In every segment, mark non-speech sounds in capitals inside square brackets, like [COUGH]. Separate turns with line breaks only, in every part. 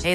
Hey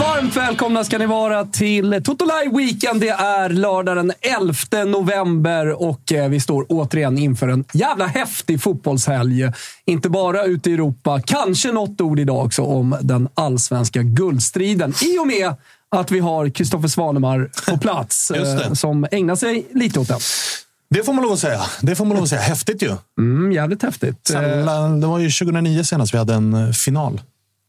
Varmt välkomna ska ni vara till Totolaj Weekend. Det är lördag den 11 november och eh, vi står återigen inför en jävla häftig fotbollshelg. Inte bara ute i Europa, kanske något ord idag också om den allsvenska guldstriden. I och med att vi har Kristoffer Svanemar på plats
Just det.
eh, som ägnar sig lite åt den.
Det får man lov att säga. Det får man lov att säga. Häftigt ju.
Mm, jävligt häftigt. Eh,
Sällan- Det var ju 2009 senast vi hade en eh, final.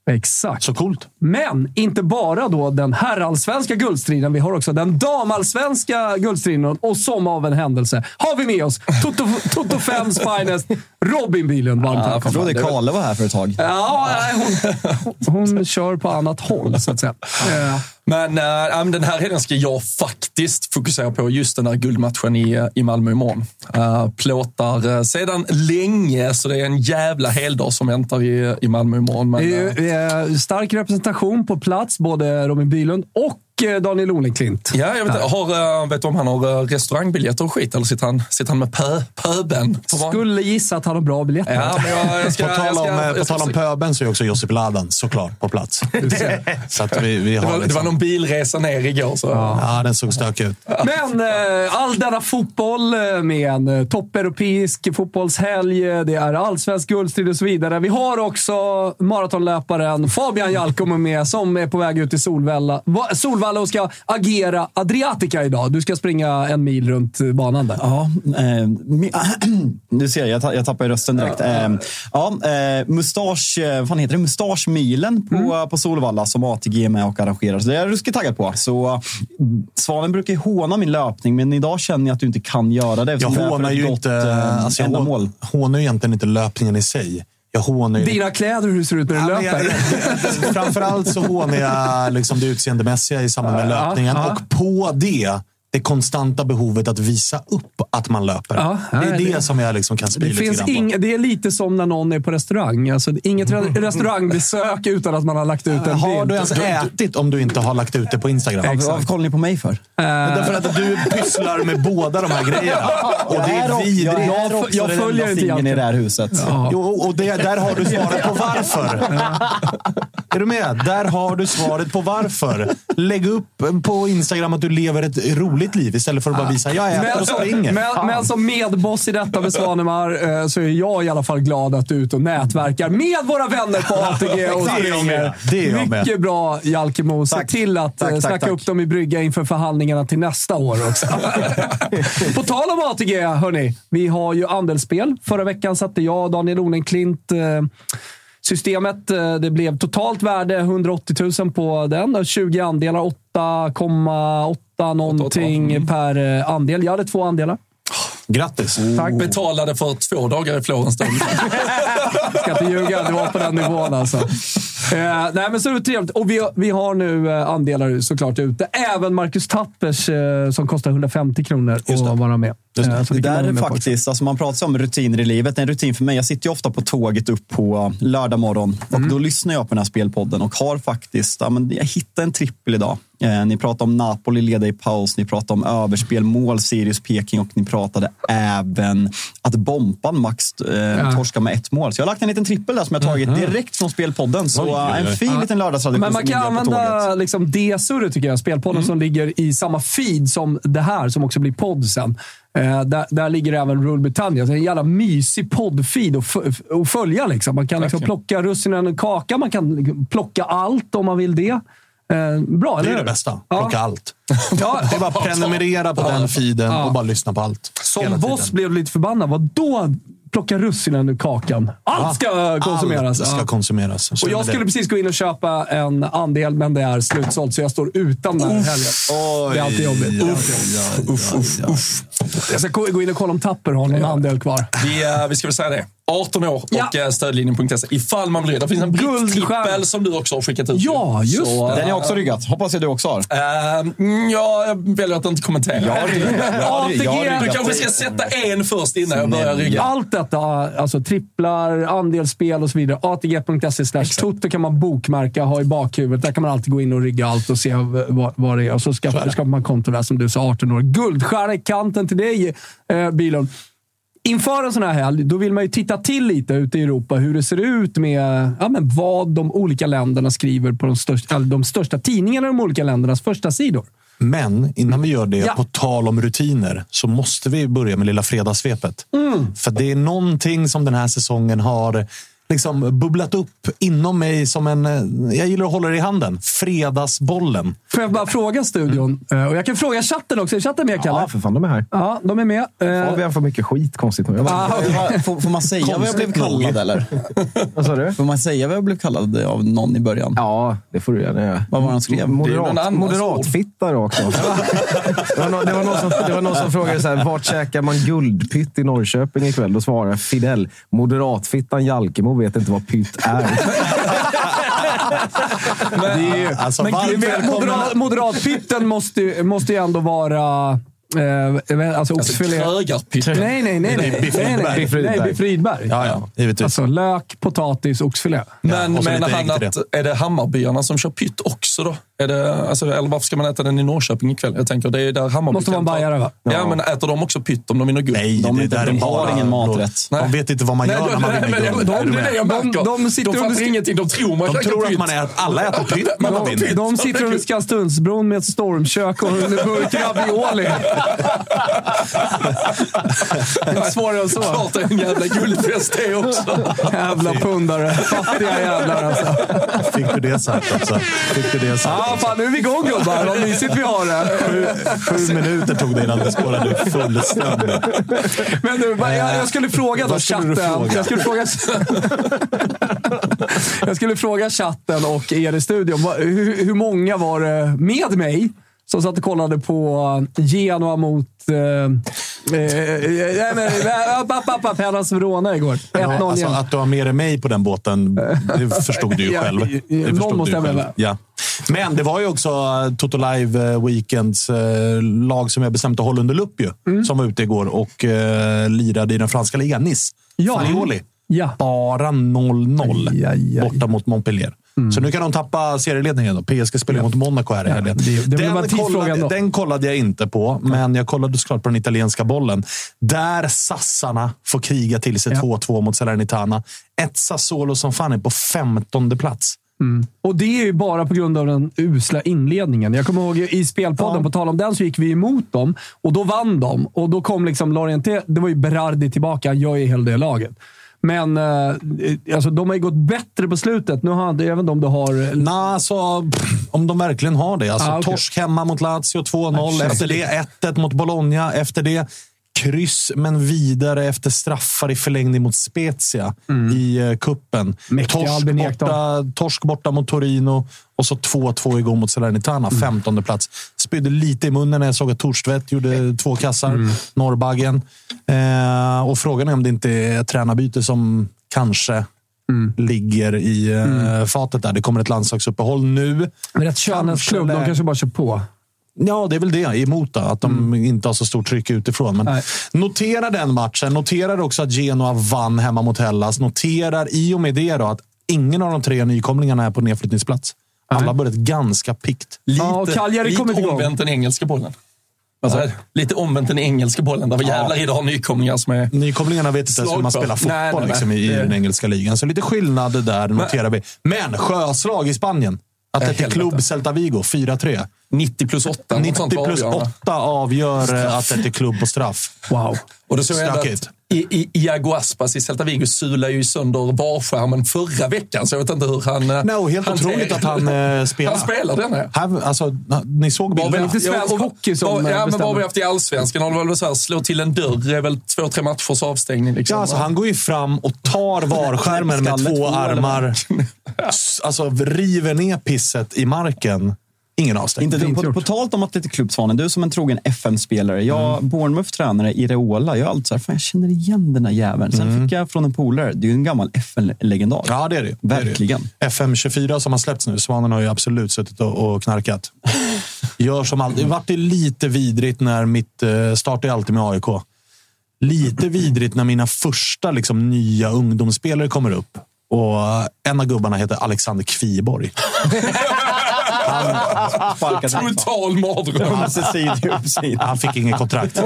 Eh, exakt.
Så coolt.
Men inte bara då den herrallsvenska guldstriden. Vi har också den damallsvenska guldstriden och som av en händelse har vi med oss Toto, Toto Fems finest Robin Bylund. Varmt
Ja, jag
välkommen.
förstod det. Karle var här för ett tag.
Ja, nej, hon, hon kör på annat håll, så att säga. Eh,
Men, eh, ja, men den här helgen ska jag faktiskt fokusera på just den här guldmatchen i, eh, i Malmö imorgon. Uh, plåtar eh, sedan länge, så det är en jävla heldag som väntar i, i Malmö imorgon. Men,
Det är
eh,
ju eh, stark representation på plats, både Robin Bylund och eh, Daniel Olenklint.
Ja, jag vet, inte. har, eh, vet du om han har eh, restaurangbiljetter och skit eller sitter han, sitter han med pö, pöben? på var-
Skulle gissa att han har bra biljetter.
Ja, men jag, jag ska,
På
jag
tal
ska,
om, eh,
jag
på
ska
tal om
försöka-
pöben så är också Josip Ladan såklart på plats. Så att vi, vi
[LAUGHS] det
har
var, det var
liksom-
någon bilresa ner igår. Så.
Ja, [LAUGHS] den såg stökig ut.
Men eh, all denna fotboll eh, med en eh, toppeuropeisk fotbollshelg, eh, det är allsvensk guldstrid och så vidare. Vi har också maratonlöparen Fabian Jalkomo med som är på väg ut till Solvalla, Va- Solvalla och ska agera Adriatica idag. Du ska springa en mil runt eh, banan där.
Ja, eh, mi- [CLEARS THROAT] nu ser jag, jag, ta, jag tappar ju rösten direkt. Eh, ja, eh, mustasch, eh, vad fan heter det? Mustaschmilen på, på Solvalla som ATG är med och arrangerar. Så det är jag ruskigt taggad på. Så, eh, Svanen brukar ju håna min löpning, men idag känner jag att du inte kan göra det.
Jag
eftersom det är för
hånar
ett
ju
gott,
inte...
eh,
Alltså jag
ändamål.
hå- hånar ju egentligen inte löpningen i sig. Jag hånar ju...
Dina kläder, hur det ser ut när du
Ja, men jag-
löper.
jag- [LAUGHS] Framförallt så hånar jag liksom det utseendemässiga i samband med
Ja,
löpningen.
ja.
Och på det, det konstanta behovet att visa upp att man löper.
Ja, ja,
det är det,
det-
som jag liksom kan spy
Det,
lite
finns
grann på.
ing, det är lite som när någon är på restaurang. Alltså, inget re- restaurangbesök utan att man har lagt ut en
Mm. Har
bild.
du ens ätit om du inte har lagt ut det på Instagram?
Varför, varför kollar ni på mig för?
Därför att du pysslar med båda de här grejerna. Och det är
jag,
vidrigt.
är
Jag
också
jag
den enda
följer inte
singeln i
Jalkemo.
det här huset.
[LAUGHS]
Jo, och det, där har du svarat på varför. Är du med? Där har du svaret på varför. Lägg upp på Instagram att du lever ett roligt liv istället för att bara visa jag äter och springer.
Men, men, men som medboss i detta med Svanemar eh, så är jag i alla fall glad att du är ute och nätverkar med våra vänner på ATG och
Det är jag med.
springer.
Det är jag med.
Mycket bra Jalkemo. Se
Tack.
till att
Tack,
eh,
tack,
snacka
tack.
upp dem i brygga inför förhandlingarna till nästa år
[LAUGHS]
också. på tal om ATG, hörni. Vi har ju andelsspel. Förra veckan satte jag och Daniel Olenklint eh, Systemet, eh, det blev totalt värde 180 000 på den. och 20 andelar, 8,8 någonting
Mm.
per eh, andel. Jag hade två andelar.
Grattis!
Tack.
Betalade för två dagar i Florens. då.
[LAUGHS] Jag ska inte ljuga, det var på den nivån alltså. Eh, nej, men så är det trevligt. Och vi, vi har nu eh, andelar såklart ute. Även Marcus Tappers eh, som kostar 150 kronor att vara med. Eh, så
Det
vi kan
där
vara
är
med på
faktiskt, alltså man pratar om rutiner i livet. En rutin för mig, jag sitter ju ofta på tåget upp på lördag morgon
Mm.
och då lyssnar jag på den här spelpodden och har faktiskt, ja, men jag hittade en trippel idag. Eh, ni pratade om Napoli leda i paus, ni pratade om överspel, mål, Sirius, Peking och ni pratade även att Bompan max eh, torskar med ett mål. Så jag har lagt en liten trippel där som jag tagit direkt från spelpodden. Så
Oj, oj, oj.
en fin liten lördagstradition
Men man
som
kan
ligger på tåget.
använda liksom det surret, tycker jag. Spelpodden
Mm.
som ligger i samma feed som det här, som också blir podd sen. Eh, där, där ligger även Rule Britannia. Så det är en jävla mysig poddfeed att, f- att följa. Liksom. Man kan liksom plocka russinen och kaka. Man kan liksom plocka allt om man vill det. Eh, bra,
Det
eller
är det
hur?
bästa.
Ja.
Plocka allt.
[LAUGHS] Ja,
Det är bara att prenumerera på den feeden och bara lyssna på allt. Hela
som
tiden.
boss blev du lite förbannad. Vadå plocka russinen ur kakan? Allt ska konsumeras.
Allt
Ja.
ska konsumeras. Så
Och
är
jag
det.
skulle precis gå in och köpa en andel, men det är slutsålt, så jag står utan den här helgen. Det är alltid jobbigt.
Uff, uff, uff.
Jag ska gå gå in och kolla om Tapper har någon andel kvar.
Vi, eh, vi ska väl säga det. 18 år och eh,
Ja.
ja. stödlinjen.se ifall man blir det. Det finns en
Guldstjärna.
britt-trippel som du också har skickat ut.
Ja, just
Så,
Den har jag också ryggat. Hoppas jag du också har.
eh, mm, ja, jag väljer att inte kommentera.
har ryggat. Jag har ryggat.
ATG.
Jag har ryggat.
Du kanske ska sätta en först innan jag börjar rygga.
Allt detta, alltså tripplar, andelsspel och så vidare. ATG.se E slash toto kan man bokmärka, ha i bakhuvudet. Där kan man alltid gå in och rygga allt och se v- vad, vad det är. Och så skaffar, skapar man konto där, som du sa, 18 år. Guldstjärna i kanten till dig, eh, Bilon. Inför en sån här helg, då vill man ju titta till lite ute i Europa hur det ser ut med ja, men vad de olika länderna skriver på de största, eller de största tidningarna i de olika ländernas första sidor.
Men innan vi gör det,
Ja.
på tal om rutiner, så måste vi börja med lilla fredagssvepet. För det är någonting som den här säsongen har liksom bubblat upp inom mig som en... eh, Jag gillar att hålla det i handen. Fredagsbollen.
Får jag bara fråga studion? Eh, Och jag kan fråga chatten också. Är chatten med, Kalle?
Ja, för fan, de är här.
Ja, de är med.
Ja, vi
Eh,
har fått mycket skit konstigt nog. Jag bara,
ah,
Får, får man säga vad jag blev
Konstigt nog.
kallad eller?
vad sa du?
Får man säga vad jag blev kallad av någon i början?
Ja, det får du gärna göra.
Vad var det han skrev?
Det är någon
Moderat,
annans
moderatfitta rakt av. Det var, nå- det, var någon som, det var någon som frågade så här, vart käkar man guldpytt i Norrköping ikväll? Då svarade jag Fidel. Moderatfittan Jalkemo vet inte vad pytt är.
det är, alltså,
men
varmt
gud,
välkomna.
moderat, moderatpytten måste, ju- måste ju ändå vara... Eh, alltså oxfilé.
Krögarpytt.
nej, nej, nej. nej.
Biff
nej, nej.
Rydberg.
Nej, Biff Rydberg.
Ja, ja, givetvis.
Alltså lök, potatis, oxfilé.
Men
och så
menar
lite
han
ägg till
att, är det Hammarbyarna som kör pytt också då? Är det, alltså, eller varför ska man äta den i Norrköping ikväll? Jag tänker, det är där Hammarby
Måste vara en
kan ta-
bajare, va?
Ja, men äter de också pytt om de vinner guld?
Nej,
De
det
är inte-
där är
de har
bara-
ingen maträtt.
De
Nej.
vet inte vad man gör
Nej,
när man
nej,
vinner
[LAUGHS] men
guld.
de,
Är
de,
du
det är
med?
det jag
De-
märker.
de sitter
de
under-
fattar ingenting. De tror man
De
käkar
tror att
pytt.
man är, alla äter
[LAUGHS]
pytt.
Man
Man
har
vinner.
pytt.
De sitter under Skanstunsbron med ett stormkök och en burk
[LAUGHS]
ravioli. Inte svårare än
[LAUGHS]
så.
Klart det är en jävla guldfest det också.
Jävla pundare. Fattiga jävlar alltså.
Fick du det sagt också? Fick du det sagt?
Ja, fan, nu är vi igång gubbar. Vad mysigt vi har det.
Sju minuter tog det innan det spårade ur fullständigt.
Men nu, vad- jag, jag skulle fråga då
Vad skulle
chatten.
du fråga?
Jag, skulle fråga, [LAUGHS] jag skulle fråga chatten och er i studion. vad- Hur, hur många var det med mig som satt och kollade på Genoa mot... Eh, eh, eh, [LAUGHS] app, app, app, Hellas Verona igår. 1-0
Alltså,
igen.
att du har med dig mig på den båten, det förstod du ju
[LAUGHS] Ja,
själv.
ja,
Det
någon
förstod du
måste
ju
jag
själv.
välja.
Ja. Men det var ju också eh, Toto Live eh, Weekends eh, lag som jag bestämt att hålla under lupp ju.
Mm.
Som var ute igår och eh, lirade i den franska ligan, Nice.
Ja.
Farioli.
Ja.
Bara
Aj,
0-0
aj, Mm. aj.
borta mot Montpellier. Så nu kan de tappa serieledningen. Då. PSG spelar mot Monaco här i helgen.
det- det blir bara
den,
tidsfrågan då.
kollade, den kollade jag inte på, men jag kollade såklart på den italienska bollen. Där sassarna får kriga till sig
Ja.
2-2 mot Salernitana. Ett Sassuolo som fan är på 15 plats.
Mm. Och det är ju bara på grund av den usla inledningen. Jag kommer ihåg i spelpodden, på tal om den, så gick vi emot dem och då vann de. Och då kom liksom Lorienté. Det var ju Berardi tillbaka. Han gör ju hela det laget. Men eh, alltså, de har ju gått bättre på slutet. Nu har även de du har... eh,
Nej, alltså, pff, om de verkligen har det. Alltså,
Ah, okej.
Torsk hemma mot Lazio, 2-0. Efter det 1-1 mot Bologna. Efter det kryss, men vidare efter straffar i förlängning mot Spezia
Mm.
i eh, kuppen.
Mäktiga
Torsk
Albin Ekdal.
borta, torsk borta mot Torino och så 2-2 igår mot Salernitana.
Mm.
15 plats. Spydde lite i munnen när jag såg att Torstvedt gjorde två kassar.
Mm.
Norrbaggen. Eh, och frågan är om det inte är ett tränarbyte som kanske
Mm.
ligger i eh, fatet där. Det kommer ett landslagsuppehåll nu.
Men rätt könhetsklubb. De
Kanske-
kanske bara kör på.
Ja, det är väl det emot då, att de
Mm.
inte har så stort tryck utifrån. Men
Nej.
notera den matchen. Noterar också att Genoa vann hemma mot Hellas. Noterar i och med det då att ingen av de tre nykomlingarna är på nedflyttningsplats. Alla har börjat ganska pikt.
Lite,
Ja, och Cagliari
lite
kommer inte igång.
omvänt den engelska bollen. Alltså, Lite omvänt den engelska bollen. Där vi jävlar i det har nykomlingar som är...
Nykomlingarna vet inte ens hur man
Slagpå.
spelar fotboll
Nej, nej, nej.
liksom, i, i
Det-
den engelska ligan. Så lite skillnad där noterar vi. Men sjöslag i Spanien. Atletico
helvete.
Club Celta Vigo 4-3.
90 plus 8. något
90
sånt var
plus
avgörande.
8 avgör eh, Atletico Club på straff.
Wow.
Och då såg jag ändå
Stökigt.
att I- I- Iago Aspas i Celta Vigo sulade ju sönder varskärmen förra veckan, så jag vet inte hur han... eh,
No, helt
hanterar-
otroligt att han eh,
[LAUGHS]
spelar.
Han spelar den här.
Här, alltså, na- ni såg
Var väl
bilderna.
inte svensk
ja, och-
hockey som,
var-
eh,
Ja, men
bestämmer.
vad har vi haft i allsvenskan? Har det väl så här, slå till en dörr, det är väl två, tre matchers avstängning. Liksom.
Ja, alltså, han går ju fram och tar varskärmen med
Skallet
två
på, eller?
armar. S- Alltså, river ner pisset i marken. Ingen avstängning.
Inte,
Fint
på,
gjort.
på talt om Atletico Club, Svanen, du som en trogen FM-spelare. Jag,
Mm.
Bournemouth tränare, Ireola. Jag har alltid så här, fan jag känner igen den här jäveln. Sen
Mm.
fick jag från en polare, det är ju en gammal FN-legendar.
Ja, det är det. det. är det.
Verkligen.
FM24 som har släppts nu. Svanen har ju absolut suttit och, och knarkat. Gör som alltid. Det vart ju lite vidrigt när mitt... eh, Start är alltid med AIK. Lite vidrigt när mina första liksom, nya ungdomsspelare kommer upp. Och eh, en av gubbarna heter Alexander Kviborg.
Sparkat han.
Total mardröm.
Ömsesidig uppsida.
Han fick inget
[LAUGHS]
kontrakt.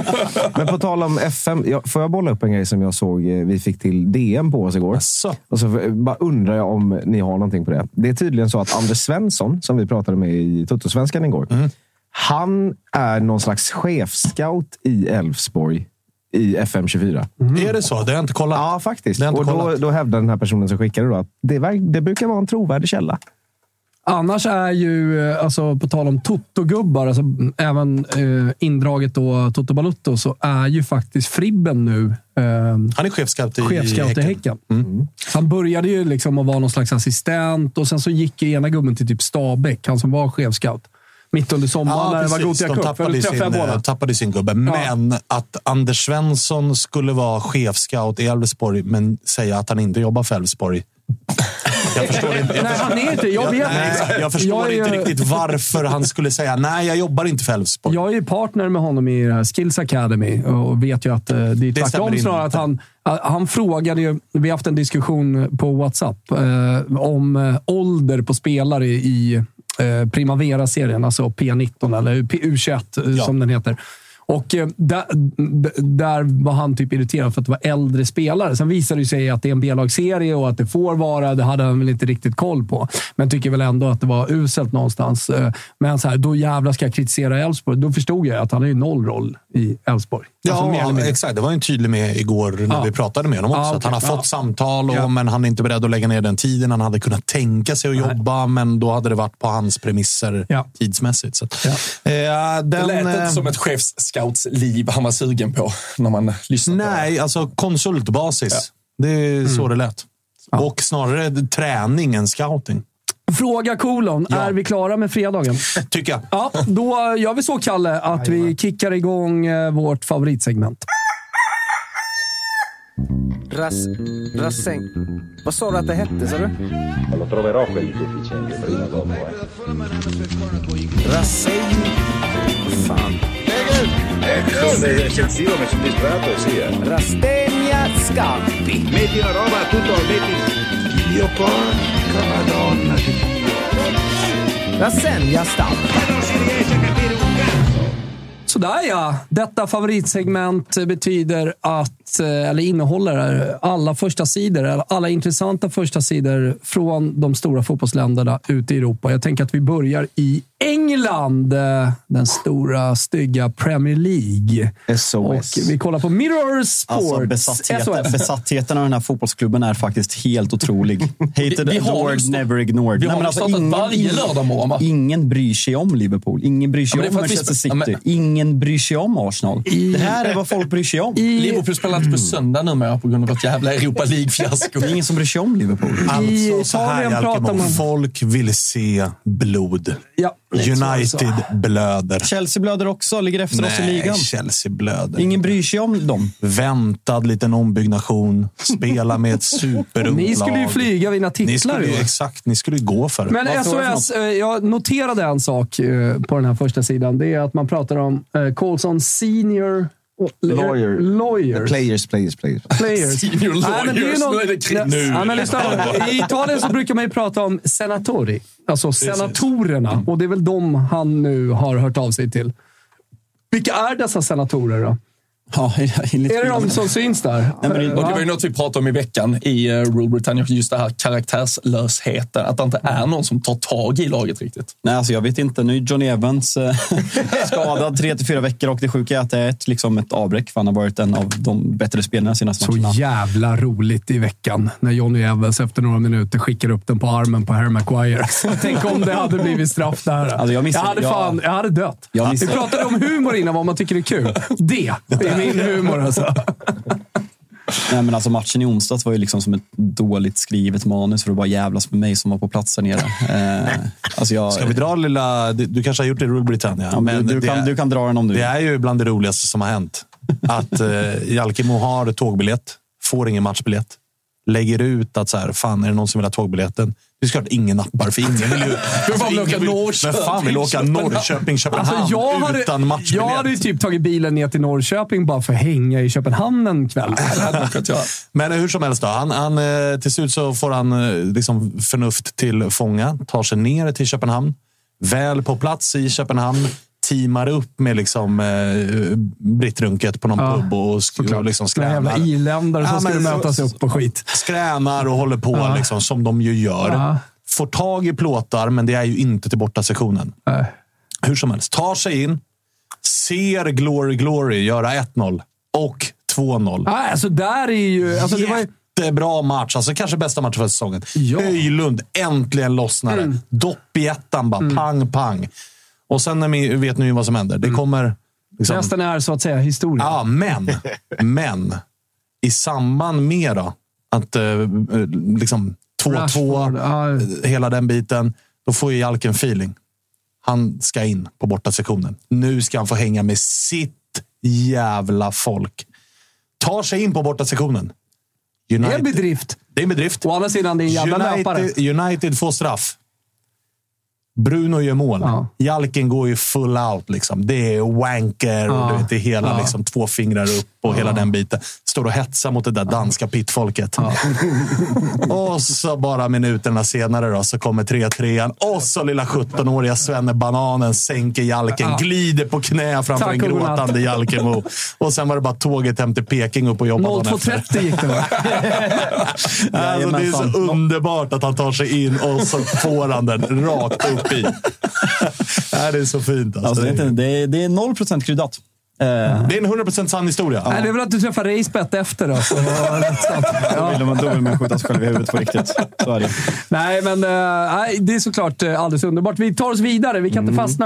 Men på tal om FM, jag, får jag bolla upp en grej som jag såg eh, vi fick till DN på oss igår?
Så.
Och så eh, bara undrar jag om ni har någonting på det. Det är tydligen så att Anders Svensson, som vi pratade med i Tuttosvenskan igår,
Mm.
han är någon slags chefscout i Elfsborg i FM24.
Mm.
Är det så? Det har jag inte kollat.
Ja, faktiskt.
Det har jag
Och
inte
då,
kollat.
då hävdar den här personen som skickade då att det, verk, det brukar vara en trovärdig källa.
Annars är ju, eh, alltså, på tal om Toto-gubbar, alltså, m, även eh, indraget då Toto Balutto, så är ju faktiskt Fribben nu eh,
Han är chefscout i
chefscout i Häcken.
Mm.
Han började ju liksom att vara någon slags assistent och sen så gick ju ena gubben till typ Stabäck, han som var chefscout. Mitt under sommaren
Ja,
när det var
precis.
Gothia
De
Cup. Eller
tappade sin,
träffade jag
eh,
båda.
tappade sin gubbe. Men att Anders Svensson skulle vara chefscout i Elfsborg, men säga att han inte jobbar för Elfsborg. Jag förstår inte.
[LAUGHS] Nej, han är inte. Jag vet
nej,
inte.
jag förstår
Jag är-
inte riktigt varför han skulle säga nej, jag jobbar inte för Elfsborg.
Jag är ju partner med honom i det här Skills Academy och vet ju att eh, det är tvärtom
stämmer
snarare att
inte.
han, eh, han frågade ju, vi har haft en diskussion på WhatsApp eh, om eh, ålder på spelare i eh, Primavera-serien, alltså P19 eller P- U21 eh,
Ja.
som den heter. Och eh, där, d- där var han typ irriterad för att det var äldre spelare. Sen visade det sig att det är en B-lagsserie och att det får vara. Det hade han väl inte riktigt koll på, men tycker väl ändå att det var uselt någonstans. Eh, Men så här, då jävlar ska jag kritisera Elfsborg. Då förstod jag att han har ju noll roll i Elfsborg.
Ja,
Alltså, mer eller mindre.
exakt. Det var ju en tydlig med igår när
Ja.
vi pratade med honom också.
Ja, okej.
Att han har fått
Ja.
samtal, och,
Ja.
men han är inte beredd att lägga ner den tiden. Han hade kunnat tänka sig att jobba, men då hade det varit på hans premisser
Ja.
tidsmässigt. Så att, eh, den,
Det lät
eh,
inte som ett chefsscoutsliv han var sugen på när man lyssnade på det.
Nej, alltså konsultbasis. Det är
Mm.
så det lät. Och snarare träning än scouting,
Fråga kolon.
Ja.
Är vi klara med fredagen?
tycker jag.
Ja, då gör vi så, Kalle, att vi kickar igång eh, vårt favoritsegment.
Ras... Rasäng... Vad sa du att det hette, sa du? Rasäng... Fan. Rastegna Scampi.
Metti una roba, tutto metti. Dio porca madonna.
Rasenja Stamp.
Ma non si riesce a capire un cazzo.
Så Sådär ja. Detta favoritsegment betyder att, eh, eller innehåller alla första sidor, eller alla intressanta första sidor från de stora fotbollsländerna ute i Europa. Jag tänker att vi börjar i England. eh, Den stora, stygga Premier League.
SOS.
Och vi kollar på Mirror Sports.
Alltså
SOS.
besattheten, besattheten av den här fotbollsklubben är faktiskt helt
[LAUGHS]
otrolig. Hated,
Vi- vi har
adored,
ju stå-
never ignored. alltså,
vi har ju startat varje lördag morgon, va?
ingen bryr sig om Liverpool. Ingen bryr sig
Ja, men det är
om
för att vi
Manchester City.
spe- ja,
Ingen bryr sig om Arsenal. Det här är vad folk bryr sig om.
I-
Liverpool spelar inte på söndag numera på grund av vårt jävla Europa League-fiasko.
Det är ingen som bryr sig om Liverpool.
I
Alltså, så här
Italien pratar
Jalkemo.
man-
Folk vill se blod.
Ja, det tror jag också.
United blöder.
Chelsea blöder också, ligger efter oss i ligan.
Chelsea blöder.
Ingen bryr sig om dem.
Väntad liten ombyggnation. Spela med
[LAUGHS]
ett superungt
Ni skulle ju
lag.
flyga och vinna
Ni
titlar.
skulle ju,
ju.
exakt, ni skulle ju gå för det.
Men
Vad står det för
SOS, eh, jag noterade en sak eh, på den här första sidan. Det är att man pratar om eh, Colson senior... och- eh,
Lawyer.
Lawyers.
Players, players, players.
[LAUGHS]
Players.
Senior
Nej, men det
lawyers.
någon-
Nu är det krig.
Nej,
Nu.
ja, men lyssna nu. I Italien så brukar man ju prata om senatori. Alltså
Mm.
senatorerna. Och det är väl de han nu har hört av sig till. Vilka är dessa senatorer då?
[LAUGHS] Ja, enligt
Är det de
bilden.
som syns där? Eh,
men det-
Och det var ju något vi pratade om i veckan i eh, Rule Britannia, just det här karaktärslösheten. Att det inte är någon som tar tag i laget riktigt.
Nej, alltså jag vet inte. Nu är Johnny Evans eh, [LAUGHS] skadad tre till fyra veckor och det sjuka är att det är ett, liksom ett avbräck för han har varit en av de bättre spelarna de senaste
Så
matcherna.
jävla roligt i veckan när Johnny Evans efter några minuter skickar upp den på armen på Harry Maguire. Tänk om det hade blivit straff där.
Alltså, jag missade-
hade, fan, jag hade dött.
Jag
Vi
missade-
pratade om humor innan, vad man tycker är kul. Det är min humor alltså.
[LAUGHS] Nej, men alltså matchen i onsdags var ju liksom som ett dåligt skrivet manus för att bara jävlas med mig som var på plats där nere. Eh, alltså jag,
Ska vi dra lilla... Du, du kanske har gjort det i Rule Britannia.
ja,
men
du, du,
det
kan,
är-
du kan dra den om du
Det
vill.
är ju bland det roligaste som har hänt. Att eh, Jalkemo har tågbiljett, får ingen matchbiljett. Lägger ut att så här, fan är det någon som vill ha tågbiljetten? Det är klart ingen nappar, för ingen vill
[LAUGHS]
ju... alltså,
vill bara
ingen
åka Norrköping,
Vem fan vill åka
Köpenhamn?
Norrköping, Köpenhamn
Alltså, jag, hade,
utan matchbiljett?
jag hade ju typ tagit bilen ner till Norrköping bara för att hänga i Köpenhamn en kväll.
Det hade man kunnat göra.
Men hur som helst, då, han, han, eh, till slut så får han eh, liksom förnuft till fånga, tar sig ner till Köpenhamn. Väl på plats i Köpenhamn, teamar upp med liksom, eh, brittrunket på någon
Ja,
pub och, sk- och liksom
Några jävla
skränar.
iländare som
Ja, men
skulle
så-
mötas upp på skit.
skränar och håller på liksom, som de ju gör.
Ja.
Får tag i plåtar, men det är ju inte till borta sektionen.
Nej.
Hur som helst, tar sig in, ser Glory Glory göra 1-0 och 2-0.
Nej, alltså där är ju... Alltså, det var ju
Jättebra match. Alltså, kanske bästa matchen för säsongen.
Ja. Mm.
Höjlund, äntligen lossnar det. Dopp i ettan bara. Pang, pang. Och sen när vi, vet ni ju vad som händer.
Mm.
Det kommer... Liksom,
resten är så att säga historia.
Ja, men,
[LAUGHS]
men i samband med då, att eh, eh, liksom 2-2,
Rashford, ja.
eh, hela den biten, då får ju Jalken feeling. Han ska in på borta sektionen. Nu ska han få hänga med sitt jävla folk. Tar sig in på borta sektionen.
det är en
United,
bedrift.
det är en bedrift.
Å andra sidan, det är en jävla löpare.
United, United får straff. Bruno gör mål.
Ja.
Jalken går ju full out. Liksom. Det är wanker och
Ja.
du vet, det är hela
Ja.
liksom, två fingrar upp och hela den biten. Står och hetsar mot det där danska pitfolket. [LAUGHS] och så bara minuterna senare då, så kommer 3-3. Och så lilla 17-åriga Svenne Bananen sänker Jalken.
Ja.
Glider på knä framför
Tack
en
och godnatt.
gråtande Jalkemo. Och sen var det bara tåget hem till Peking upp och jobba dagen efter.
02.30 gick det va?
Alltså, det är
Jajamensan.
så underbart att han tar sig in och så får han den rakt
[LAUGHS]
upp i. Nej, det är så fint. Alltså.
Alltså, det, är inte,
det,
det, är, det är 0 procent kryddat. Eh,
är en 100% sann historia.
[LAUGHS] Nej, det är väl att du träffar Racebet efter alltså.
[LAUGHS]
då. Så,
då,
ja.
vill man, då vill man skjuta sig själv i huvudet på riktigt. Så är det.
Nej, men eh, nej, det är såklart eh, alldeles underbart. Vi tar oss vidare. Vi kan inte fastna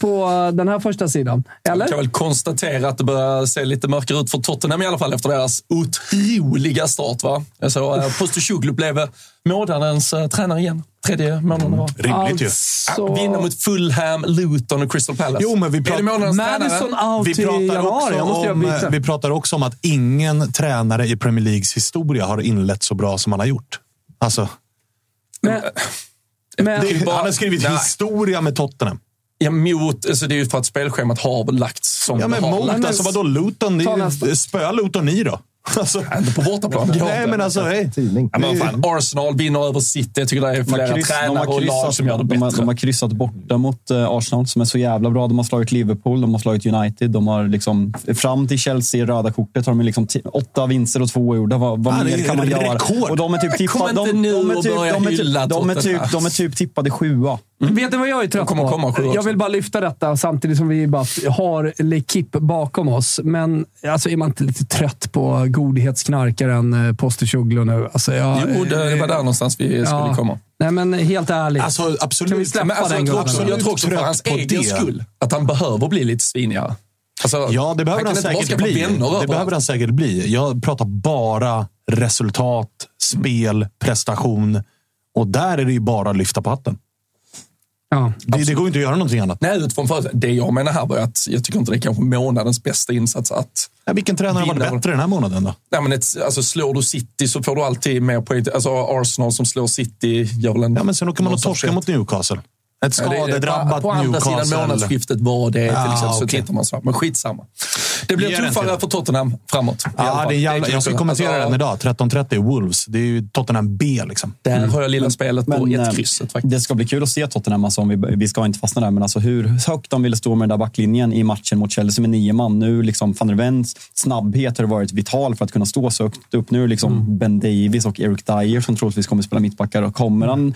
på eh, den här första sidan. Eller?
Jag Mm. kan väl konstatera att det börjar se lite mörkare ut för Tottenham i alla fall efter deras otroliga start. Va? Alltså, eh, Postecoglou blev eh, månadens eh, tränare igen. Tredje månaden var.
Rimligt ju.
Alltså,
Vinna mot Fulham, Luton och Crystal Palace.
Jo, men vi
Är
pratar-
det månadens tränare?
Madison out
Vi
i
pratar,
januari. Jag måste
också
göra
om,
eh,
eh,
byte.
vi pratar också om att ingen tränare i Premier Leagues historia har inlett så bra som han har gjort. Alltså,
Men, men,
det,
bara-
han har skrivit
Nej.
historia med Tottenham.
Ja, mot, alltså, det är ju för att spelschemat har lagts som
Ja, men
det har
mot,
lagts.
alltså vadå Luton? Det
Ta
är ju-
nästa.
Spöa Luton i då. [LAUGHS] Alltså,
Inte på bortaplan.
nej, men alltså, hej.
Tidning.
Ja, men fan, Arsenal vinner över City. Jag tycker det är
De
flera
har, kryss, de,
tränare
har
och lag
kryssat,
som gör det
de, har,
bättre.
de har kryssat borta mot eh, Arsenal som är så jävla bra. De har slagit Liverpool, de har slagit United. De har liksom, fram till Chelsea, röda kortet, har de liksom ti- åtta vinster och två ogjorda. Vad, vad
Ja, det är
mer kan man göra?
rekord.
Och de är typ
Kom
tippade-
inte
de-
nu
de är
och
typ-
börja
de är typ-
hylla
de är typ-
Tottenham.
De är typ tippade sjua.
Vet ni vad jag är trött
kommer
på?
komma sju också.
jag vill bara lyfta detta samtidigt som vi bara har L'Equipe bakom oss. Men alltså, är man inte lite trött på godhetsknarkaren eh, Posticoglu nu? Alltså, jag,
Jo, det, det var där någonstans vi skulle komma.
Nej, men helt ärligt.
Alltså, absolut.
Kan vi släppa
Men alltså,
den
jag, tror
gubben?
också, jag tror också för
Trött
hans
på
egen
det.
skull att han behöver bli lite svinigare. Alltså,
Ja, det behöver han,
kan inte
säkert
bara skaffa
bli.
vänner
Det behöver
överallt.
han säkert bli. Jag pratar bara resultat, spel, prestation. Och där är det ju bara att lyfta på hatten.
Ja.
Det, det går ju inte att göra någonting annat.
Nej, utifrån för, det jag menar här var ju att jag tycker inte det är kanske månadens bästa insats att
Ja, vilken tränare har varit
Vinner.
bättre den här månaden då?
Nej, men ett, alltså, slår du City så får du alltid mer poäng. Alltså Arsenal som slår City gör väl en...
Ja, men sen åker man och
någon sorts
torskar
rätt.
mot Newcastle. Ett
Ja, det- det-
skadedrabbat
På andra sidan
Newcastle.
månadsskiftet var det till
Ah,
exempel. Så
okej.
tittar man sådär. Men skitsamma. Det blir
Ger den till
tuffare
dem.
för Tottenham framåt. i alla
Ja,
fall.
det är en jävla, jag ska
klart.
kommentera
Alltså,
den idag. 13.30 Wolves. Det är ju Tottenham B liksom.
Där har jag lilla spelet på
Men, eh,
ett krysset faktiskt.
Det ska bli kul att se Tottenham. Alltså, om vi, vi ska inte fastna där, men alltså hur högt de ville stå med den där backlinjen i matchen mot Chelsea med nio man. Nu liksom van der Wends snabbhet har varit vital för att kunna stå så högt upp. Nu är liksom
Mm.
Ben Davis och Eric Dyer som troligtvis kommer spela mittbackar. Och kommer han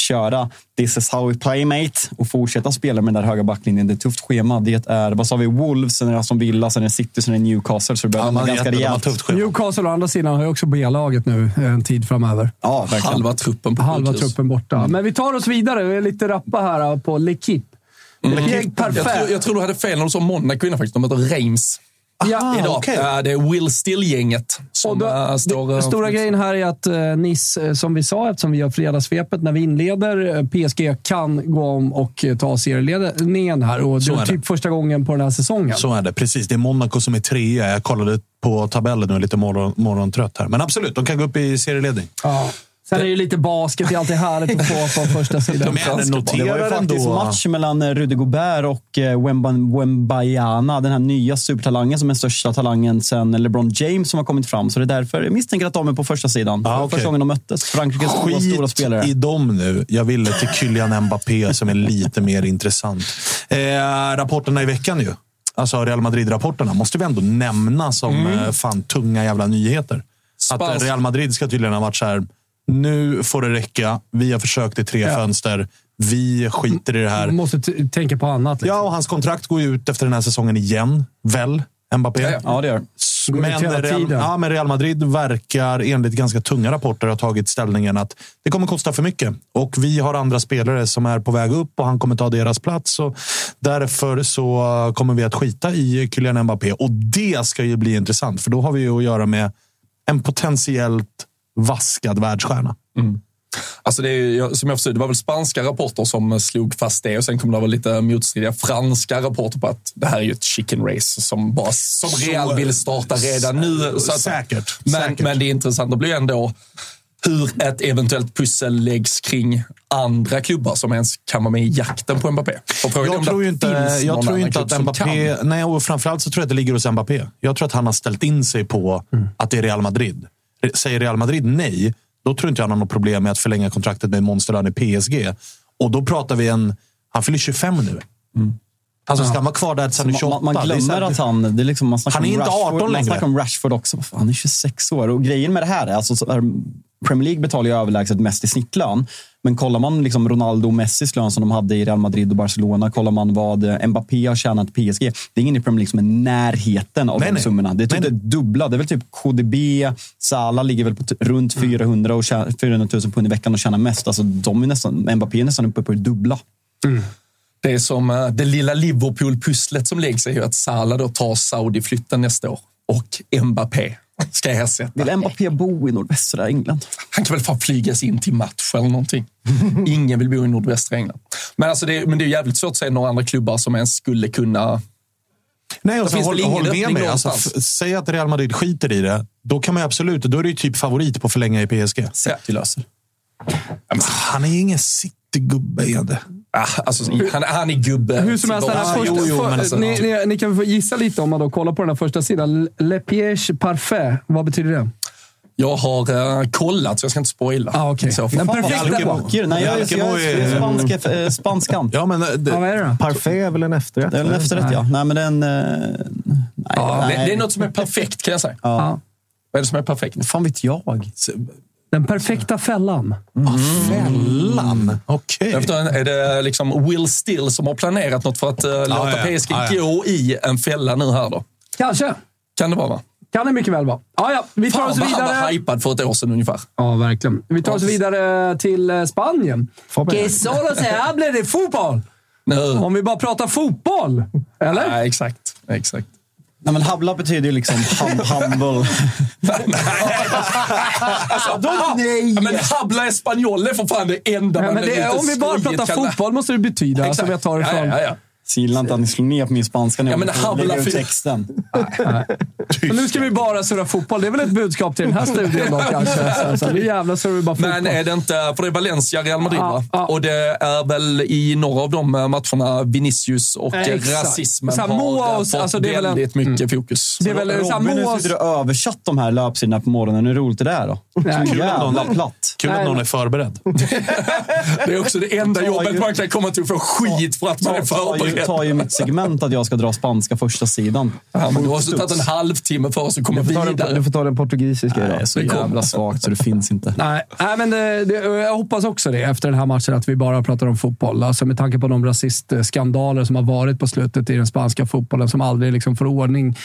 köra “This is how we play mate” och fortsätta spela med den där höga backlinjen. Det är ett tufft schema. Det är, vad sa vi, Wolves, sen är det Aston Villa, sen är det City, sen är det Newcastle. Så det börjar
Ja, man
bli
vet
ganska
det, de har
rejält.
tufft schema.
Newcastle å andra sidan har ju också B-laget nu eh, en tid framöver.
Ja, verkligen.
Halva truppen på Mm.
Halva
sjukhus.
truppen borta. Men vi tar oss vidare. Vi är lite rappa här eh, på L'Equipe. Mm.
Jag tror,
Perfekt.
jag tror du hade fel när du sa Monaco innan faktiskt. De möter Reims
Ja,
idag. Eh, Det är Will Still-gänget
Och
som
då,
eh, står...
det,
eh,
stora grejen här är att eh, Nice, eh, som vi sa, eftersom vi gör fredagssvepet när vi inleder, eh, PSG kan gå om och eh, ta serieledningen här. Och det
Så
är
är det.
typ första gången på den här säsongen.
Så är det. Precis. Det är Monaco som är trea. Jag kollade på tabellen nu. är Lite morgon, morgontrött här. Men absolut, de kan gå upp i serieledning.
Ja. Sen är det ju lite basket. Det är alltid härligt att få på
[LAUGHS]
första sidan.
De är
Det var ju
noterar
faktiskt
ändå...
match mellan eh, Rudy Gobert och eh, Wemba- Wembayana. Den här nya supertalangen som är största talangen sen LeBron James som har kommit fram. Så det är därför jag misstänker att de är på första sidan.
Ah,
Det var
okej.
Första gången de möttes. Frankrikes två stora
Skit
spelare.
i dem nu. Jag ville till Kylian Mbappé som är lite mer intressant. Eh, rapporterna i veckan ju. Alltså Real Madrid-rapporterna måste vi ändå nämna som
Mm.
eh, fan tunga jävla nyheter. Att
Spansk-
Real Madrid ska tydligen ha varit så här. Nu får det räcka. Vi har försökt i tre fönster. Vi skiter i det här.
Man måste t- tänka på annat. Liksom.
Ja, och hans kontrakt går ju ut efter den här säsongen igen. Väl? Mbappé?
Ja, ja.
Ja, det gör
S-
Går ut
Men
hela
Real,
tiden.
ja, men Real Madrid verkar enligt ganska tunga rapporter ha tagit ställningen att det kommer kosta för mycket och vi har andra spelare som är på väg upp och han kommer ta deras plats. Och därför så eh, kommer vi att skita i Kylian Mbappé och det ska ju bli intressant för då har vi ju att göra med en potentiellt vaskad världsstjärna.
Alltså det är, ju- jag- som jag förstod, det var väl spanska rapporter som slog fast det och sen kom det väl lite motstridiga franska rapporter på att det här är ju ett chicken race som, bara, som Real vill starta redan nu. Så att,
Säkert,
men,
säkert.
men det är intressant, det blir ju ändå hur ett eventuellt pussel läggs kring andra klubbar som ens kan vara med i jakten på Mbappé. Och frågan är
Jag
om
tror
det
ju inte,
finns
jag
någon
tror
annan
inte
klubb
att
som kan.
Mbappé... Nej, och framförallt så tror jag att det ligger hos Mbappé. Jag tror att han har ställt in sig på att det är Real Madrid. Re- Säger Real Madrid nej, då tror inte jag han har något problem med att förlänga kontraktet med monsterlön i PSG. Och då pratar vi en... Han fyller 25 nu. Alltså, ska han vara kvar där tills han är
Man,
28?
man, man
Det är så
glömmer
här-
att han... Det är liksom, man snackar
Han är
om
inte 18
Rashford,
längre.
Man snackar om Rashford också. Vad fan, Han är 26 år. Och grejen med det här är alltså, så här, Premier League betalar ju överlägset mest i snittlön. Men kollar man liksom Ronaldo och Messis lön som de hade i Real Madrid och Barcelona, kollar man vad eh, Mbappé har tjänat PSG. Det är ingen i Premier League som är i närheten av
Nej,
de
nej.
summorna. Det är typ
Nej,
det dubbla. Det är väl typ KDB, Salah ligger väl på t- runt
Mm.
400, och tjä- 400 000 pund i veckan och tjänar mest. Alltså, de är nästan, Mbappé är nästan uppe på det dubbla.
Det är som eh, det lilla Liverpool-pusslet som läggs är ju att Salah då tar Saudi-flytten nästa år och Mbappé ska ersätta.
Vill Mbappé bo i nordvästra England?
Han kan väl fan flygas in till match eller
[LAUGHS]
någonting. Ingen vill bo i nordvästra England. Men, alltså det, är- men det är jävligt svårt att se några andra klubbar som ens skulle kunna...
Nej, och
Då
sen
finns det
håll,
väl ingen
håll med
öppning
mig. Alltså,
någonstans.
f- säg att Real Madrid skiter i det. Då kan man ju absolut... Då är det ju typ favorit på att förlänga i PSG.
City löser.
Han är ju ingen citygubbe. är det?
Ah, alltså, han, han är gubbe.
Hur som helst, den här
tillbaka.
första, för,
alltså,
ni, ni, ni kan få gissa lite om man då kollar på den här första sidan. Le piège parfait, vad betyder det?
Jag har eh, kollat, så jag ska inte spoila.
Ah, okej. Den perfekta
Alkemo. Nej, jag, jag, jag, är spansk, eh, spanskan.
Ja, men,
Ja, vad är det då?
Parfait är väl en efterrätt?
Det är en
eller?
efterrätt, ja. Nej, men den... eh,
Ja, det,
nej.
det är något som är perfekt, kan jag säga.
Ja.
Vad är det som är perfekt?
Fan vet jag?
Den perfekta fällan.
Mm.
Fällan? Okej.
Jag förstår, är det liksom Will Still som har planerat något för att eh,
Ah,
låta
ja.
PSG
Ja, ja.
gå i en fälla nu här då?
Kanske.
Kan det vara, va?
Kan det mycket väl vara. Ja, ja. Vi tar
Fan,
oss
vad han var
vidare.
hypad för ett år sedan ungefär.
Ja, verkligen. Vi tar oss vidare till eh, Spanien.
Fabbe.
Que solo se
[LAUGHS]
hable de fotboll!
Nu.
Om vi bara pratar fotboll. Eller?
Nej, exakt. [LAUGHS] exakt.
Nej, men habla betyder ju liksom hum, humble.
Alltså, nej! Ja, men habla espanjol är för fan det enda
Nej,
man
men
är
det,
lite
om vi bara
skojigt
pratar
kan-
fotboll måste det betyda,
Exakt.
som jag tar
ja,
ifrån.
ja, ja.
Så gillar inte att ni slår ner på min spanska nu.
Ja, men habla
Lägger ut
för-
texten.
Men nu ska vi bara surra fotboll. Det är väl ett budskap till
[LAUGHS]
den här studion då kanske. Så, så, nu jävlar surrar vi bara fotboll.
Men är det inte, för det är Valencia, Real Madrid
Ja,
va?
ja.
Och det är väl i några av de matcherna Vinicius och
Nej, exakt.
rasismen
Så här, Moa
har
och-
fått
alltså, det är väl en-
väldigt mycket fokus.
det är väl så här,
Robin, nu
Moas...
sitter du och översatt de här löpsidorna på morgonen. Hur roligt är det här då?
Nej.
Så jävla platt.
Kul att någon är förberedd.
[LAUGHS] Det är också det enda
Ta
jobbet
ju-
man kan komma till och få skit för att man är
Ta ju,
förberedd.
ta ju mitt segment att jag ska dra spanska första sidan.
Ja, men du har också tagit en halvtimme för oss att komma
Du får ta den-
vidare.
Du får ta den portugisiska
Det
idag.
är så jävla svagt så det finns inte.
Nej, nej, men det, det, jag hoppas också det efter den här matchen, att vi bara pratar om fotboll. Alltså med tanke på de rasistskandaler som har varit på slutet i den spanska fotbollen, som aldrig liksom får ordning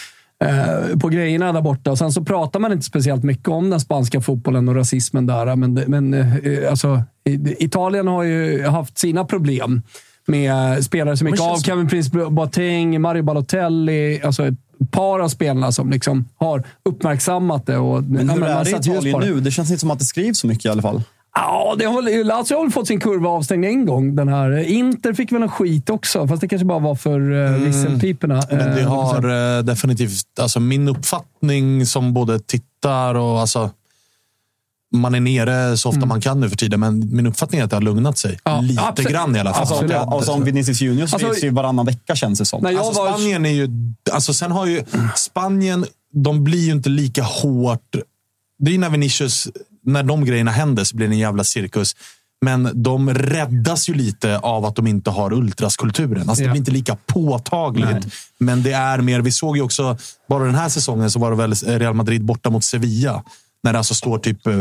eh, på grejerna där borta. Och sen så pratar man inte speciellt mycket om den spanska fotbollen och rasismen där. Men, det- men eh, alltså, i- Italien har ju haft sina problem med eh, spelare som gick
Men
av.
känns-
Kevin Prince Boateng, Mario Balotelli. Alltså ett par av spelarna som liksom har uppmärksammat det. Och,
Men
ja,
hur
man
är det i
satt ljus
Italien
på det.
nu? Det känns inte som att det skrivs så mycket i alla fall.
Ja, det har väl, Lazio har väl fått sin kurva avstängd en gång. Den här. eh, Inter fick väl en skit också, fast det kanske bara var för uh, visselpiporna.
Mm. Men det
Eh,
har eh, definitivt, alltså min uppfattning som både tittar och alltså, man är nere så ofta man kan nu för tiden, men min uppfattning är att det har lugnat sig.
Mm. Ja,
Lite
absolut.
grann i alla fall.
Alltså,
Absolut.
och, och som Vinicius Junior skrivs
Alltså-
ju varannan vecka känns det som.
när jag
Alltså,
var...
Spanien är ju... Alltså, sen har ju... Spanien, de blir ju inte lika hårt... Det är ju när Vinicius... När de grejerna händer så blir det en jävla cirkus. Men de räddas ju lite av att de inte har ultraskulturen. Alltså,
Ja.
Det blir inte lika påtagligt. Men det är mer... Vi såg ju också... Bara den här säsongen så var det väl Real Madrid borta mot Sevilla. När det alltså står typ eh,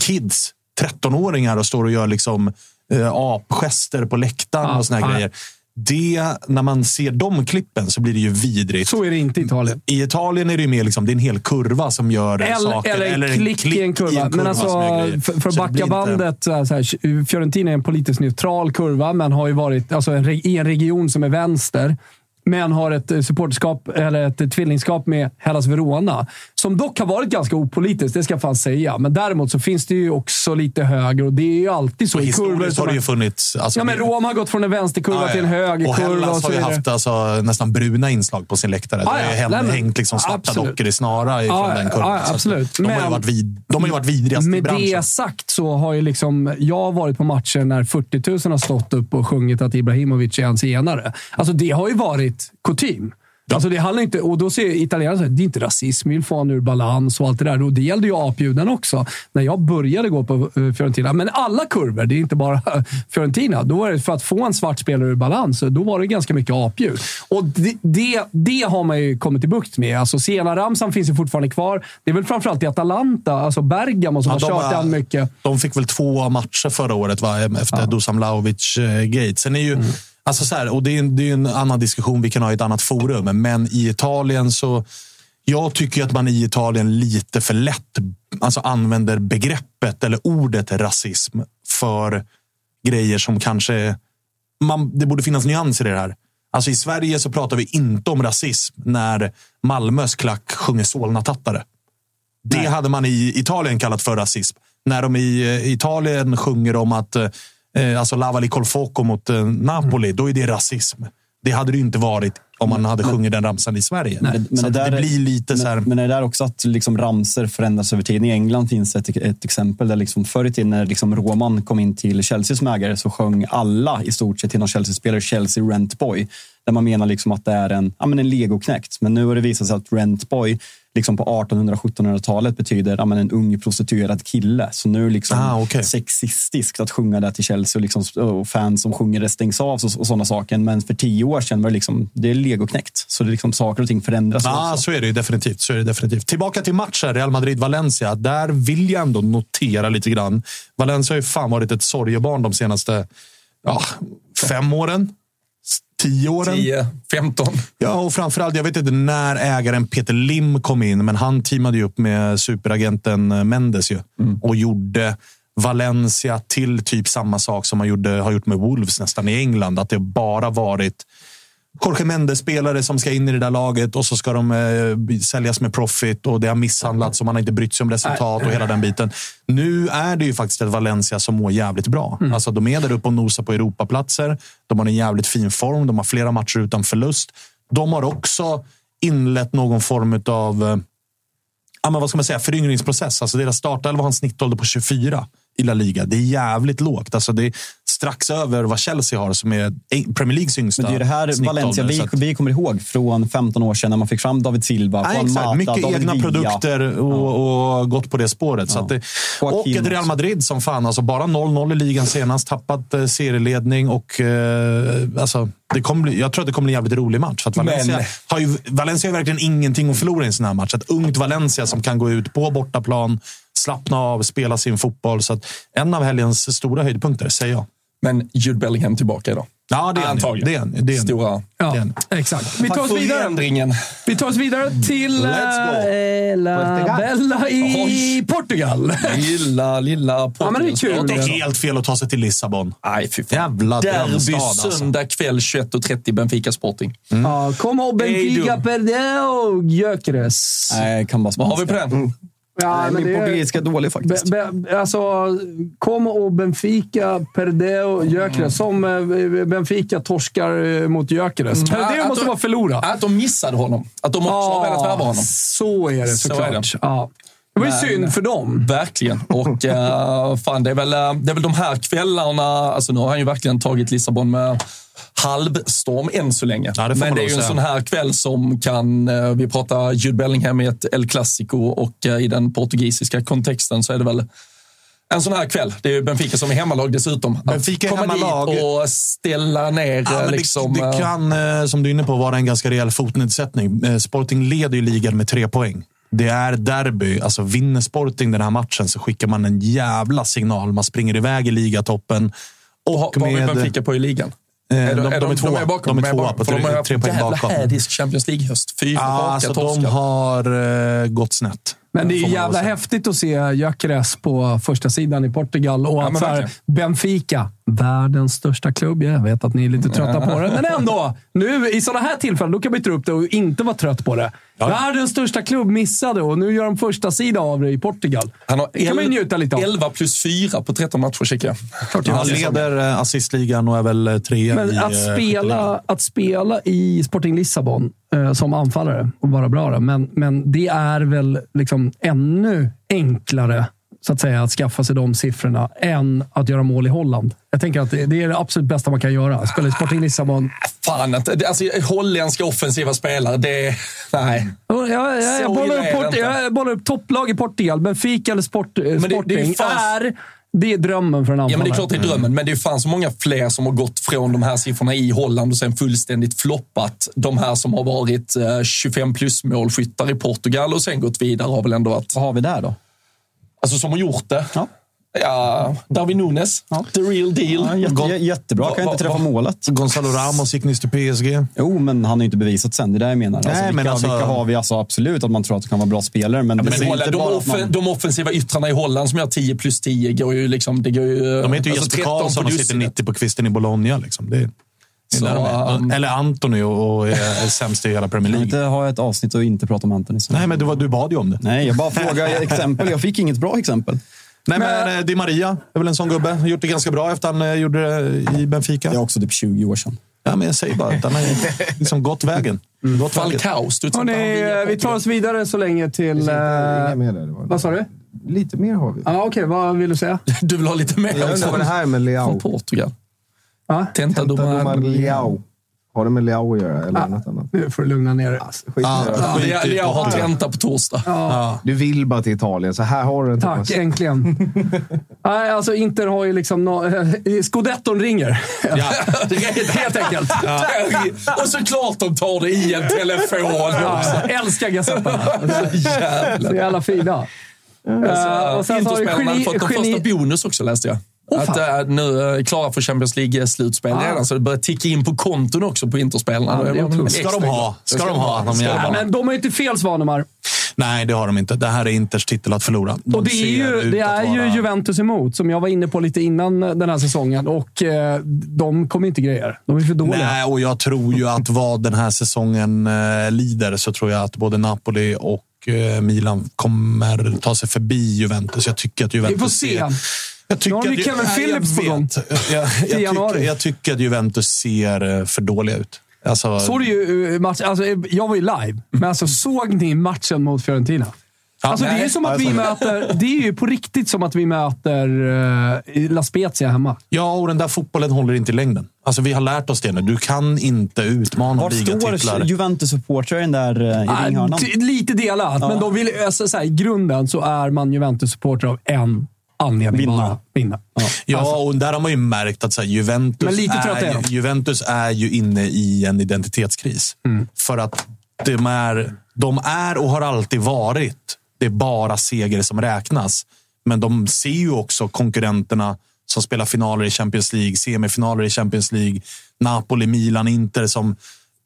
kids, 13-åringar, och står och gör liksom eh, apgester på läktaren
Ja,
och såna här
nej.
grejer. Det, när man ser de klippen så blir det ju vidrigt.
Så är det inte i Italien.
I Italien är det ju mer liksom, det är en hel kurva som gör
Eller,
saker.
eller, en klick i en kurva. Men alltså,
som gör grejer.
för, för att
Så det blir
backa
inte-
bandet. Så här, så här, Fiorentina är en politiskt neutral kurva, men har ju varit alltså, en, re- i en region som är vänster. Men har ett eh, supporterskap, eller ett eh, tvillingskap med Hellas Verona. Som dock har varit ganska opolitiskt, det ska jag fan säga. Men däremot så finns det ju också lite höger och det är ju alltid så i kurvor.
Historiskt
som
har det ju
man-
funnits... Alltså,
Ja, men
det-
Rom har gått från en vänsterkurva
Ja, ja.
till en
Och
högerkurva och
Hellas
så
har ju
vidare.
haft alltså, nästan bruna inslag på sin läktare.
Ja,
det har ju
ja.
häng,
Nej, men-
hängt liksom svarta
absolut.
dockor i snara ifrån
Ja,
den kurvan.
ja,
Så att
absolut.
De, har ju
Men-
varit vid, de har ju varit vidrigast i
Med
branschen.
det sagt så har ju liksom, jag har varit på matcher när 40 000 har stått upp och sjungit att Ibrahimovic är en zigenare. Alltså det har ju varit kutym. Alltså det handlar inte, och då ser italienarna så här, det är inte rasism, vi vill få honom ur balans och allt det där. Och det gällde ju apjuden också. När jag började gå på eh, Fiorentina, men alla kurvor, det är inte bara [LAUGHS] Fiorentina. Då var det för att få en svart spelare ur balans, då var det ganska mycket apljud. Och det, det, det har man ju kommit till bukt med. Alltså Sena-ramsan finns ju fortfarande kvar. Det är väl framförallt i Atalanta, alltså Bergamo, som
Ja,
har
de
kört
har-
den mycket.
De fick väl två matcher förra året va? efter Dusan Vlahovic-gate. Sen är ju, alltså så här, och det är, en- det är ju en annan diskussion vi kan ha i ett annat forum, men i Italien så... Jag tycker ju att man i Italien lite för lätt alltså använder begreppet eller ordet rasism för grejer som kanske... Man, det borde finnas nyanser i det här. Alltså I Sverige så pratar vi inte om rasism när Malmös klack sjunger Solna-tattare. Det hade man i Italien kallat för rasism. När de i eh, Italien sjunger om att eh, alltså Laval i Col Foco mot eh, Napoli, då är det rasism. Det hade det ju inte varit om man hade sjungit den ramsan i Sverige.
Men, men det,
så att
där,
det blir lite
men,
så här...
men är det där också att liksom ramser förändras över tiden? I England finns ett, ett exempel där liksom förr i tiden när liksom Roman kom in till Chelsea som ägare så sjöng alla i stort sett till någon Chelsea-spelare Chelsea Rent Boy. Där man menar liksom att det är en, ja, men en legoknäckt. Men nu har det visat sig att Rent Boy liksom på 1800-1700-talet betyder ja, men en ung prostituerad kille. Så nu är det liksom
Ah, okej.
sexistiskt att sjunga det till Chelsea och, liksom, och fans som sjunger det stängs av och, och sådana saker. Men för tio år sedan var det liksom, det är legoknäckt. Så det är liksom saker och ting förändras.
Ja,
också.
så är det ju definitivt. Så är det definitivt. Tillbaka till matchen, Real Madrid-Valencia. Där vill jag ändå notera lite grann. Valencia har ju fan varit ett sorgebarn de senaste ja, fem åren. S- Tio åren.
10, 15.
Ja, och framförallt, jag vet inte när ägaren Peter Lim kom in, men han teamade ju upp med superagenten eh, Mendes ju, och gjorde Valencia till typ samma sak som man gjorde, har gjort med Wolves nästan i England. Att det bara varit Jorge Mendes-spelare som ska in i det där laget och så ska de eh, säljas med profit och det har misshandlats och man har inte brytt sig om resultat och hela den biten. Nu är det ju faktiskt ett Valencia som mår jävligt bra.
Mm.
Alltså, de är där uppe och nosar på Europaplatser. De har en jävligt fin form. De har flera matcher utan förlust. De har också inlett någon form av ja, men vad ska man säga, föryngringsprocess. Alltså deras startelva har en snittålder på 24 i La Liga. Det är jävligt lågt. Alltså det är strax över vad Chelsea har, som är Premier Leagues yngsta
Men det är ju det här
snittålder,
Valencia vi,
så att-
vi kommer ihåg från 15 år sedan när man fick fram David Silva,
Nej,
Juan Mata,
exakt. Mycket
David
egna
Villa.
produkter och, och gått på det spåret. Så att det, och
Joaquin
ett Real
också.
Madrid som fan, alltså bara 0-0 i ligan senast. Tappat eh, serieledning och eh, alltså, det kommer bli, jag tror att det kommer bli en jävligt rolig match. För att Valencia,
Men-
har ju, Valencia har ju verkligen ingenting att förlora i en sån här match. Ett ungt Valencia som kan gå ut på bortaplan, slappna av, spela sin fotboll. Så att en av helgens stora höjdpunkter, säger jag.
Men Jude Bellingham tillbaka idag.
Ja, det är han ju.
Antagligen.
Det är han ju. Det är han ju.
Stora.
Ja,
Den.
exakt. Vi tar
Tack
oss
för
vidare.
förändringen.
Vi tar oss vidare till
Let's go.
eh, La Bella i Portugal.
Lilla, lilla
Ja, men det är kul.
Det är helt fel att ta sig till Lissabon.
Nej, fy fan.
Jävla
Derby
drömstad, alltså.
söndag kväll 21.30 Benfica Sporting.
Ja, Como Benfica Perdeu Gyökeres.
Nej, jag kan bara
Vad har vi på den?
Ja,
Nej,
men det
Min
är-
portugisiska är dålig faktiskt.
Be, be, alltså, Como och Benfica, Perdeu, Gyökeres. Som eh, Benfica torskar eh, mot Gyökeres. Perdeu
Att
måste
de-
vara förlorad.
Att de missade honom. Att de också har velat värva honom.
Så är det
Så
såklart.
är det.
Ja. det var ju synd för dem.
Verkligen. Och eh, fan, det är, väl, eh, det är väl de här kvällarna. Alltså, nu har han ju verkligen tagit Lissabon med halvstorm än så länge.
Ja, det får
Men
man
det är
nog
ju en
säga.
sån här kväll som kan... eh, vi pratar Jude Bellingham i ett El Clasico och eh, i den portugisiska kontexten så är det väl en sån här kväll. Det är ju Benfica som är hemmalag dessutom. Att
Benfica är
komma
hemmalag.
dit och ställa ner
Ja, men
eh,
det-
liksom...
det,
eh,
kan, eh, som du är inne på, vara en ganska rejäl fotnedsättning. Eh, Sporting leder ju ligan med tre poäng. Det är derby. Alltså vinner Sporting den här matchen så skickar man en jävla signal. Man springer iväg i ligatoppen.
Och
Och
vad har
med,
vi Benfica på i ligan?
Eh,
Är
de- de är tvåa.
De är bakom.
De är tvåa på
för de
tre-
har haft
tre poäng
jävla
bakom.
hädisk Champions League-höst. Fyra
Ja,
raka
alltså, de
torskar.
har eh, gått snett.
Men det är ju
Får man
jävla
väl säga.
häftigt att se Gyökeres på första sidan i Portugal och att
men
så här,
verkligen.
Benfica, världens största klubb. Jag vet att ni är lite trötta på det, men ändå. Nu i sådana här tillfällen, då kan man ju ta upp det och inte vara trött på det. Världens största klubb missade och nu gör de första sida av det i Portugal.
Han har
det kan man ju njuta lite av.
11 plus 4 på 13 matcher, kikar jag.
Han leder eh, assistligan och är väl eh, trea i,
Men
eh,
att
skytteligan.
spela, att spela i Sporting Lissabon eh, som anfallare och vara bra, där, men, men det är väl liksom ännu enklare så att säga att skaffa sig de siffrorna än att göra mål i Holland. Jag tänker att det, det är det absolut bästa man kan göra. Spela i Sporting Lissabon.
Fan, inte. Det- alltså, holländska offensiva spelare, det... Nej.
Jag, jag, jag, jag,
Så
bollar,
illa
upp
är det
port,
inte.
jag bollar upp topplag i Portugal. Benfica eller sport, eh,
det- det är
Sporting det,
fan-
är... Det är drömmen för en anfallare.
Ja, men det är klart det är
Mm.
drömmen, men det är ju fan så många fler som har gått från de här siffrorna i Holland och sen fullständigt floppat. De här som har varit eh, 25 plus målskyttar i Portugal och sen gått vidare har väl ändå varit...
Vad har vi där då?
Alltså som har gjort det.
Ja.
Ja, Darwin Nunes, the real
Ja,
deal.
jätte, jättebra, kan jag inte träffa målet.
Gonzalo Ramos gick nyss till PSG.
Jo, men han har ju inte bevisat sen. Det är det jag menar. Alltså,
Nej,
vilka,
men alltså-
vilka har vi? Alltså, absolut att man tror att de kan vara bra spelare, men, det
Men
är
Holland,
inte
de,
bara att
offen,
man...
de offensiva yttrarna i Holland som gör 10 plus 10 går ju liksom... Det går ju,
De heter ju Jesper
13 på
Karlsson och sitter
dussinet.
90 på kvisten i Bologna. Liksom. Det är, det är
Så,
där de är.
um,
Eller Antoni och, och är, är sämst i hela Premier
Kan vi
League.
inte ha ett avsnitt och inte prata om Anthony.
Nej, men du, var- du bad ju om det.
Nej, jag bara frågar exempel. Jag fick inget bra exempel.
Nej, men, eh, Di Maria är väl en sån gubbe. Gjort det ganska bra efter han eh, gjorde det i Benfica.
Det är också typ 20 år sedan.
Ja, men jag säger bara att han har liksom gått vägen.
Mm.
Gått
Falcao studsar inte han
Hörrni,
vidare
eh,
på
vi tar oss vidare så länge till... eh,
Inga mer där, det var-
vad sa du?
Lite mer har vi.
Ja, Okej, vad vill
[LAUGHS]
du säga?
det? [LAUGHS] Du vill ha lite mer
Jag undrar vad
från,
det här med
från
Leao.
Portugal?
Ja.
Tenta
Domar
domaren.
Leao. Har det med Leao att göra eller något annat?
Nu får du lugna ner dig.
Skit i det.
Jag har tenta på torsdag.
Du vill bara till Italien, så här har du en
Tack,
Thomas.
äntligen. [LAUGHS] Nej, alltså Inter har ju liksom... No... Scudetton ringer. [LAUGHS] Helt enkelt.
Och såklart de tar det i en telefon också.
Ja, jag älskar Gazetterna.
[LAUGHS]
Så
Jävlar. jävla
jävla fina. Eh, och sen så har ju
Interspelarna hade
geni,
fått de
geni,
första bonus också läste jag.
Åh,
att
fan.
eh, nu är klara för Champions League-slutspel
Ah.
redan, så det börjar ticka in på konton också på Interspelarna.
Ja, det är
Då man
otroligt.
extra
Ska de ha?
glad.
Ska de ha, de
Ska
jävlarna?
Nej, men de har ju inte fel, Svanemar.
Nej, det har de inte. Det här är Inters titel att förlora. De
Och det
ser
är, ju,
ut
det
att
är ju
vara-
Juventus emot, som jag var inne på lite innan eh, den här säsongen. Och eh, de kommer inte grejer. De är för dåliga.
Nej, och jag tror ju att vad den här säsongen eh, lider så tror jag att både Napoli och eh, Milan kommer ta sig förbi Juventus. Jag tycker att Juventus
Vi får se.
Ser, jag tycker
Nu har
att
ni
ju-
Kevin
Nej,
Phillips på
jag
gång.
vet. Jag, jag,
[LAUGHS] I
jag,
januari.
tycker, jag tycker att Juventus ser eh, för dåliga ut. Alltså,
Såg du ju eh, match, alltså, eh, jag var ju live, men alltså, såg ni matchen mot Fiorentina? Alltså, det är ju som att vi möter, det är ju på riktigt som att vi möter uh, La Spezia hemma.
Ja, och den där fotbollen håller inte i längden. Alltså, vi har lärt oss det nu. Du kan inte utmana
Var står
ligatitlar.
Juventus-supportrar i den där eh, i
Ah,
ringhörnan?
t- lite delat, men de vill, alltså, så här, i grunden så är man Juventus-supporter av en anledning
Vinna.
bara. Vinna. Ja.
Ja, och där har man ju märkt att så här, Juventus,
Alltså- Men lite trött är
är,
de.
ju- Juventus är ju inne i en identitetskris.
Mm.
För att de är, de är och har alltid varit. Det är bara seger som räknas. Men de ser ju också konkurrenterna som spelar finaler i Champions League, semifinaler i Champions League, Napoli, Milan, Inter som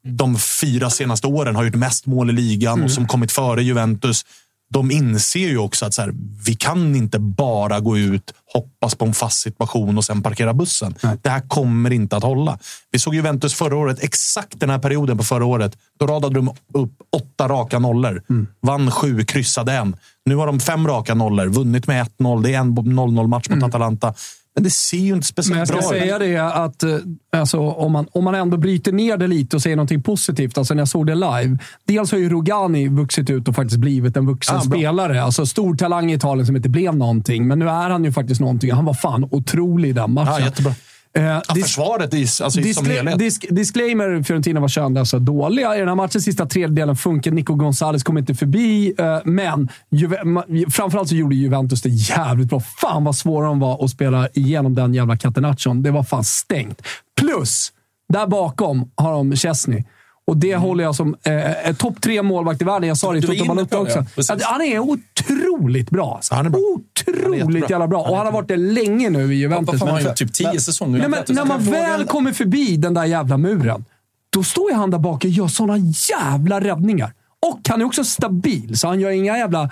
de fyra senaste åren har gjort mest mål i ligan och
Mm.
som kommit före Juventus. De inser ju också att så här, vi kan inte bara gå ut, hoppas på en fast situation och sen parkera bussen. Det här kommer inte att hålla. Vi såg Juventus förra året, exakt den här perioden på förra året. Då radade de upp åtta raka nollor.
Mm.
Vann sju, kryssade en. Nu har de fem raka nollor, vunnit med 1-0. Det är en 0-0-match mot Atalanta. Men det ser ju inte
Mm. Men
speciellt
jag ska
bra ut.
säga det att eh, alltså, om, man, om man ändå bryter ner det lite och säger någonting positivt. Alltså när jag såg det live. Dels har ju Rogani vuxit ut och faktiskt blivit en vuxen
Ah,
spelare. Alltså stor talang i Italien som inte blev någonting. Men nu är han ju faktiskt någonting. Han var fan otrolig i den matchen.
Ja, Ah, jättebra.
Eh,
Ja,
dis-
försvaret i, alltså, i som
discla-
helhet.
Dis disclaimer, Fiorentina var könlösa dåliga. I den här matchens sista tredjedelen funkar Nico Gonzalez kom inte förbi, eh, men Juve ma- framförallt så gjorde Juventus det jävligt bra. Fan vad svåra de var att spela igenom den jävla catenaccion. Det var fan stängt. Plus, där bakom har de Chesney. Och
Mm.
det håller jag som eh, eh, topp tre målvakt i världen. Jag sa det i
Du var
Toto
inne på
Balotto
det,
också.
ja. Precis.
Att han är otroligt bra. alltså.
Han är bra.
Otroligt
Han är jättebra.
jävla bra. Och han har varit det länge nu i
Vad
Juventus.
fan har han
Men-
gjort? Typ tio säsonger?
Nej, men, när man väl kommer förbi den där jävla muren, då står ju han där bak och gör såna jävla räddningar. Och han är också stabil, så han gör inga jävla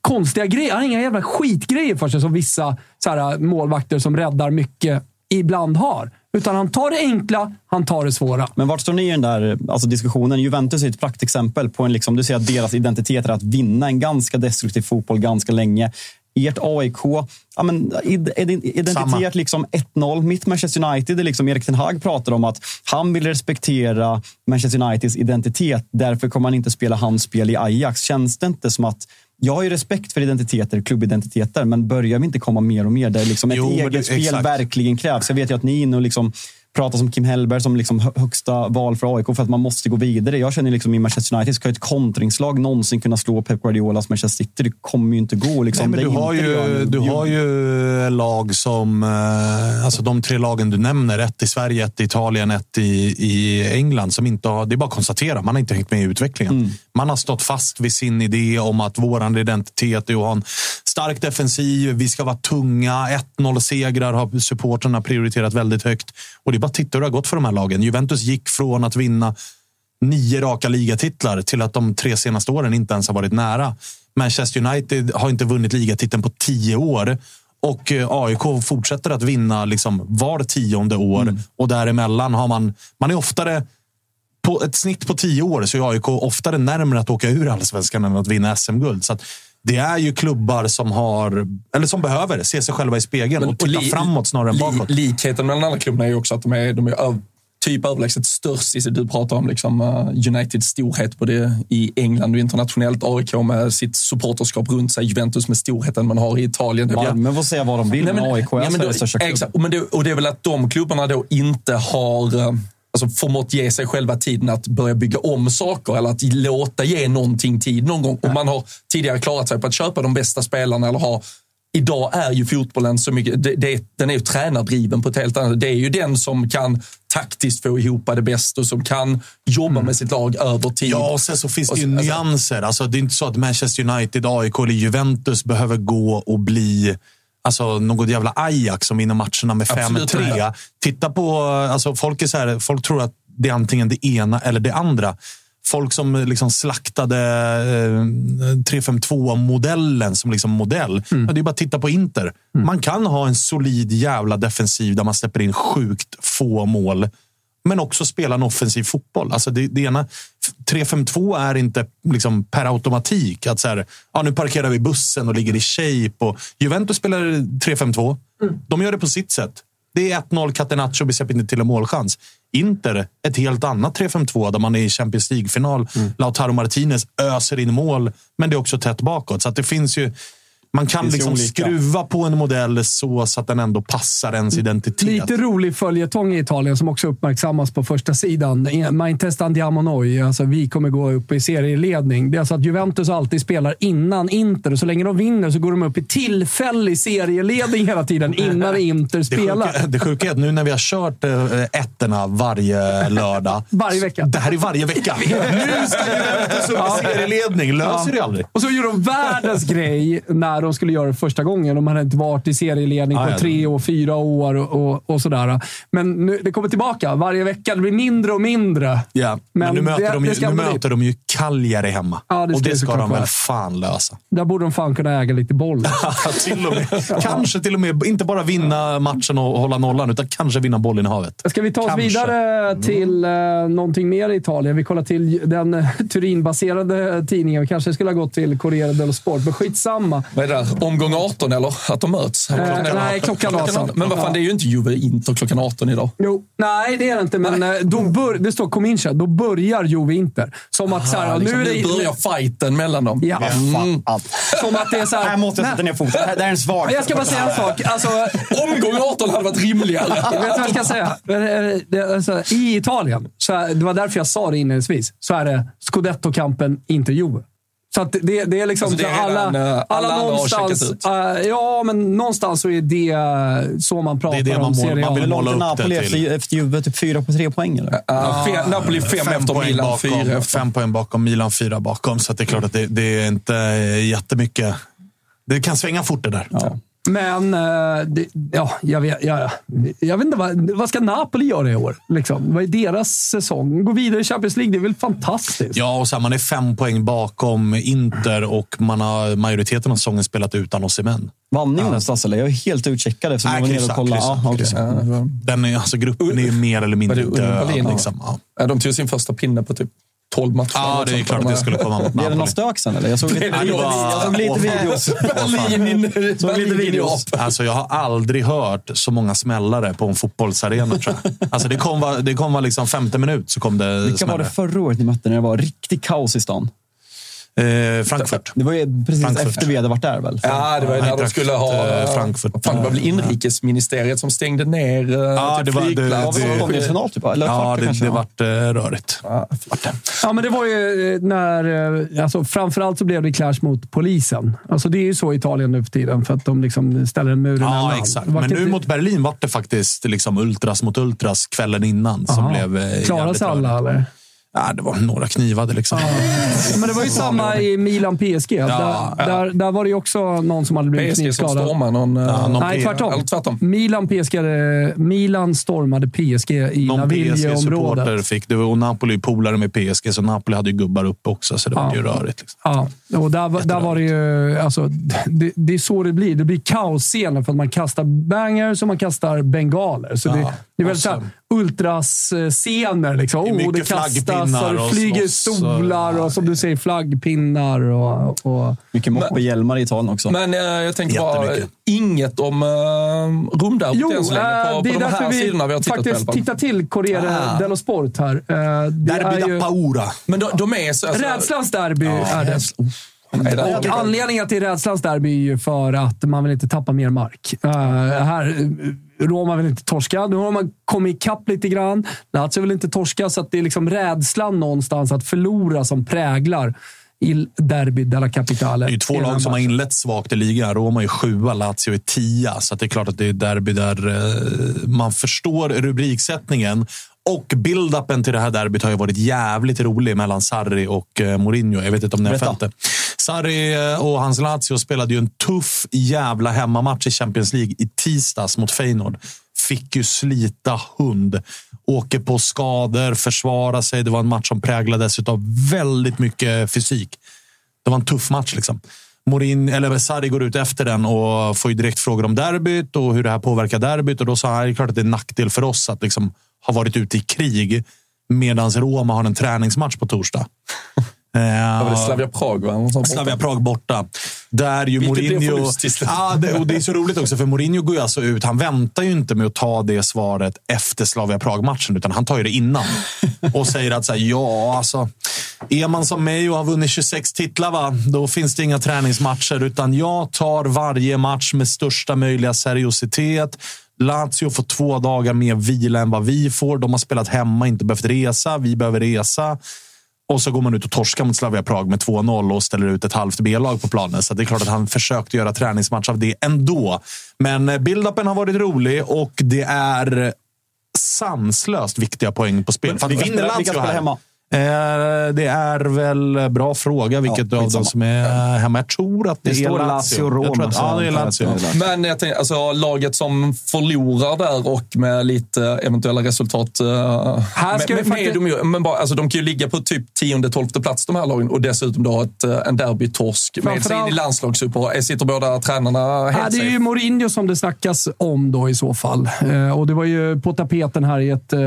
konstiga grejer. Han har inga jävla skitgrejer för sig som vissa så här, äh, målvakter som räddar mycket ibland har. Utan han tar det enkla, han tar det svåra.
Men vart står ni i den där alltså, diskussionen? Juventus är ett praktexempel på en, liksom, du säger att deras identitet är att vinna en ganska destruktiv fotboll ganska länge. Ert AIK, ja, men, id, id,
Samma.
identitet liksom 1-0. Mitt Manchester United, är liksom Erik Ten Hag pratar om att han vill respektera Manchester Uniteds identitet. Därför kommer han inte spela hans spel i Ajax. Känns det inte som att jag har ju respekt för identiteter, klubbidentiteter, men börjar vi inte komma mer och mer där liksom ett
Jo, men
eget
det-
spel
exakt.
verkligen krävs. Jag vet ju att ni är inne och liksom pratar som Kim Hellberg som liksom hö- högsta val för AIK för att man måste gå vidare. Jag känner liksom i Manchester United, ska ett kontringslag någonsin kunna slå Pep Guardiolas Manchester City? Det kommer ju inte gå. Liksom.
Nej,
Det
men du,
är
har
inte
ju,
Björn-
du har
Björn-
ju lag som... eh, Alltså de tre lagen du nämner, ett i Sverige, ett i Italien, ett i, i England, som inte har... Det är bara att konstatera, man har inte hängt med i utvecklingen.
Mm.
Man har stått fast vid sin idé om att vår identitet är att ha en stark defensiv, vi ska vara tunga, 1-0-segrar har supporterna prioriterat väldigt högt. Och det är bara att titta hur det har gått för de här lagen. Juventus gick från att vinna nio raka ligatitlar till att de tre senaste åren inte ens har varit nära. Manchester United har inte vunnit ligatiteln på tio år och eh, AIK fortsätter att vinna liksom var tionde år
Mm.
och däremellan har man, man är oftare på ett snitt på tio år så är AIK oftare närmare att åka ur allsvenskan än att vinna SM-guld. Så att det är ju klubbar som har, eller som behöver se sig själva i spegeln och titta framåt snarare än bakåt.
Likheten mellan alla klubbarna är ju också att de är, de är öv, typ överlägset störst. i- Du pratar om liksom eh, Uniteds storhet både i England och internationellt. AIK med sitt supporterskap runt sig. Juventus med storheten man har i Italien.
Malmö får säga vad de vill,
Nej,
men AIK är
ja, men då-
Sveriges största klubb.
Exakt, men det, och det är väl att de klubbarna då inte har eh, alltså, förmått ge sig själva tiden att börja bygga om saker eller att låta ge någonting tid någon gång. Och man har tidigare klarat sig på att köpa de bästa spelarna eller ha Idag är ju fotbollen så mycket, det, det, den är ju tränardriven på ett helt annat Det är ju den som kan taktiskt få ihop det bäst och som kan jobba med sitt lag över tid.
Ja, och sen så finns det ju
Och- alltså-
nyanser. Alltså, det är inte så att Manchester United, AIK eller Juventus behöver gå och bli alltså, något jävla Ajax som vinner matcherna med
Absolut
5-3.
inte.
Titta på... Alltså, folk, är så här, folk tror att det är antingen det ena eller det andra. Folk som liksom slaktade eh, 3-5-2-modellen som liksom modell.
Mm.
Ja, det är bara att titta på Inter. Man kan ha en solid jävla defensiv där man släpper in sjukt få mål men också spela en offensiv fotboll. Alltså det, det ena, 3-5-2 är inte liksom per automatik att så här, ja, nu parkerar vi bussen och ligger i shape. Och Juventus spelar 3-5-2.
Mm.
De gör det på sitt sätt. Det är 1-0, Catenaccio, vi släpper inte till en målchans. Inter, ett helt annat 3-5-2 där man är i Champions League-final.
Mm.
Lautaro Martinez öser in mål, men det är också tätt bakåt. Så att det finns ju... Man kan
Finns ju
liksom
olika.
skruva på en modell så, så att den ändå passar ens identitet.
Lite rolig följetong i Italien som också uppmärksammas på första sidan. Maintest andiamo noi, alltså vi kommer gå upp i serieledning. Det är alltså att Juventus alltid spelar innan Inter och så länge de vinner så går de upp i tillfällig serieledning hela tiden innan
[LAUGHS]
Inter
Det
spelar.
sjuka, det sjuka är att nu när vi har kört eh, ettorna varje lördag.
Varje vecka.
Det här är varje
[LAUGHS]
vecka. Nu ska Juventus upp i serieledning. Löser det aldrig.
Och så gjorde de världens grej när de skulle göra det första gången. De hade inte varit i serieledning
Ah,
på
ja.
tre och fyra år och, och, och sådär. Men nu, det kommer tillbaka varje vecka. Det blir mindre och mindre.
Ja, men, nu möter,
det-
de, ju,
det ska
nu
ändå dit.
möter de ju Cagliari hemma.
Ja, det
och
ska
det
ju
ska
såklart
de väl
vara.
fan
[LAUGHS]
lösa.
Där borde de fan kunna äga
[LAUGHS]
lite boll.
till och med, [LAUGHS] kanske till och med inte bara vinna matchen och hålla nollan, utan kanske vinna bollen i havet.
Ska vi ta oss
Kanske.
vidare till eh, någonting mer i Italien? Vi kollar till den eh, Turinbaserade tidningen. Vi kanske skulle ha gått till Corriere dello Sport, men skitsamma.
Vad är det där? Omgång 18 eller? Att de möts?
Eh, nej, klockan 18.
Men vad fan, det är ju inte Juve-Inter klockan 18 idag.
Jo, nej, det är det inte, men eh, då bör, det står Comincha. Då börjar Juve Inter. Som att, så här,
Ja,
ja,
liksom,
nu är
nu
det,
börjar fighten mellan dem. Mm.
Ja. Mm.
Fan, allt.
som att det är så här,
Här måste jag
nej.
sätta ner foten. Det här det här är en svag.
Men Jag ska bara säga en sak. Alltså,
Omgång 18 hade varit rimligare.
vet du vad jag ska säga? Eh, det- alltså, I Italien, så här, det var därför jag sa det inledningsvis, så är det scudetto-kampen, inte Juve. Så att det, det är liksom
Alltså, det är
så alla,
redan, eh, alla andra har
någonstans.
checkat ut.
eh, ja, men någonstans så är det eh, så man pratar
det man
om
mål-
Serie A.
man vill
Hur långt
måla
är
upp
Napoli
det till.
efter, efter Juve? Typ fyra på tre poäng, eller?
Ah, fe- Napoli 5 efter
poäng
Milan,
bakom,
4 efter.
Fem poäng bakom, Milan fyra bakom. Så att det är klart att det, det är inte jättemycket. Det kan svänga fort det där.
Men eh, det, ja, jag, vet, jag, jag vet inte vad, vad ska Napoli göra i år? Liksom? Vad är deras säsong? Gå vidare i Champions League, det är väl fantastiskt?
Ja, och så här, man är fem poäng bakom Inter och man har majoriteten av säsongen spelat utan Osimhen.
Vann ni Jonas Dassel? Jag är helt utcheckad eftersom jag var nere och kollade. Ja, okej.
Den är, alltså, gruppen är ju mer eller mindre
Var det Union
död.
Berlin?
Liksom. Ja.
Ja, De tog sin första pinne på typ 12 matcher.
ja, det är klart att
[LAUGHS]
det skulle komma mot
Blev det någon
Napoli.
stök sen, eller? Jag
[LAUGHS]
såg lite,
det
jag
var-
såg lite videos.
Berlin,
Så lite
Berlin i
videos.
Neapel.
Alltså, jag har aldrig hört så många smällare på en fotbollsarena. Tror jag. Alltså, det kom var, det kom var liksom femte minut så kom det
Vilka var det
smällare.
förra året ni mötte när det var riktigt kaos i stan?
Eh, Frankfurt.
Det var ju precis
Frankfurt.
efter vi hade varit där väl?
Ja, det var ju när de
Eintracht,
skulle ha...
eh, Frankfurt.
Fan, det var väl inrikesministeriet som stängde ner eh, typ ja,
det var- det-
Det var
det-
konferensfinal typ, va? eller
Ja,
kvart
det,
kanske.
det vart eh, rörigt.
Ja, men det var ju eh, när... eh, Alltså, framförallt så blev det clash mot polisen. Alltså, det är ju så i Italien nu för tiden, för att de liksom ställer en mur emellan.
Ja, exakt.
Det var
Men nu
inte-
mot Berlin var det faktiskt liksom ultras mot ultras kvällen innan som
Aha.
blev eh,
Klarade
jävligt
sig alla, Ah,
rörigt.
eller?
Ja, det var några knivade liksom.
Men det var ju samma i Milan-PSG.
Ja,
där, där, där var det ju också någon som hade blivit
PSG som
knivskadad.
stormar någon... eh,
Ja, någon
Nej,
P-
tvärtom.
Eller tvärtom.
Milan, PSG, Milan stormade PSG i
Någon PSG-supporter
Navilje-området.
fick det och Napoli polare med PSG, så Napoli hade ju gubbar uppe också, så det var
Ja.
ju rörigt. Liksom.
Ja, och där, var- där var det ju... Alltså, det, det är så det blir. Det blir kaosscener för att man kastar bangers och man kastar bengaler. Så det, Det är väl så här ultrascener. Liksom.
Det är
Oh,
mycket
det kastas och
flaggpinnar
det
och
flyger
slåss och-
stolar och som du säger flaggpinnar. Och, och...
Mycket moppehjälmar i Italien också.
Men eh, jag tänker bara,
Jättemycket.
inget om uh, rumderbyt
Jo,
än så länge
eh,
på, på
det
de
är därför
här sidorna vi har
vi
tittat på i alla
faktiskt
fall.
tittar till Corriere
Ah.
dello Sport här. Eh, Det
Derby
är
da
ju...
Paura.
Men de, de är så... Alltså,
Rädslans derby är det.
rädsla. Nej, det är
Och anledningen till rädslans derby är ju för att man vill inte tappa mer mark. Eh, här, eh, Roma vill inte torska. Nu har man kommit ikapp lite grann. Lazio vill inte torska, så att det är liksom rädslan någonstans att förlora som präglar Il Derby della Capitale.
Det är ju två lag som har inlett svagt i ligan. Roma är sjua, Lazio är tia. Så att det är klart att det är derby där eh, man förstår rubriksättningen. Och build-upen till det här derbyt har ju varit jävligt rolig mellan Sarri och eh, Mourinho. Jag vet inte om ni har
Berätta.
följt det. Sarri eh, och hans Lazio spelade ju en tuff jävla hemmamatch i Champions League i tisdags mot Feyenoord. Fick ju slita hund. Åker på skador, försvara sig. Det var en match som präglades av väldigt mycket fysik. Det var en tuff match. liksom. Morin, eller Sarri går ut efter den och får ju direkt frågor om derbyt och hur det här påverkar derbyt. Och då sa han det är klart att det är en nackdel för oss att liksom ha varit ute i krig medan Roma har en träningsmatch på torsdag. Eh,
väl Slavia Prag, va? Någon sån borta.
Slavia Prag borta. Där ju
Vilket är
Mourinho...
förlust till slut.
Ja, det, och det är så roligt också, för Mourinho går ju alltså ut. Han väntar ju inte med att ta det svaret efter Slavia Prag-matchen, utan han tar ju det innan. Och säger att så här, ja, alltså. Är man som mig och har vunnit 26 titlar, va? då finns det inga träningsmatcher. Utan jag tar varje match med största möjliga seriositet. Lazio får två dagar mer vila än vad vi får. De har spelat hemma, inte behövt resa. Vi behöver resa. Och så går man ut och torskar mot Slavia Prag med 2-0 och ställer ut ett halvt B-lag på planen. Så det är klart att han försökte göra träningsmatch av det ändå. Men eh, build-upen har varit rolig och det är sanslöst viktiga poäng på spel.
Men
För att
vilka
vinner
spelar- vilka
Lazio här...
spelar hemma?
Eh, det är väl bra fråga vilket av dem
skitsamma.
som är hemma. Jag tror att det,
Det
är
står
Lazio.
Lazio
Jag tror
Roma.
att, ja, det är Lazio.
Men jag tänkte, alltså, laget som förlorar där och med lite eventuella resultat. eh,
Här ska
men,
vi
men,
faktiskt-
de, ju, men bara, alltså, de kan ju ligga på typ tionde, tolfte plats de här lagen och dessutom då ett, eh, en derbytorsk med sig in i
Framförallt-
landslagsuppehåll. Sitter båda tränarna
Ja,
helt
det är ju
safe?
Mourinho som det snackas om då i så fall. Eh, och det var ju på tapeten här i ett eh,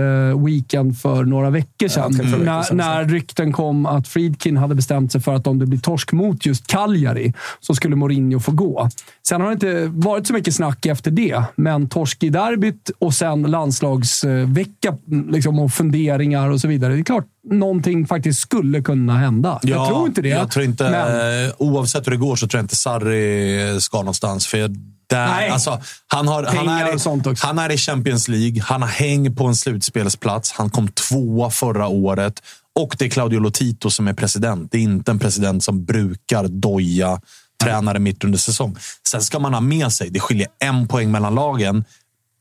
weekend för några veckor sedan.
tre, fyra veckor
när,
sedan.
när rykten kom att Friedkin hade bestämt sig för att om det blir torsk mot just Cagliari så skulle Mourinho få gå. Sen har det inte varit så mycket snack efter det, men torsk i derbyt och sen landslagsvecka liksom, och funderingar och så vidare. Det är klart någonting faktiskt skulle kunna hända. jag
Ja,
tror inte det.
Jag tror inte,
men-
eh, oavsett hur det går så tror jag inte Sarri ska någonstans. För jag, där,
Nej.
Alltså, han, har, han,
Pengar
är i,
och sånt också.
han är i Champions League, han har häng på en slutspelsplats, han kom tvåa förra året och det är Claudio Lotito som är president. Det är inte en president som brukar doja tränare mitt under säsong. Sen ska man ha med sig, det skiljer en poäng mellan lagen.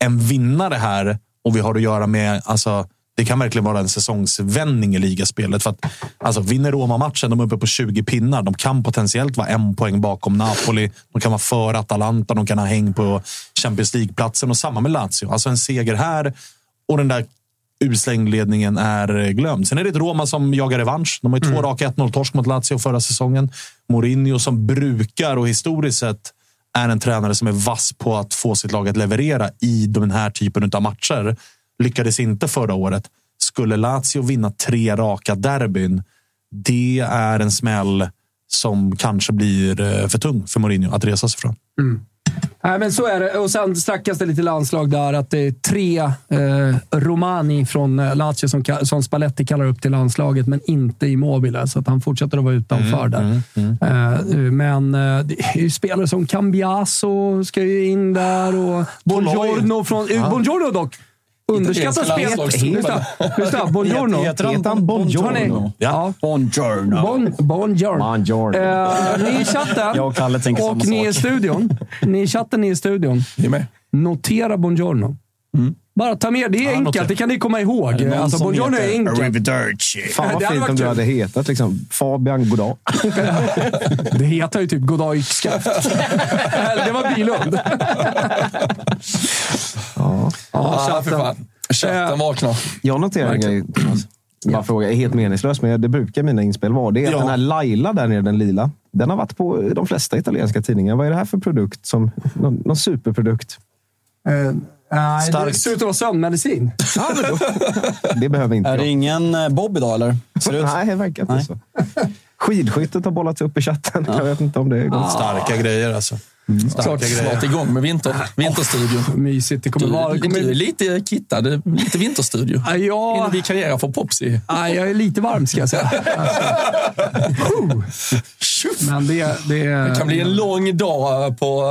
En vinnare här, och vi har att göra med alltså, det kan verkligen vara en säsongsvändning i ligaspelet. För att, alltså, vinner Roma-matchen, de är uppe på 20 pinnar. De kan potentiellt vara en poäng bakom Napoli. De kan vara före Atalanta. De kan ha häng på Champions League-platsen. Och samma med Lazio. Alltså en seger här och den där usla inledningen är glömd. Sen är det ett Roma som jagar revansch. De har ju två raka 1-0-torsk mot Lazio förra säsongen. Mourinho som brukar och historiskt sett är en tränare som är vass på att få sitt lag att leverera i den här typen av matcher. Lyckades inte förra året. Skulle Lazio vinna tre raka derbyn, det är en smäll som kanske blir eh, för tung för Mourinho att resa sig från.
Nej, men så är det. Och sen snackas det lite landslag där att det är tre eh, Romani från eh, Lazio som, ka- som Spalletti kallar upp till landslaget, men inte Immobile. Så att han fortsätter att vara utanför där. Eh, men eh, det är ju spelare som Cambiaso ska ju in där och Bongiorno från... Eh, Bongiorno dock! Underskattat
Italienska
spelare.
landslagsspelare.
Lyssna, lyssna. Bongiorno.
Heter han
Heter han
Bongiorno?
Bongiorno?
Ja.
Bongiorno.
Bon, bonjour.
Bonjour.
Eh, ni i chatten
Jag och Kalle tänker
och
samma
ni i
sak.
studion. Ni i chatten, ni i studion.
Ni är med.
Notera Bongiorno.
Mm.
Bara ta med det. är enkelt.
notera.
Det kan ni komma ihåg.
någon
Alltså,
som
Bongiorno är
heter
enkelt.
Arrivederci.
Fan
Det
vad
hade
fint om
varit
du
kul.
hade hetat liksom, Fabian Goddag.
Det heter ju typ
[LAUGHS]
Goddag yxskaft. Eller, det var Bilund.
Ja, för
chatten.
fan. Chatten vaknar.
Jag noterar en grej. Thomas. Bara fråga, är helt meningslös, men det brukar mina inspel vara. Det är att
Ja.
den här Laila där nere, den lila, den har varit på de flesta italienska tidningar. Vad är det här för produkt? Som, någon, någon superprodukt?
Eh, Nej, det
Starkt.
ser ut att vara sömnmedicin.
[LAUGHS] Det behöver inte
Är det
jag.
ingen eh, Bob idag eller? Ser det ut?
[LAUGHS] Nej, det verkar inte
Nej.
så. Skidskyttet har bollats upp i chatten. Jag vet inte om det är gott.
Starka grejer alltså. Starka
Klart snart
grejer.
igång med vinter, vinterstudion.
Mysigt. Det kommer vara...
Du,
Det
du är
kommer...
lite kittad, lite vinterstudio.
Ja,
Innan
jag...
vi karriärar för [LAUGHS] Popsi.
Ja, jag är lite varm ska
[LAUGHS]
jag säga.
Tjoff!
Men det, det,
Det kan bli en lång dag eh, på...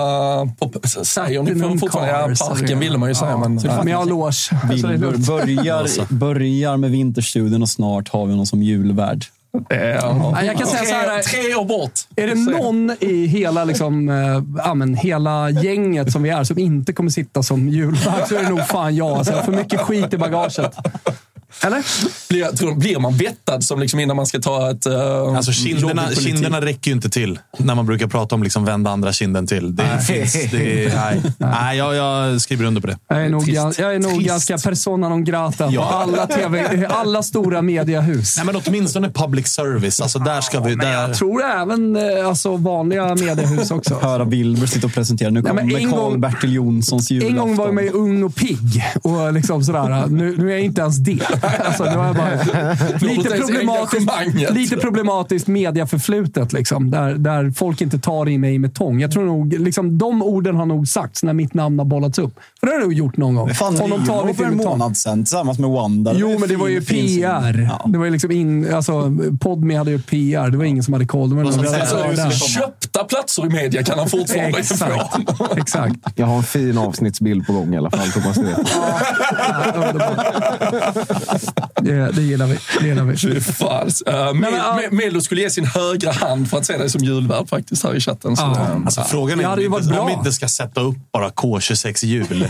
eh, på säger ni
Platinum
fortfarande? Ja,
Cars,
parken
eller-
ville man ju säga,
Ja,
men... eh,
Men
nej.
jag har lås.
Vi
Alltså, det är lugnt.
börjar, börjar med vinterstudion och snart har vi honom som julvärd.
Ja, jag kan säga så här,
Tre- Tre år bort.
Är det någon i hela, liksom, eh, ja, men hela gänget som vi är som inte kommer sitta som julvakt så är det nog fan jag. Alltså, jag har för mycket skit i bagaget. Eller?
Blir, jag tror, blir man vettad som liksom innan man ska ta ett... eh, jobb
Alltså
i
kinderna,
politik?
kinderna räcker ju inte till när man brukar prata om liksom vända andra kinden till. Det finns. Det är, nej. nej, jag, jag skriver under på det.
Jag är nog,
Trist.
gan- jag är nog
Trist.
ganska persona non grata på
Ja.
alla, TV, alla stora mediehus.
Nej, men åtminstone public service. Alltså, där ska vi...
Men
Där.
jag tror även eh, alltså, vanliga mediehus också.
Höra Wilbur sitta och presentera. Nu
Nej, men en
kommer
gång-
Karl-Bertil Jonssons
En
julafton.
gång var man ju ung och pigg. Och liksom sådär. Nu, nu är jag inte ens det. Alltså, nu har jag bara, lite,
ens
problematiskt,
engagemanget.
lite problematiskt mediaförflutet. Liksom, där, där folk inte tar i mig med tång. Jag tror nog, liksom, de orden har nog sagts när mitt namn har bollats upp. För det har du nog gjort någon gång.
Fan,
Om de tar
Rio
lite
för en
med tång.
månad sedan tillsammans med Wanda.
Jo, men det var ju
fin- fin syn.
PR.
Ja.
Det var ju liksom in, alltså, Podme hade gjort PR. Det var ingen som hade koll. Det var någon som
Alltså,
säga,
hade-
det är ju
där.
så-
Köpta platser i media kan han fortfarande inte få.
[LAUGHS] Exakt. Exakt.
Jag har en fin avsnittsbild på gång i alla fall, Thomas. Det.
Ja, underbart. det, det gillar vi. Det gillar vi.
Fy fan. Eh, Mel-
men, ah.
Me- Melo skulle ge sin högra hand för att se dig som julvärd faktiskt här i chatten. Så,
Ah.
eh,
Alltså, frågan
Det
är
hade
om,
ju
vi
varit
inte,
bra.
om vi inte ska sätta upp bara K26-hjul.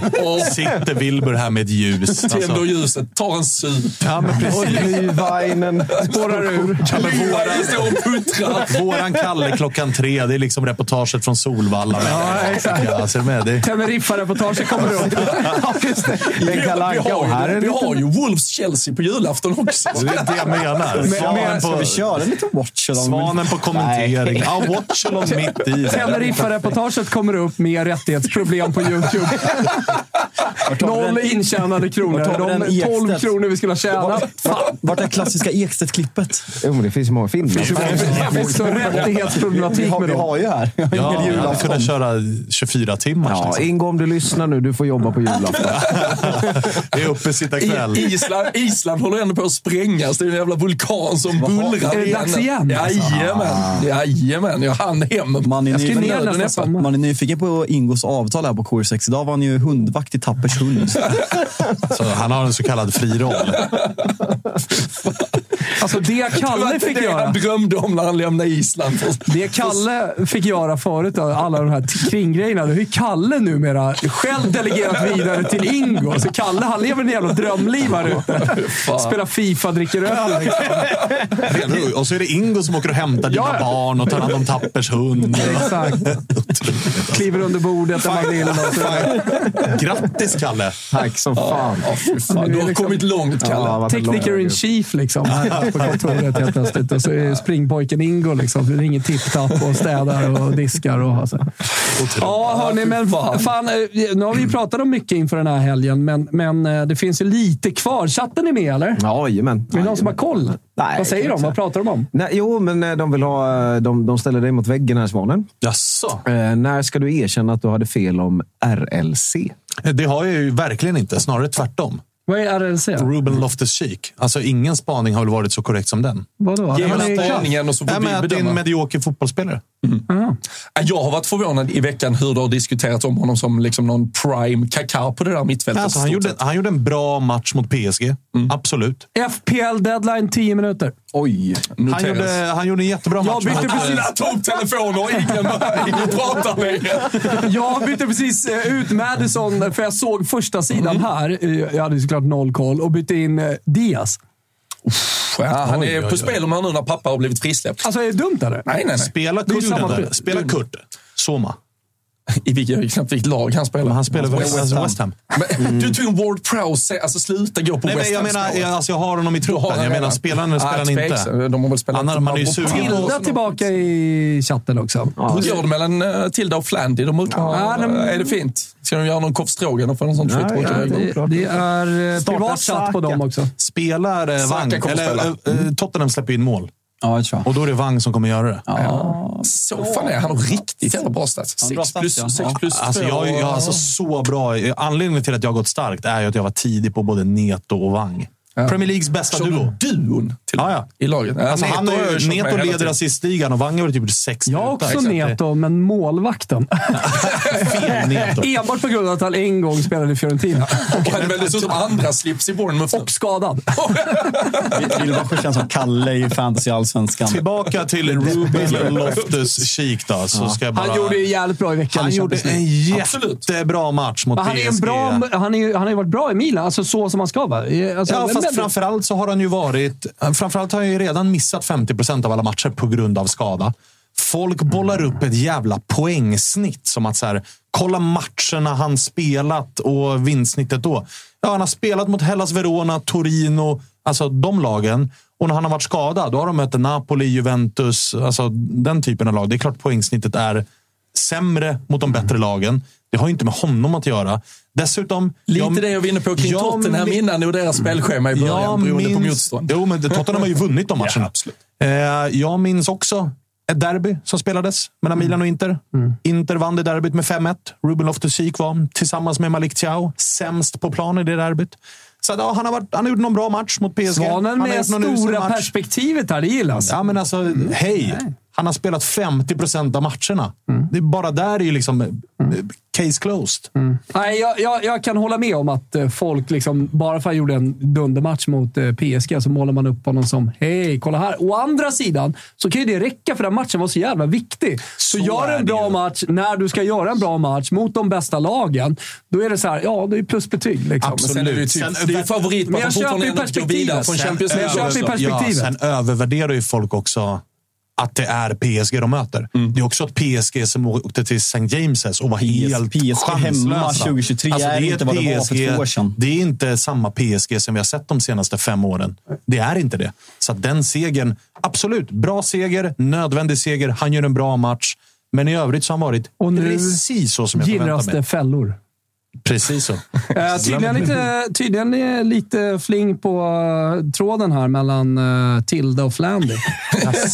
Sitter Wilbur här med ett ljus.
Tänder
Alltså.
ljuset, tar en sup.
Ja, men precis.
Glühweinen.
Spårar ur.
Ja, men
Lyra
våra-
står och puttrar.
Våran Kalle klockan tre, det är liksom reportaget från Solvalla. Ja, exakt. Ja, ser du med? Det är
Teneriffa-reportaget
[LAUGHS]
kommer upp.
Vi,
Men Kalle
har- vi,
Anka och
har, ju,
herren.
vi har ju Wolves-Chelsea på julafton också.
det, är det jag menar. Svanen
Ska
på,
vi köra lite watch? eller?
svanen på kommentering. Ja, Watchelon mitt i.
Teneriffa-reportaget kommer upp med rättighetsproblem på YouTube. Noll intjänade kronor.
Vart har vi den
De 12
Ekstedt?
kronor vi skulle ha tjänat. Fan,
Vart är klassiska Ekstedt-klippet?
Jo, men det finns ju många filmer.
det finns så rättighetsproblematik med
Vi
dem.
har ju här. Vi har en hel
Ja, jag hade
julafton.
kunnat köra 24 timmar.
Ja,
liksom.
Ingo, om du lyssnar nu, du får jobba på julafton.
Det är uppe sitta kväll.
I, Island, Island håller ändå på att sprängas. Det är en jävla vulkan som bullrar.
Är det dags igen?
Jajamän. Jajamän. Jag hann hem.
Man är,
Jag ska ner
nyfiken,
nästa sommar.
man är nyfiken på Ingos avtal här på KR6. Idag var han ju hundvakt i Tappers hund.
Så han har en så kallad fri roll.
Alltså det
Det var
Kalle
inte
fick
det
göra.
han drömde om när han lämnade Island.
Det Kalle fick göra förut, då, alla de här t- kringgrejerna. Det är ju Kalle numera själv delegerat vidare till Ingo. Så Kalle, han lever en jävla drömliv här ute. Spelar Fifa, dricker öl.
[LAUGHS]
liksom.
Och så är det Ingo som åker och hämtar dina
Ja, ja.
barn och tar hand om Tappers hund.
[LAUGHS] Exakt. Kliver under bordet när man vill. Och så.
Grattis, Kalle!
[LAUGHS] Tack som fan.
Ja, fy fan.
Det är
Du har
liksom-
kommit långt, Kalle.
Ja, vad en lång
Tekniker in
väg.
chief liksom. På kontoret helt plötsligt. Och så är springpojken Ingo liksom. Det ringer tipp-tapp och städar och diskar. Och, alltså. Ja, hörni, men fan. eh, Nu har vi ju pratat om mycket inför den här helgen, men, men eh, det finns ju lite kvar. Chatten är med, eller?
Ja, Jajamän.
Är det någon som har koll?
Nej,
Vad säger
kan
de?
jag
Vad pratar de om?
Nej, jo, men eh, de vill ha... eh, De, de ställer dig mot väggen här, Svanen.
Jaså?
Eh, när ska du erkänna att du hade fel om RLC?
Det har jag ju verkligen inte. Snarare tvärtom.
Vad är RLC?
Ruben Loftus-Cheek. Alltså, ingen spaning har väl varit så korrekt som den.
Vadå?
Ge
Han
mig
är klass.
spaningen och så
Nej,
får
men
vi
att det är en
bedöma.
medioker fotbollsspelare.
Jag har varit förvånad i veckan hur det har diskuterats om honom som liksom någon prime kakao på det där mittfältet.
Alltså, han, gjorde, han gjorde en bra match mot PSG.
Mm.
Absolut.
FPL deadline 10 minuter.
Oj.
Han gjorde, han gjorde en jättebra match.
Jag bytte
men han-
precis-
Alla tog telefoner och ingen, ingen pratar längre.
[LAUGHS] Jag bytte precis eh, ut Madison, för jag såg första sidan här. Eh, Jag hade ju såklart noll koll och bytte in eh, Diaz.
Ja, Ah, han
Oj,
är
oj,
på
oj.
spel om han nu när pappa har blivit frisläppt.
Alltså, är det dumt eller?
Nej, nej, nej.
Spela
är
Kurt
samma
där.
pris.
Spela Kurt. Soma.
I vilket, jag vet knappt vilket lag han spelar. Alltså,
Men han spelar West, West Ham. West Ham.
Men, Du tog en Ward Prowse. Alltså sluta gå på
Nej,
West
men jag
Ham.
menar, jag, alltså, jag har honom i
har
truppen.
han
Jag menar,
redan.
spelar han eller
Ah,
spelar han inte?
tveks. De har väl spelat...
Annan- man är ju
Och
sugen på-
Tilda
Tilda tillbaka i chatten också.
Hur går det mellan eh, Tilda och Flandy? De
Ja,
ja,
de-
Är det fint? Ska de göra någon korvstroganoff eller något sånt skit?
ja,
Ja,
Det, det är eh,
Starta
privat chatt på
Saka.
dem också.
Spelar eh, Wang?
kommer
Eller,
spela.
eh, eh, Tottenham släpper in mål
Ja, jag tror jag.
och då är det Wang som kommer göra det.
så fan är han har riktigt jävla bra stats.
Ja, bra
Sex
stats,
plus,
ja.
sex
Ja.
plus
Alltså,
två.
jag, jag har alltså så bra. Anledningen till att jag har gått starkt är ju att jag var tidig på både Neto och Wang. Premier Leagues bästa
Kör
duo.
du duon till
Ja, ja.
i laget.
Alltså,
Neto
han
har jag
är,
kört med
Neto
hela
leder
tiden.
assistligan och Wang har typ sex
Jag har
minuter.
också
Så att det är
Neto, men målvakten.
[LAUGHS] Fel Neto.
Enbart på grund av att han en gång spelade
[LAUGHS]
i Fiorentina.
Och han är väl dessutom andra slips i Bournemouth nu.
Och skadad.
Vill bara känns som Kalle i fantasy allsvenskan.
Tillbaka till Ruben Loftus-Cheek då. Så ska jag bara...
Han gjorde det jävligt bra i veckan.
han
i
gjorde
Champions League.
en jättebra match mot
Men han, är en
PSG.
bra, han, är, ju- han har ju varit bra i Milan, alltså så som han ska vara. Alltså,
Ja, fast
men-
framförallt så har han ju varit... Framförallt har han ju redan missat 50 procent av alla matcher på grund av skada. Folk bollar upp ett jävla poängsnitt som att så här, kolla matcherna han spelat och vinstsnittet då. Ja, han har spelat mot Hellas Verona, Torino, alltså de lagen. Och när han har varit skadad, då har de mött Napoli, Juventus, alltså den typen av lag. Det är klart poängsnittet är sämre mot de bättre lagen. Det har ju inte med honom att göra. Dessutom...
Lite
jag-
det jag var inne på kring
jag
Tottenham
min-
innan och deras spelschema i början
jag
beroende på
minns-
motstånd.
Jo, men Tottenham har ju vunnit de matcherna.
Ja, absolut.
Eh, jag minns också ett derby som spelades mellan Milan och Inter. Inter vann det derbyt med 5-1. Ruben Loftus-Cheek var, tillsammans med Malik Thiaw, sämst på plan i det derbyt. Så att, ja, han, har varit, han har gjort någon bra match mot PSG.
Svanen
han har
med
gjort någon usel
stora
match.
perspektivet här, det gillas.
Ja, men alltså, hej! Han har spelat 50 procent av matcherna. Det är bara där är ju liksom eh, case closed.
Nej, jag, jag, jag kan hålla med om att eh, folk, liksom, bara för att han gjorde en dundermatch mot eh, PSG, så målar man upp honom som “Hej, kolla här”. Å andra sidan så kan ju det räcka, för den matchen var så jävla viktig. Så,
Så
gör
är
en
det
bra
ju.
match när du ska göra en bra match mot de bästa lagen. Då är det så här, ja, det är plusbetyg. Liksom.
Absolut.
Sen är det ju typ,
Sen-
det är ju favorit på
Men
att
jag
de fortfarande
köper
ändå går vidare
perspektivet.
från
Sen-
Champions
jag
League.
köper
Över-
perspektivet.
Ja, sen övervärderar ju folk också att det är PSG de möter.
Mm.
Det är också ett PSG som åkte till St. James's och var helt
PSG
chanslösa. Alltså,
hemma 2023 är
ett
inte vad det var för två år sedan.
Det är inte samma PSG som vi har sett de senaste fem åren. Det är inte det. Så att den segern, absolut, bra seger, nödvändig seger. Han gör en bra match. Men i övrigt så har han varit
Och nu
precis så som jag
Gillras
förväntade
det
mig.
fällor.
[LAUGHS]
Precis så.
Eh, tydligen, lite, tydligen är lite fling på eh, tråden här mellan eh, Tilda
[LAUGHS]
och Flandy.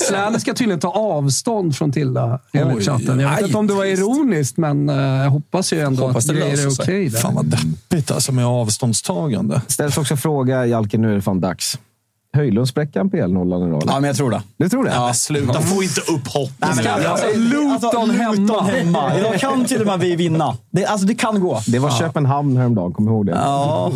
Flandy ska tydligen ta avstånd från Tilda, enligt chatten. Jag vet
aj,
inte om det var
trist.
ironiskt, men eh, jag hoppas ju ändå
Hoppas det
att grejer är
löser sig.
okej där.
Fan vad deppigt alltså med avståndstagande.
Ställs också fråga, Jalken, nu är det fan dags. Höjlund spräcker han PL-nollan idag? eller?
Ja, men jag tror det.
Du tror det?
Ja, sluta, få inte upp hoppet.
men- Alltså, Luton hemma.
hemma. Idag kan till och med vi vinna. Det, alltså, det kan gå.
Det var Köpenhamn häromdagen, kommer ihåg det?
Ja,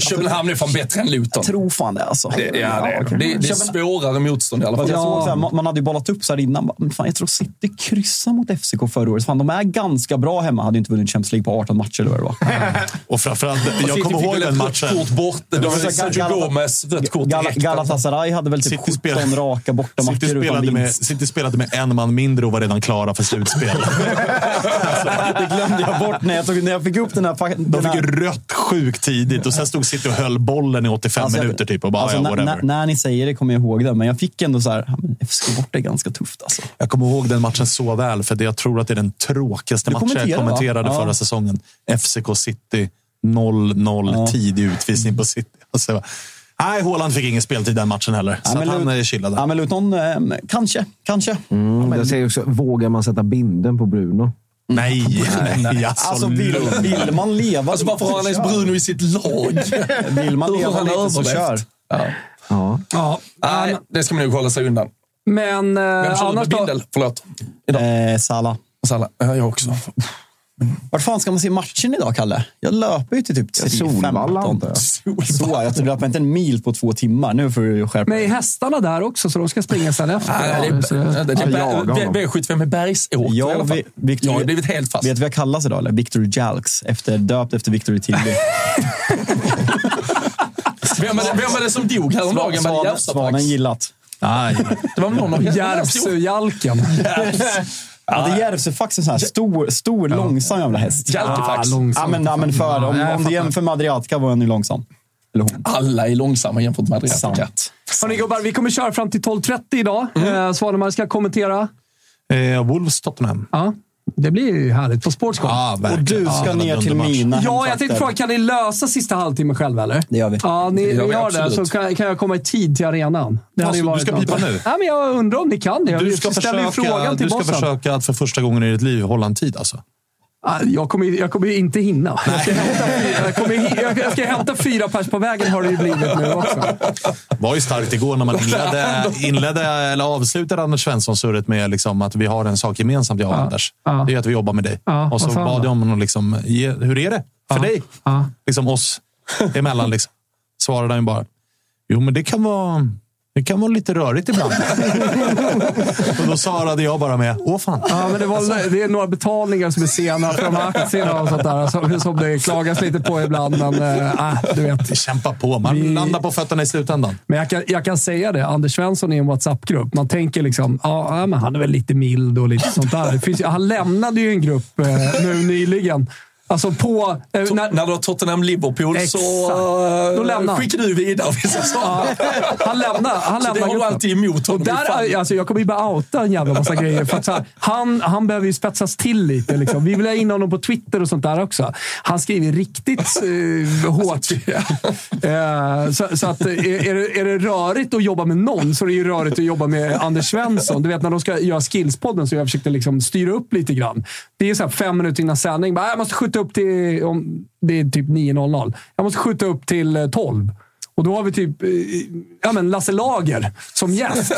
Köpenhamn är fan bättre än Luton.
jag tror fan det alltså.
Det, det, är, det. Det, det är svårare motstånd i alla
Jag
fall.
såg så här, man man hade ju bollat upp så här innan. Bara, Men fan, jag tror City kryssade mot FCK förra året. Fan, de är ganska bra hemma. Hade ju inte vunnit Champions League på 18 matcher eller vad det var.
Och framförallt, jag
City
kommer
fick
ihåg
väl
den
ett
matchen.
Rött kort bort. Det var
Gal-
Sergio
Gal-
Gomes rött kort
Gal-
direkt.
Galatasaray hade väl typ
City
17
spelade-
raka bortamatcher
City spelade,
utan
med,
vinst.
City spelade med en man mindre och var redan klara för slutspel.
[LAUGHS] Det glömde jag bort när jag, tog, när jag fick upp den här... fa-
De
den
fick
här
ju rött sjukt tidigt och sen stod City och höll bollen i 85
Alltså, jag-
minuter typ och bara
alltså,
ja,
när-
whatever.
när, när ni säger det kommer jag ihåg det, men jag fick ändå så här, ja, men FCK borta är ganska tufft alltså.
Jag kommer ihåg den matchen så väl, för det- jag tror att det är den tråkigaste
Du
matchen jag
kommenterade, va?
kommenterade
Ja.
förra säsongen. FCK City 0-0, tidig utvisning på City. Alltså, jag bara, nej, Haaland fick ingen speltid den matchen heller, så att han eh, chillade.
Ja, men Luton, eh, kanske, kanske.
Mm, jag säger också, vågar man sätta binden på Bruno?
[LAUGHS]
nej, nej, alltså,
Alltså, vill,
vill,
vill man leva
Alltså varför har han ens
så kör.
Bruno i sitt lag?
Vill man
Då har
leva
han
lite så
överlevt.
kör.
Ja.
Ja.
Ja.
Nej, det ska man nog hålla sig undan.
Men
Vem
eh,
kör
annars
med
då,
bindel? Förlåt.
Eh, Salah.
Salla. Ja, jag också.
Vart fan ska man se matchen idag, Kalle? Jag löper ju till typ 10-15.
Solvalla, antar jag.
Så, jag tror löper inte en mil på två timmar. Nu får du skärpa
men är
dig.
hästarna där också, så de ska springa sen efter?
Nej,
Ja, så-
det är- det är-
Ja, jaga honom.
B- V75 är Bergsåker i
Ja,
alla fall.
vi, Victor,
Jag har blivit helt fast.
Vet du vad jag kallas idag? Eller? Victor Jalks. Efter, döpt efter Victor Tilly.
Vem var det, vem var det som dog häromdagen? Var det
Svanen, [LAUGHS]
Järvsö?
Svanen gillat.
nej.
Det var någon av
Järvsöjalken.
Ja, det är Järvsöfax är en sån här stor, stor långsam jävla häst.
Jaltefax.
Ja, långsam. Ja, men, ja, men för, om, om du jämför med Adriatica var den ju långsam. Eller hon.
Alla är långsamma jämfört med Adriatica.
Sant.
Hörni gubbar, vi kommer köra fram till 12.30 idag.
Mm.
Eh, Svanemar ska kommentera.
Eh, Wolves Tottenham.
Ja, det blir ju härligt på Sportscom.
Ah,
Och
verkligen.
du
Ja,
ska
det var en
ner till
underbar match.
mina
Ja, jag
hemtrakter.
tänkte fråga, kan ni lösa sista halvtimmen själva eller?
Det gör vi.
Ja, ni
Det gör
gör,
vi,
det, så
absolut.
kan, kan jag komma i tid till arenan. Det hade ju
så du
varit
ska
något.
pipa nu?
Ja, men jag undrar om ni kan det. Jag
Du ska,
ställer ju
försöka,
frågan till
du ska
bossen.
försöka att för första gången i ditt liv hålla en tid alltså.
Ah, Jag kommer, jag kommer ju inte hinna. Jag ska, hämta fyra, jag, kommer, hi- jag- jag ska hämta fyra pers på vägen har det ju blivit nu också.
var ju starkt igår när man
[LAUGHS]
inledde, inledde eller avslutade Anders Svensson-surret med liksom att vi har en sak gemensamt, jag och Anders.
ja.
Det är att vi jobbar med dig.
Ja,
och så
vad fan
bad
då?
jag om någon liksom, ge, hur är det för dig?
ja.
Liksom oss emellan. Liksom. Svarade han ju bara, jo men det kan vara... Det kan vara lite rörigt
[LAUGHS]
ibland. och då svarade jag bara med, åh fan.
Ja, men det, var, det är några betalningar som är sena för de här aktierna och sånt där alltså, som, som det klagas lite på ibland. Men, eh, ah, du vet.
Vi kämpar på, man
Vi-
landar på fötterna i slutändan.
Men jag kan, jag kan säga det, Anders Svensson är en WhatsApp-grupp. Man tänker liksom, ja, ja, men han är väl lite mild och lite sånt där. Det finns, ju- han lämnade ju en grupp eh, nu nyligen. Alltså på... Eh,
To-
när,
När du har Tottenham-Liverpool så
Exakt.
eh,
Då lämnar han.
skickar du vidare vissa
[LAUGHS]
saker.
han lämnar, han
Så det
lämnar
har du
gruppen.
alltid emot
Och
honom.
där,
Fan.
alltså, jag kommer ju bara outa en jävla massa grejer. För att så här, han, han behöver ju spetsas till lite. Liksom. Vi vill ha in honom på Twitter och sånt där också. Han skriver riktigt eh, hårt.
Alltså, typ.
Eh, så så att, eh, är, det, är det rörigt att jobba med någon så är det ju rörigt att jobba med Anders Svensson. Du vet när de ska göra Skillspodden så jag försökte liksom styra upp lite grann. Det är så här fem minuter innan sändning. Bara, jag måste skjuta upp till... Om, det är typ 9.00. Jag måste skjuta upp till eh, 12. Och då har vi typ eh, ja, men Lasse Lager som gäst.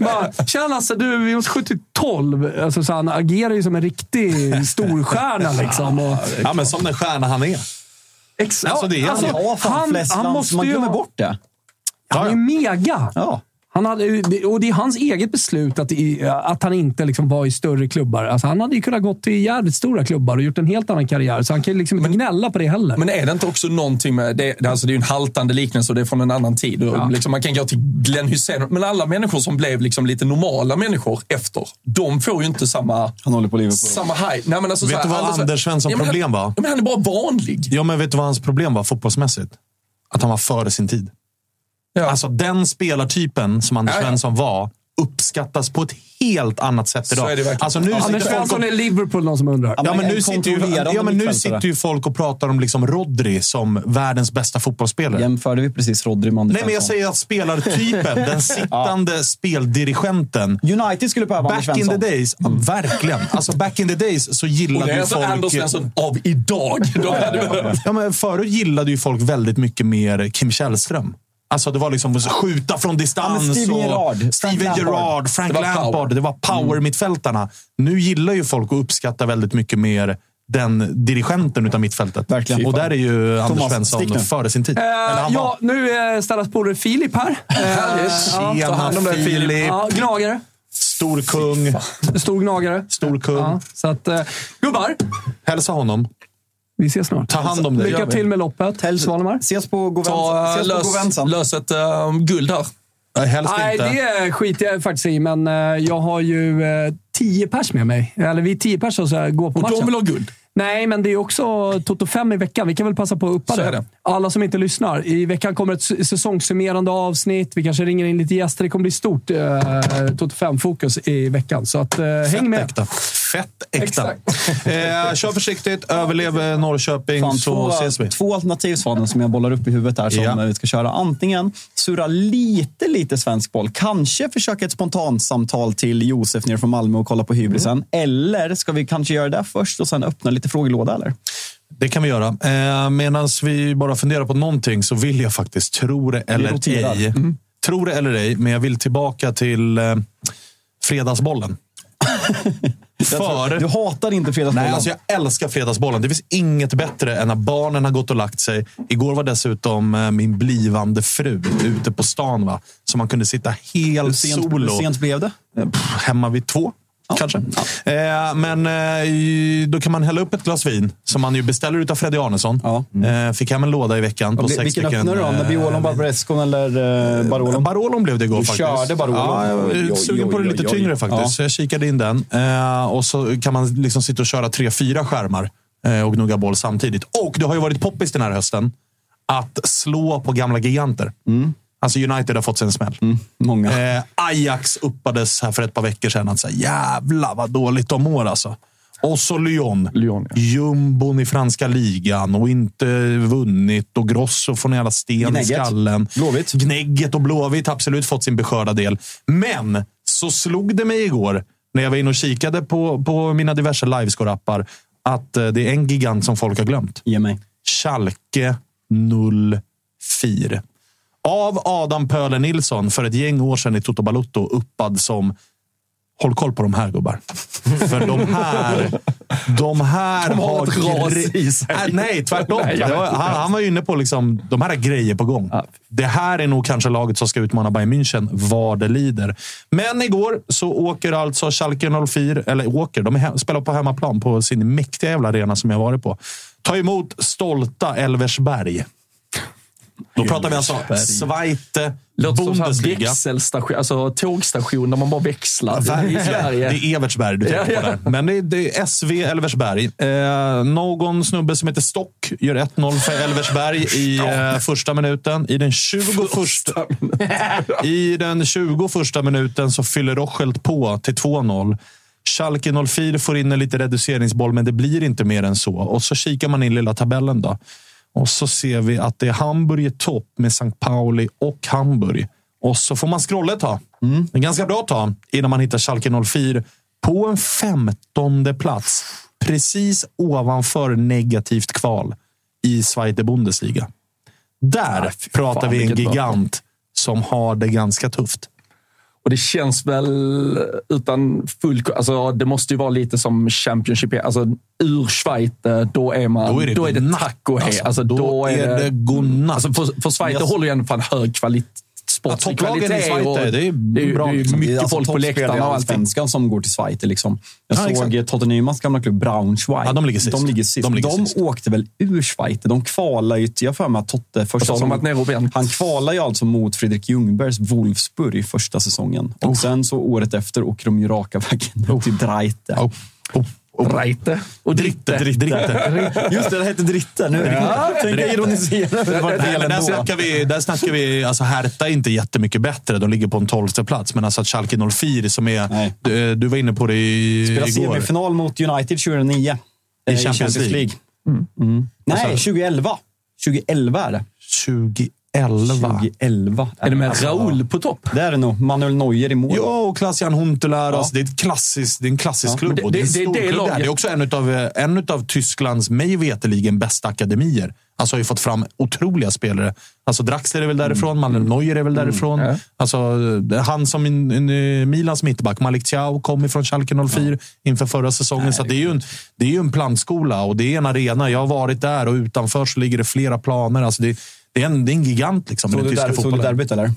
Bara, Tjena Lasse, du, vi måste skjuta till 12. Alltså, så han agerar ju som en riktig storstjärna. Liksom. Och,
Ja, men som den stjärna han är.
ex,
Alltså, det är han.
ja, fan, han, flest
han
lands-
måste
Man
ju
glömmer
ha-
bort det.
Han är mega!
Ja.
Han hade, ju- det- och det är hans eget beslut att, i- att han inte liksom var i större klubbar. Alltså, han hade ju kunnat gått till jävligt stora klubbar och gjort en helt annan karriär, så han kan ju liksom inte gnälla på det heller.
Men är det inte också någonting med... Det, det- alltså det är ju en haltande liknelse och det är från en annan tid. Och Liksom man kan gå till Glenn Hussein. Men alla människor som blev liksom lite normala människor efter, de får ju inte samma...
Han håller på Liverpool.
Samma high. Nej, men alltså,
Vet
så här,
du vad
alla så-
Anders Svensson
men
problem
han,
var?
Ja, men han är bara vanlig.
Ja, men vet du vad hans problem var fotbollsmässigt? Att han var före sin tid.
Ja.
Alltså den spelartypen som Anders
Ja, ja.
Svensson var uppskattas på ett helt annat sätt idag.
är det verkligen.
alltså, nu
Ja,
sitter
Anders
folk
Svensson
och-
är Liverpool, någon som undrar.
Ja, men
En
nu sitter, ju,
kontrollerande
ja, men nu
mittfältare.
sitter ju folk och pratar om liksom Rodri som världens bästa fotbollsspelare.
Jämförde vi precis Rodri med Anders
Nej, men jag
Svensson?
säger att spelartypen,
[LAUGHS]
den sittande speldirigenten,
United skulle behöva Anders
Back in the
Svensson.
days, ja, verkligen. Alltså back in the days så
Och det
gillade
är
ju
alltså Anders
folk...
Svensson av
[LAUGHS]
idag. De hade behövt.
Ja, men förut gillade ju folk väldigt mycket mer Kim Källström. Alltså det var liksom att skjuta från distans.
Ja, men Steven
och-
Gerrard, Frank
Steven
Lampard.
Gerrard, Frank
Det var
Lampard.
power. Mm.
Det var power-mittfältarna. Nu gillar ju folk och uppskattar väldigt mycket mer den dirigenten utav mittfältet.
Verkligen.
Och där är ju Anders
Thomas, stick
Svensson
nu.
före sin tid. Eller
Eh,
han
ja, nu är Stellas polare
[LAUGHS]
Filip här. Eh,
var.
ja,
hand om
Tjena
dig, Filip.
Filip.
ja, gnagare.
Stor kung.
Stor gnagare.
Stor kung.
Ja, så att, eh, gubbar,
Hälsa honom.
vi ses snart.
Ta hand om dig.
Lycka till med loppet,
Helst-
Svanemar.
Ses på
Ta,
Govensan.
eh,
Ses på
lös,
Govensan.
lös ett eh, guld här.
Nej, Helst
Nej,
inte.
det skiter jag faktiskt i, men eh, jag har ju eh, tio pers med mig. Eller vi är tio pers som ska gå på
Och
matchen.
de vill ha guld.
Nej, men det är också Toto 5 i veckan. Vi kan väl passa på att uppa
Så
det.
är det.
Alla som inte lyssnar. I veckan kommer ett s- säsongssummerande avsnitt. Vi kanske ringer in lite gäster. Det kommer bli stort eh, Toto 5-fokus i veckan. Så att, eh, häng med.
Fett äkta. Fett äkta. [LAUGHS] Eh, kör försiktigt, överlev eh, Norrköping
Fan,
så
två,
ses vi.
två alternativ Svanen, som jag bollar upp i huvudet här som
Ja.
eh, vi ska köra. Antingen surra lite, lite svensk boll. Kanske försöka ett spontant samtal till Josef nere från Malmö och kolla på hybrisen.
Mm.
Eller ska vi kanske göra det först och sen öppna lite frågelåda? Eller?
Det kan vi göra. Eh, Medan vi bara funderar på någonting så vill jag faktiskt, tro det eller
roterar. Mm.
ej. Tro det eller ej, men jag vill tillbaka till eh,
[LAUGHS]
Fredagsbollen. För...
Du hatar inte fredagsbollen.
Nej, alltså jag älskar Fredagsbollen. Det finns inget bättre än när barnen har gått och lagt sig. Igår var dessutom eh, min blivande fru ute på stan. Va? Så man kunde sitta
hur,
helt
sent,
solo
hur sent blev det?
pff, Eh, hemma vid två. Kanske. Eh, men eh, då kan man hälla upp ett glas vin, som man ju beställer utav Freddy Arnesson. Eh, fick hem en låda i veckan på
Vil-
sex
Mm. Vilken
stycken.
öppnade du då?
eh,
Nebbiolon, Barbarescon eller eh, Barolon?
Barolon blev det igår
Du
faktiskt.
körde Barolon.
Ja, jag är
Oj,
sugen
oj,
på det
oj,
lite
oj.
tyngre faktiskt.
Ja.
Så jag kikade in den. Eh, och så kan man liksom sitta och köra tre, fyra skärmar eh, och gnugga boll samtidigt. Och det har ju varit poppis den här hösten att slå på gamla giganter.
Mm.
Alltså United har fått sig en smäll.
Många.
Eh, Ajax uppades här för ett par veckor sedan att säga jävla vad dåligt de mår alltså. Och så Lyon.
Lyon, ja.
Jumbon i franska ligan och inte vunnit. Och Grosso får en jävla sten i
Gnägget.
skallen.
Blåvitt.
Gnägget och Blåvitt har absolut fått sin beskörda del. Men så slog det mig igår när jag var inne och kikade på, på mina diverse livescore-appar att eh, det är en gigant som folk har glömt.
Ge mig.
Schalke 04. Av Adam Pöler Nilsson för ett gäng år sedan i Toto Balotto uppad som Håll koll på de här gubbar. För de här, de här
De har
har...
ett ras
gre-
i sig.
Äh, nej, tvärtom.
Nej, jag
det var,
vet inte.
han, han var ju inne på liksom, de här är grejer på gång. Det här är nog kanske laget som ska utmana Bayern München vad det lider. Men igår så åker alltså Schalke 04, eller åker, de är he- spelar på hemmaplan på sin mäktiga jävla arena som jag varit på. Ta emot stolta Elversberg. Då pratar vi alltså
Elversberg.
Zweite
Låter som så här
Bundesliga.
växelstation, alltså tågstation där man bara växlar. I Sverige.
Det är Evertsberg du tänker
Ja,
på
ja.
där. Men det är, det är SV Elversberg. Eh, någon snubbe som heter Stock gör 1-0 för Elversberg i eh, första minuten. I den 21 [LAUGHS] i den 21 minuten så fyller Rochelt på till 2-0. Schalke 04 får in en lite reduceringsboll, men det blir inte mer än så. Och så kikar man in lilla tabellen då. Och så ser vi att det är Hamburg i topp med St. Pauli och Hamburg. Och så får man scrolla ett tag. En ganska bra tag innan man hittar Schalke 04 på en femtonde plats. Precis ovanför negativt kval i Zweite Bundesliga. Där pratar
fan,
vi en
vilket bra.
gigant som har det ganska tufft.
Och det känns väl utan full... Alltså, det måste ju vara lite som Championship. Alltså, ur Schweiz, eh, då är man... Då är det, då är det
godnatt,
taco hej.
alltså.
Alltså, då, är det,
godnatt.
alltså, för, för Schweiz det
Yes.
håller ju ändå fan hög kvalitet.
Ja,
Sportslig
topplagen i
kvalitet.
Schweiz,
och
det är- det är
ju-
bra
det är ju
liksom.
mycket
Det är
folk på
Alltså, toppspelare i
läktarna och allting.
Allsvenskan som går till Schweiz. Liksom. Jag
Ja,
såg
exakt.
Tottenhamas gamla klubb Braunschweig.
Ja, de ligger sist.
De, ligger sist.
De
de,
ligger sist.
åkte väl ur Schweiz. De kvalar ju... Jag har för mig att Totte... Första
har de
säsongen-
varit nere och vänt.
Han kvalar ju alltså mot Fredrik Ljungbergs Wolfsburg i första säsongen. Och sen så året efter åker de ju raka vägen till Dreite.
Oh.
Reite och Dritte.
Dritte. [LAUGHS] Dritte.
Just det, det hette Dritte. Nu är det Tänk jag ironiserar över vad det
Nej, men där,
gäller
snackar vi, där snackar vi, alltså Hertha är inte jättemycket bättre. De ligger på en tolfte plats. Men alltså att Schalke 04 som är...
Nej.
Du, du var inne på det i,
Spelade
igår.
semifinal mot United 2009. eh,
Champions League.
Mm. Nej, 2011. 2011 är det.
2011.
2011.
[LAUGHS] Är det med
Alltså,
Raoul på topp?
Det är det nog. Manuel Neuer i mål.
Ja, och Klaas-Jan Huntelaar.
Ja.
Alltså, det, är ett klassiskt- det är en klassisk
Ja.
klubb.
Men
och det, är en
det- det-
stor
det är
klubb det, här.
laget.
det är också en utav, eh, en utav Tysklands, mig veterligen, bästa akademier. Alltså har ju fått fram otroliga spelare. Alltså Draxler är väl därifrån, Manuel Neuer är väl därifrån. Alltså, det- han som in, in, eh, Milans mittback, Malik Thiaw, kom ifrån Schalke 04 inför förra säsongen. så att det, är ju en, det är ju en plantskola och det är en arena. Jag har varit där och utanför så ligger det flera planer. Alltså, det, det, är en, det är en gigant liksom, i
Såg du,
den tyska
där, såg du
fotbollen.
derbyt eller?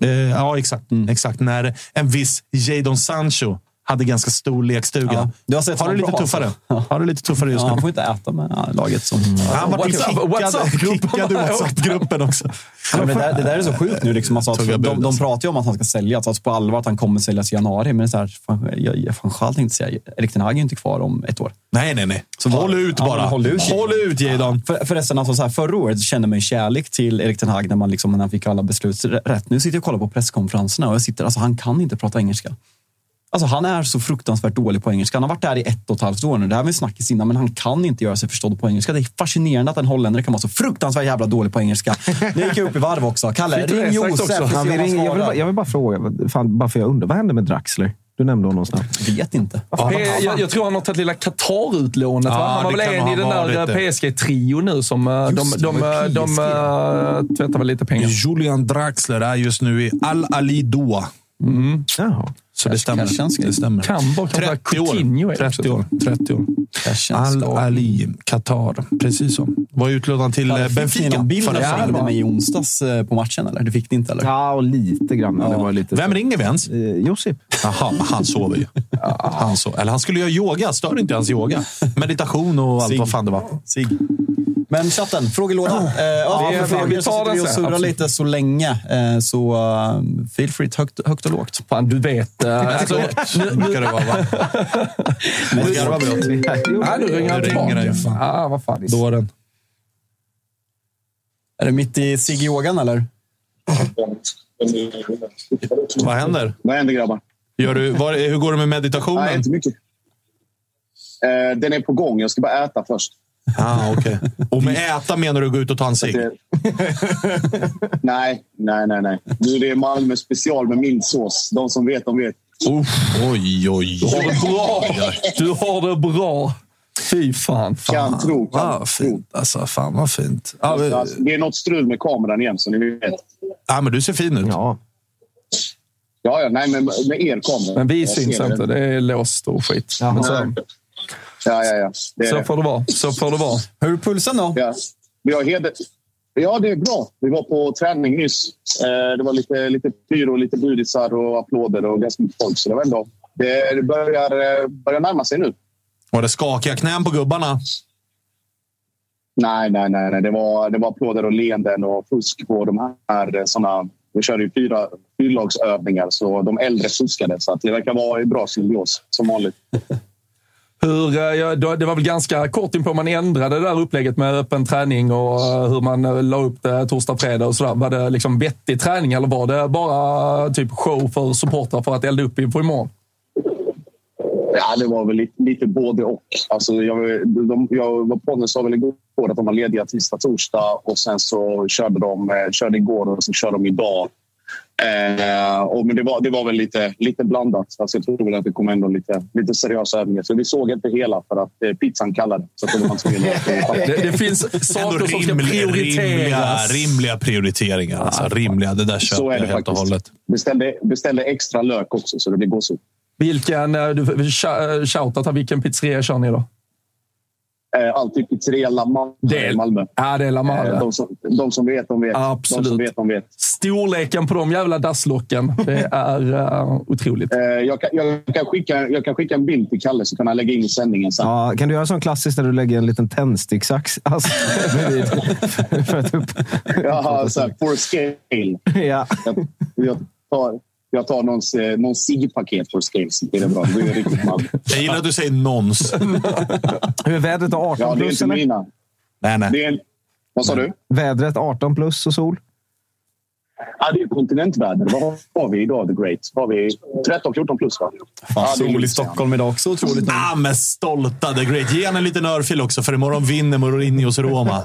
Eh, ja, exakt.
Mm.
exakt. När en viss Jadon Sancho hade ganska stor lekstuga.
Ja. Du har sett
har det
honom
lite
bra,
tuffare.
alltså. Ja.
Har det lite tuffare just
Ja, han
nu.
får inte äta med ja, laget. Som,
Han var
What's up- what's
[LAUGHS]
up,
kickad,
gruppen?
kickad ur WhatsApp-gruppen också.
Ja, men det, där, det där är så sjukt nu. Liksom, alltså,
Tugga
att
bud,
de, de
alltså.
pratar ju om att han ska säljas. Alltså, på allvar att han kommer säljas i januari. Men det är så här, fan, jag, jag, fan, Schall tänkte säga, Erik Ten Hag är ju inte kvar om ett år.
Nej, nej, nej. Så håll
bara-
ut
ja,
bara.
men håll ut, Jadon.
ut, Jadon.
För, förresten, alltså, så här, förra året kände man ju kärlek till Erik Ten Hag när, man liksom, när han fick alla beslut r- rätt. Nu sitter jag och kollar på presskonferenserna och jag sitter, alltså, han kan inte prata engelska. Alltså, han är så fruktansvärt dålig på engelska. Han har varit där i ett och ett halvt år nu. Det här var ju snackis innan, men han kan inte göra sig förstådd på engelska. Det är fascinerande att en holländare kan vara så fruktansvärt jävla dålig på engelska. Nu gick jag upp i varv också. Kalle,
Fick du det
ring
sagt
Josef.
också?
och se
Ja,
om
vi
han
ringer, jag, vill
svarar.
bara, jag vill bara fråga, vad fan, bara för jag undrar, vad hände med Draxler? Du nämnde honom snabbt.
vet inte.
Eh, Jag, jag tror han har tagit lilla Qatar-utlånet.
Ja,
va? han var
det
väl
kan
en
ha
i den där
varit det.
PSG-trion nu som eh,
Just
de, de,
det, det var
de, de
PSG.
eh, tvättar väl lite pengar.
Julian Draxler är just nu i Al-Ali Doha.
Jaha.
Så det stämmer.
kanske han ska-
det stämmer.
Kan bara- kan vara
30
Coutinho är
år.
det
30 år. 30 år. Al-Ali, Qatar. Precis så. Var utlånad till eh, Benfica förra
Förra
säsongen.
ringde mig i onsdags eh, på matchen, eller? Du fick den inte, eller?
Ja, och lite grann. Det var lite
Vem ringer vi ens?
Eh, Josip.
Jaha, men han sover ju. Han sover. Eller han skulle göra yoga. Stör inte hans yoga. Meditation och allt
Sig.
vad fan det var.
Sig. Men chatten, frågelåda. Eh, ja,
vi-
för frågor
vi tar
så sitter
den
vi och
sen,
surrar
absolut.
lite så länge. Eh, så eh, feel free, högt, högt och lågt.
Fan, du vet.
[LAUGHS]
eh,
Alltså, nu brukar det vara, va? Nu ska det vara bra.
Nej, nu ringer han
Nu ringer
tillbaka.
den ju, fan.
Ah, vad fan.
Då var den. Är det mitt i Sigge-yogan eller?
Vad händer?
Vad händer grabbar?
Gör du, var, hur går det med
Nej,
meditationen?
inte mycket. Eh, den är på gång. Jag ska bara äta först.
Ah, okay. Och med äta menar du gå ut och ta en cigg?
Det... nej, nej, nej, nej. Nu är det Malmö special med mintsås. De som vet, de vet.
Uff, oj, oj,
Du har
oj.
det bra. Du har det bra. Fy fan. fan.
Kan tro, kan
Vad
tro.
fint. Alltså, fan vad fint. Ja, vi-
Alltså, det är något strul med kameran igen, så ni vet.
ja, men du ser fin ut.
Ja.
Ja, ja, nej, men med er kamera.
Men vi
Jag
syns
ser det.
inte. Det är låst och skit. Men så,
Ja, ja, ja. Det är
så
det.
får det vara. Så får det vara.
Hur är pulsen då?
Ja. Vi har heder... Ja, det är bra. Vi var på träning nyss. Eh, Det var lite, lite pyro, lite budisar och applåder och ganska mycket folk. Så det var ändå... Det det börjar, eh, börjar närma sig nu.
Var det skakiga knän på gubbarna?
Nej, nej, nej. nej. Det, var, det var applåder och leenden och fusk på de här eh, såna... Vi körde ju fyra fyrlagsövningar, så de äldre fuskade. Så att det verkar vara i bra symbios, som vanligt.
Hur, eh, jag- då- det var väl ganska kort inpå man ändrade det där upplägget med öppen träning och eh, hur man eh, la upp det torsdag, fredag och sådär. Var det liksom vettig träning eller var det bara eh, typ show för supportrar för att elda upp inför imorgon?
Ja, det var väl lite, lite både och. Alltså, jag, de, jag var på sa väl igår att de var lediga tisdag, torsdag och sen så körde de eh, körde igår och sen kör de idag. Eh, och, men det var, det var väl lite, lite blandat. Alltså, jag tror väl att det kom ändå lite, lite seriösa övningar. Så vi såg inte hela för att eh, pizzan kallade. Så att det var man tvungen att-
Det, det finns
Ändå
saker som ska
rimliga- rimliga,
prioriteras.
rimliga prioriteringar. Alltså, rimliga. Det där
Så
köper
är
jag
det
helt och hållet.
faktiskt. Beställde, beställde extra lök också så det blir gåshud.
Vilken, eh, du, shou- eh, shoutout här, vilken pizzeria kör ni då?
Eh, alltid pizzeria La Malmö.
Del.
Malmö.
Ja, det är La
Eh,
Mare.
de, som, de som vet, de vet. De
Absolut.
som vet, de vet.
Storleken på de jävla dasslocken, det är eh, otroligt.
Eh, jag, kan, jag, kan skicka, jag kan skicka en bild till Kalle så kan han lägga in i sändningen sen.
Ja, kan du göra sån klassiskt där du lägger en liten tändsticksax [LAUGHS] alltså, bredvid? för att upp...
Jaha, så här, for scale.
Ja.
Jag, jag tar, jag tar någons, eh, någon SIG-paket for scale. så blir Det är bra. Det är riktigt man.
Jag gillar att du säger nons.
Hur är vädret? då? 18
Ja, det är
plus?
inte
Eller?
mina.
Nej, nej.
Det är en, vad sa du?
Vädret 18 plus och sol?
Ja, det är kontinentväder. Vad har vi idag, The Great? Har vi 13-14 plus? Va?
Fan,
Ja, det är
sol i
lite
Stockholm idag också otroligt nog.
Ah, men stolta The Great. Ge henne en liten örfil också, för imorgon vinner Mourinhos Roma.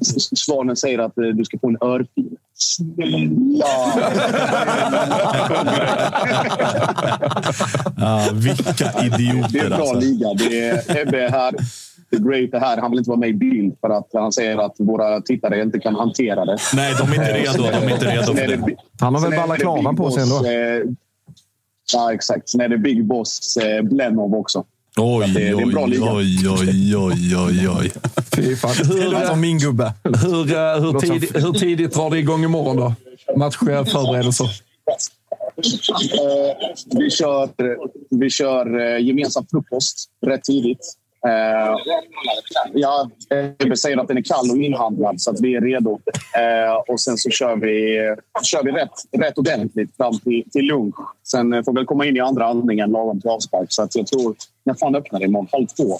S- Svanen säger att eh, du ska få en örfil. Snälla!
Ah, vilka
Det är en
idioter
bra
alltså.
liga. Det är Ebbe är här. The Great är här. Han vill inte vara med i bild för att han säger att våra tittare inte kan hantera det.
Nej, de är inte redo. De är inte redo
Sen
för
är det
det.
Bi-
Han har
sen
väl
är det
balaklavan
Big
på sig ändå?
Boss, eh, Ja, exakt. Sen är det Big Boss eh, Blenov också.
Oj,
det är en
oj,
bra liga.
oj, oj, oj, oj, oj.
Fy fan. Hur,
Alltså min gubbe.
hur, eh, hur, tid, hur tidigt drar det igång imorgon då? Matchförberedelser.
Eh, vi kör, vi kör eh, gemensam frukost rätt tidigt. Eh, ja, Ebbe säger att den är kall och inhandlad, så att vi är redo. Eh, och Sen så kör vi, kör vi rätt, rätt ordentligt fram till, till lunch. Sen eh, får vi väl komma in i andra andningen lagom till avspark. Så att jag tror... När fan öppnar det? Imorgon? Halv två?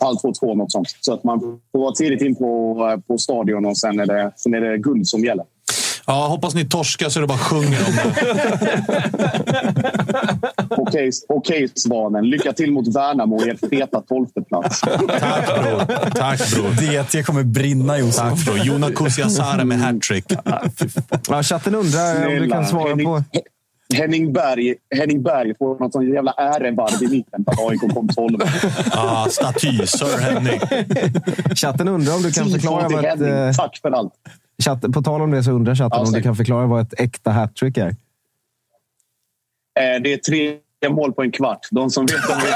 Halv två, två, något sånt. Så att man får vara tidigt in på, på stadion och sen är, det, sen är det guld som gäller.
Ja, hoppas ni torskar så det bara sjunger om det.
Okej, okej Svanen. Lycka till mot Värnamo i er feta tolfteplats.
Tack bror. Tack bror.
DT kommer brinna Josef.
Tack bror. Jona Kusiasare med hattrick.
Ja, chatten undrar om du
Snälla,
kan svara
Henning,
på...
Henning, Berg, Henning Berg får något sånt jävla ärevarv i mitten för att AIK kom
[LAUGHS]
tolva.
Ah, staty. Sir Henning.
Chatten undrar om du kan förklara vad
Tifo till
ett...
Henning.
eh,
Tack för allt.
Chatten, på tal om det så undrar chatten
Ja,
om du
säkert.
kan förklara vad ett äkta hattrick är.
Eh, Det är tre mål på en kvart. De som vet, de vet.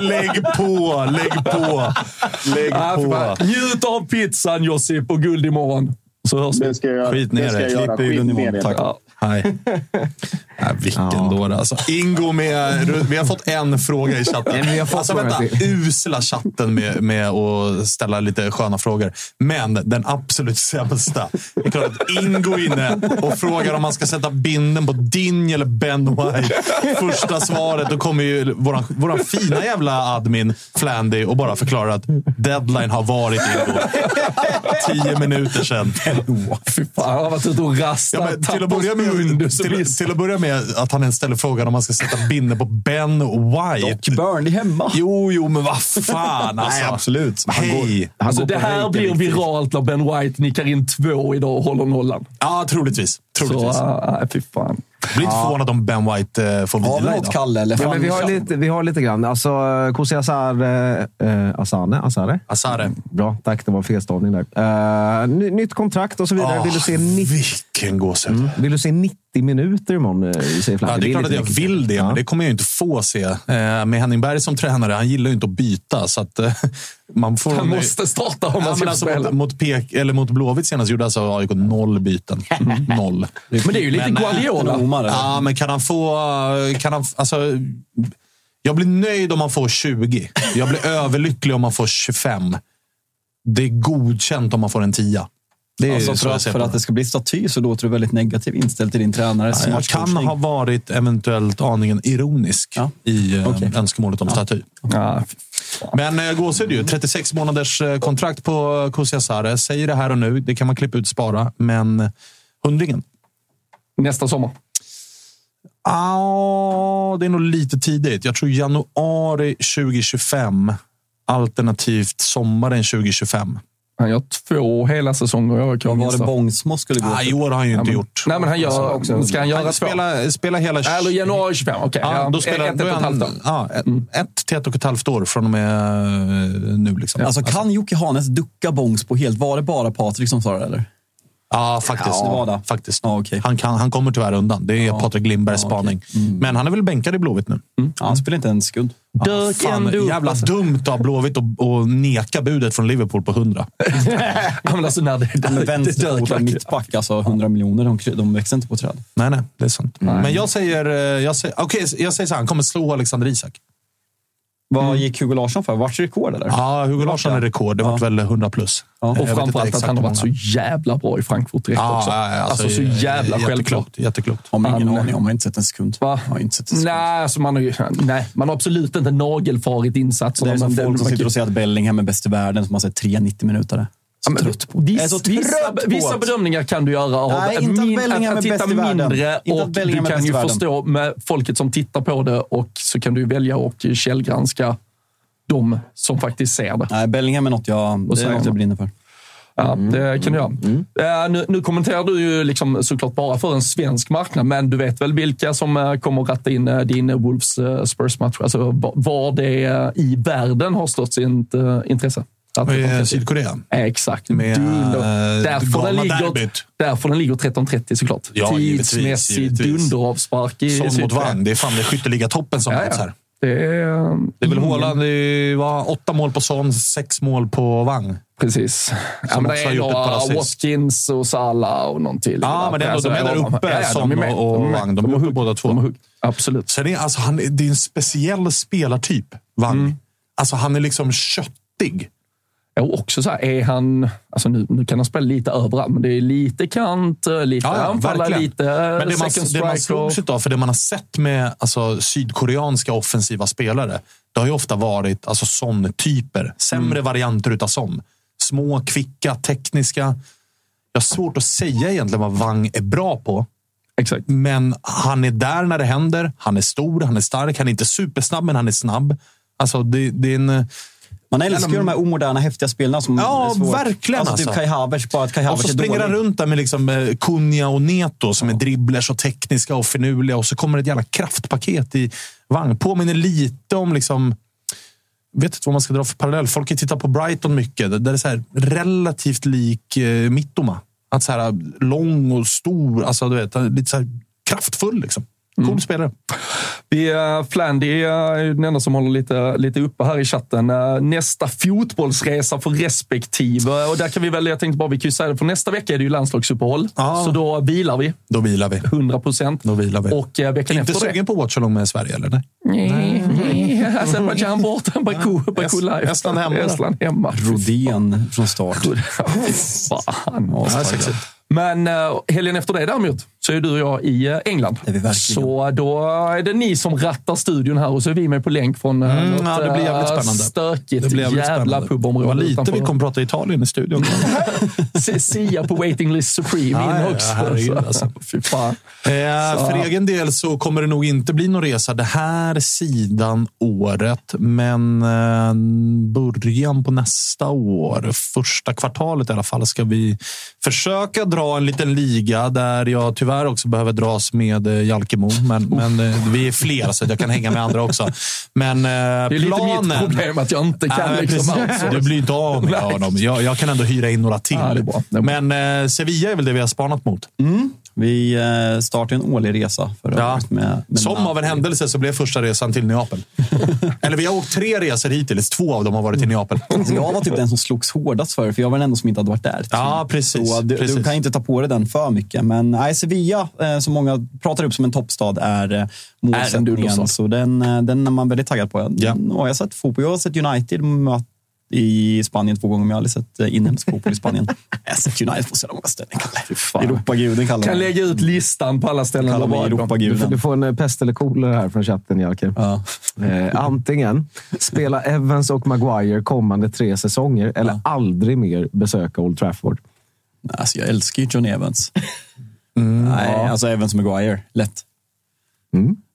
Lägg på, lägg på. Lägg
Ja, för
på.
fan. Njut av pizzan Josip och guld imorgon. Så hörs vi.
Det ska jag,
Alltså, Skit ner
det ska
det.
jag göra.
Klipp i
Skit
Lundin
ner
Tack.
det.
Ja.
Nej. Nej, vilken dåre. Alltså, Ingo med... Vi har fått en fråga i chatten.
Nej, men vi har fått
alltså,
frågan
vänta.
till.
Usla chatten med, med att ställa lite sköna frågor. Men den absolut sämsta. Det är klart att Ingo är inne och frågar om man ska sätta binden på din eller Ben White. Första svaret, då kommer ju våran, våran fina jävla admin Flandy och bara förklarar att deadline har varit Ingo. Tio minuter sedan.
Fy fan, han har varit ute och rastat.
Ja, men till, att börja med, till, till att börja med att han ens ställer frågan om man ska sätta binne på Ben White.
Doc Burnley hemma.
Jo, jo, men vad fan alltså.
Nej, absolut.
Han Hej!
Alltså, det här blir viralt när Ben White nickar in två idag och håller nollan.
Ja, troligtvis. troligtvis.
Så, äh, fy fan.
Blir inte förvånad om Ben White eh, får
Har vi
vila
något,
idag.
Kalle? Eller
Ja, men vi, har
Fan,
[LAUGHS] lite, vi har lite grann. Alltså, eh, Kosi Azar, eh, eh, Asane, Azare?
Azare.
Bra, tack. Det var en felstavning där. Eh, ny, nytt kontrakt och så vidare.
Ah,
vill, du se ni-
vilken gåshud.
Mm.
vill du se 90 minuter imorgon? eh, säger Flatter?
Ja, det är klart att
lite
jag
mycket.
vill det,
Ja.
men det kommer jag ju inte få se. Eh, Med Henning Berg som tränare, han gillar ju inte att byta. Så att, eh, [LAUGHS] man får
Han måste starta om
Ja,
han
men
ska
alltså,
spela.
mot, mot, Pek, eller mot Blåvitt senast gjorde alltså AIK
[LAUGHS]
noll byten. Noll.
Men det är ju lite
Men, eh,
Guardiola.
Ja, men kan han få... Kan han, alltså, jag blir nöjd om han får 20. Jag blir överlycklig om han får 25. Det är godkänt om man får en 10. Det är
Alltså,
så
för,
jag
att,
ser
för
på
att
det.
det ska bli staty så låter du väldigt negativ inställd till din tränare. som
Jag kan
coachning.
ha varit eventuellt aningen ironisk
Ja.
i eh,
Okej.
önskemålet om staty.
Ja,
Men eh, gåshud ju. 36 månaders eh, kontrakt på Kusi Asare. Säger det här och nu. Det kan man klippa ut spara, men eh, hundringen?
Nästa sommar.
Ja, Ah, det är nog lite tidigt. Jag tror januari 2025, alternativt sommaren 2025.
Han gör två hela säsonger i AIK.
Vad var det
minst.
Bångsmo skulle gå
Ah, I
till?
år har han ju inte
men-
gjort. Alltså,
Nej, men han gör... Ska han göra
Han
två?
spelar, spelar hela...
Eller januari 25, okej.
Ja,
ja,
då spelar,
ett,
då
ett och
är
ett
han-
halvt år.
Ja, ett, ett till ett och ett halvt år från och med eh, nu. Liksom. Ja,
Alltså, kan Jocke Hanes ducka Bångsbo helt? Var det bara Patrik som sa det, eller?
faktiskt.
Ja, det var det.
faktiskt.
Ja, okej.
han, kan, han kommer tyvärr undan. Det är Patrik Lindbergs spaning. Men han är väl bänkad i Blåvitt nu.
Mm.
Ja, han spelar inte en
[LAUGHS]
sekund.
Ja, fan, jävla dumt av Blåvitt att- att neka budet från Liverpool på [LAUGHS] 100.
[LAUGHS] Ja, men alltså när det, det, det, det
Med
dök
vänsterfotad
verkligen.
mittback, alltså 100 miljoner. De, kry- de växer inte på träd.
Nej, nej, det är sant. Men jag säger, eh, jag säger, okej, jag säger så här, han kommer slå Alexander Isak.
Vad gick Hugo Larsson för? Vart rekord, eller?
Ja, Hugo Larsson är rekord. Det var väl 100 plus. Jag
Och
vet inte
framförallt att
exakt
han har
hur
varit så
många.
jävla bra i Frankfurt direkt
Ja, eh,
också.
ja, ja,
alltså, så jävla
jätteklokt,
självklart.
Jätteklokt.
Har man ingen
Han-
aning om. Jag har inte sett en sekund.
Va?
Jag har inte sett en sekund.
Nej, alltså man, har ju, nej, man har absolut inte nagelfarit insatserna.
Det är som
men
folk som
man-
sitter och säger att Bellingham är bäst i världen som har sett tre 90-minutare.
Ja, men
Jag är så
Viss,
trött
vissa,
på att-
vissa bedömningar kan du göra av
Nej, inte att
min-
Bellingham är
att titta
bäst i världen.
mindre
Inte att
och du
Bellingham är
kan
bäst i
ju
världen.
förstå med folket som tittar på det och så kan du välja och källgranska de som faktiskt ser det.
Nej, Bellingham är något jag, det är
Sverige.
något jag brinner för.
Ja, det kan du göra. Eh, nu, nu kommenterar du ju liksom såklart bara för en svensk marknad, men du vet väl vilka som eh, kommer att ratta in eh, din eh, Wolves eh, Spurs-match? Alltså va- var det eh, i världen har störst int, eh, intresse? Att det kommer
Eh,
till.
Sydkorea.
Exakt.
Med,
dunder.
eh,
Därför den, ligger,
Ghana-derbyt.
därför den ligger 13.30 såklart.
Ja, givetvis,
Tidsmässig
givetvis.
dunderavspark i
Sån mot
Sydkorea.
Vagn. Det är fan det skytteliga toppen som
Ja,
möts
ja.
här.
Det är, eh,
Det är väl Haaland, det var åtta mål på Son, sex mål på Vagn.
Precis. Ja, men det
också har
är
gjort ett par
några
assist.
Watkins och Salah och någon till. Alltså,
Ja, men det är ändå- de är där uppe, Son
är med.
och- och
är med.
Wang. De är
har
uppe
hugg.
båda två.
De har hugg. Absolut.
Sen är, alltså, han, är- det är en speciell spelartyp, Wang.
Mm.
Alltså, han är liksom köttig.
Och också så här, är han... Alltså nu, nu kan han spela lite överallt, men det är lite kant, eh, lite
Ja, ja,
anfallare,
verkligen.
lite
Men det man,
second
det
striker.
man slogs utav, för det man har sett med alltså, sydkoreanska offensiva spelare, det har ju ofta varit alltså, Son-typer. Sämre
Mm.
varianter utav Son. Små, kvicka, tekniska. Jag har svårt att säga egentligen vad Wang är bra på.
Exakt.
Men han är där när det händer. Han är stor, han är stark. Han är inte supersnabb, men han är snabb. Alltså, det, det är en...
Man älskar ju de här omoderna, häftiga spelarna som
Ja,
är svåra.
verkligen,
Alltså, typ
alltså.
Kai Havertz, bara att Kai
Och
Havertz
så
är
springer
dålig.
han runt där med liksom eh, Cunha och Neto som är dribblers och tekniska och finurliga och så kommer ett jävla kraftpaket i vagn. Påminner lite om liksom... Vet inte vad man ska dra för parallell. Folk har tittat på Brighton mycket. Där det är så här relativt lik eh, Mittoma. Att så här, eh, lång och stor, alltså du vet, lite så här kraftfull liksom. Cool spelare.
Vi, eh, Flandy eh, är ju den enda som håller lite, lite uppe här i chatten. Eh, Nästa fotbollsresa för respektive. Och där kan vi väl, jag tänkte bara vi kan ju säga det, för nästa vecka är det ju landslagsuppehåll. Så då vilar vi.
Då vilar vi.
100 procent.
Då vilar vi.
Och eh, veckan
Inte
efter det...
sugen på watchalong med Sverige, eller? Nej.
Nej, nej. Azerbajdzjan borta, Baku, Baku live.
Estland hemma.
Estland hemma.
Rodén från start.
Fan.
Ja,
sexigt.
Men eh, helgen efter det däremot så är du och jag i eh, England. så eh, då är det ni som rattar studion här och så är vi med på länk från eh, något,
Mm, ja, det blir jävligt
eh,
spännande.
stökigt
jävligt
jävla
spännande.
pubområde.
Vad lite vi kommer prata Italien i studion.
[LAUGHS] Se- Sia på Waiting List Supreme
Ja, ja,
in också.
herregud,
Så-
alltså.
Fy fan.
Eh, för egen del så kommer det nog inte bli någon resa det här sidan året, men eh, början på nästa år, första kvartalet i alla fall, ska vi försöka dra en liten liga där jag tyvärr också behöver dras med eh, Jalkemo, men, men eh, vi är fler så att jag kan hänga med andra också. Men eh,
Det är lite
planen...
mitt problem att jag inte kan
Nej,
liksom
precis.
outsourca.
Du blir inte av med
Nej.
honom. Jag, jag kan ändå hyra in några till.
Ja, det är bra. Det är bra. Mm.
Men eh, Sevilla är väl det vi har spanat mot.
Vi eh, startade en årlig resa förra
Ja.
året. Med, med
Som av en händelse så blev första resan
[LAUGHS]
till Neapel. Eller vi har åkt tre resor hittills. Två av dem har varit
Mm.
till Neapel. Mm.
Alltså, jag var typ den som slogs hårdast för det, för jag var den enda som inte hade varit där. typ.
Ja, precis.
Så du,
precis.
du kan inte ta på dig den för mycket. Men nej, Sevilla, eh, som många pratar upp som en toppstad, är eh, målsättningen.
dunderstad.
Så den, eh, den är man väldigt taggad på.
Ja.
Och jag har sett fotboll. Jag har sett United möta i Spanien två gånger, men jag har aldrig sett eh, inhemsk fotboll i Spanien. [LAUGHS] Jag har sett United på så många ställen. Kalle. Europaguden kallar
Kan
man
lägga ut listan på alla ställen.
Kallar
där
mig
var de.
Du får,
Europaguden.
du får en eh, pest eller kolera här från chatten, Jarker.
Ja.
Eh, antingen spela Evans och Maguire kommande tre säsonger eller aldrig mer besöka Old Trafford.
Alltså, jag älskar ju John Evans. Nej, alltså Evans Maguire. Lätt.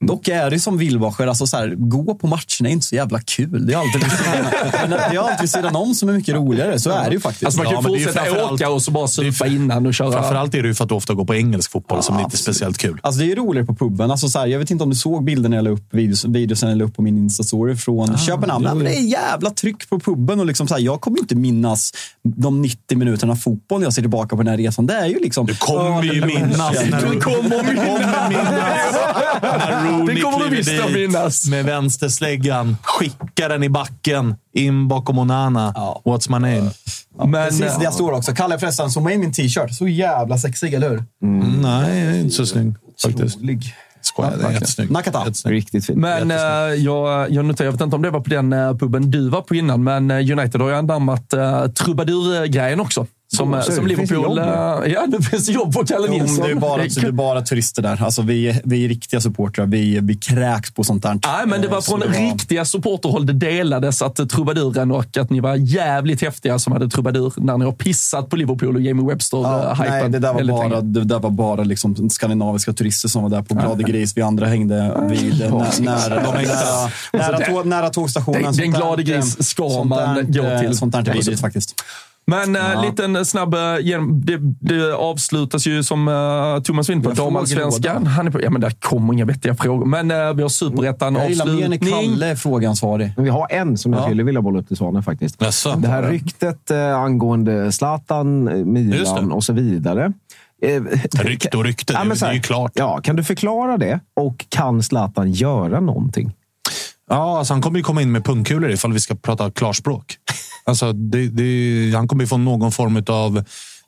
Dock är det som Wilbacher, alltså så här, gå på matcherna är inte så jävla kul. Det är alltid [LAUGHS] vid sidan, men det är alltid vid sidan om som är mycket roligare. Så är det ju faktiskt.
Alltså man kan ju
Ja, men det är ju
fortsätta
framförallt-
åka och så bara supa innan och köra.
Framförallt är det ju för att du ofta går på engelsk fotboll som inte är speciellt kul.
Alltså det är ju roligare på puben. Alltså så här, jag vet inte om du såg bilden jag la upp, videos, videosen jag la upp på min Insta-story från Köpenhamn. Men det är jävla tryck på puben. Och liksom så här, jag kommer inte minnas de 90 minuterna fotboll när jag ser tillbaka på den här resan. Det är ju liksom...
Du kommer ju minnas när
Du kommer att
kommer
minnas.
minnas när
Det
Rooney
kommer du visst att
kliver dit
minnas.
med vänstersläggan, skickar den i backen, in bakom Onana.
Ja.
What's my name?
Men,
Precis,
eh,
det står också. Kalle förresten, zooma in min t-shirt. Så jävla sexig, eller hur?
Mm, nej, jag är inte så snygg faktiskt.
Rolig.
Skojar, den är jättesnygg.
Nakata.
Jättesnygg.
Riktigt fint.
men eh, jag, jag noterar, jag vet inte om det var på den eh, puben du var på innan, men eh, United har ju anammat eh, trubadur-grejen också. Som,
Ja,
eh,
så är
som
det. Det finns
Liverpool...
jobb
eh, [LAUGHS] ja, det finns jobb på Kalle
Jo, men
Nilsson.
det, är bara, det är bara turister där. Alltså, vi, vi är riktiga supportrar. Vi, vi kräks på sånt där.
Nej, men det var
Eh, så
från
det var-
riktiga supporterhåll det delades att eh, trubaduren och att ni var jävligt häftiga som hade trubadur när ni har pissat på Liverpool och Jamie Webster
Ja,
eh,
nej,
hypen
det där var
väldigt länge.
bara, det där var bara liksom skandinaviska turister som var där på glada gris. Vi andra hängde vid eh, nä, nära, nära, nära, tå, nära tågstationen.
Den-
Sånt
den
där,
glada gris
eh,
ska
sånt
man
där,
gå
eh,
till.
Sånt där är
Absolut.
vidrigt faktiskt.
Men eh, liten eh, snabb... eh, genom- Det, det avslutas ju som eh, Thomas Vind på
Jag frågar
damallsvenskan. Han är på... Ja, men där kommer inga vettiga frågor. Men eh, vi har superettan
Jag gillar mer när
avslutning.
Kalle är frågeansvarig.
Men vi har en som jag skulle vilja bolla upp till Svanen faktiskt.
Jaså?
Det här ryktet eh, angående Zlatan, eh,
Just det.
Milan och så vidare. Eh,
Rykte och rykte,
Ja,
det,
men
är-
så
det
här,
är ju klart.
Ja, kan du förklara det? Och kan Zlatan göra någonting?
Ja, alltså han kommer ju komma in med pungkulor ifall vi ska prata klarspråk.
[LAUGHS]
Alltså, det, det, han kommer ju få någon form av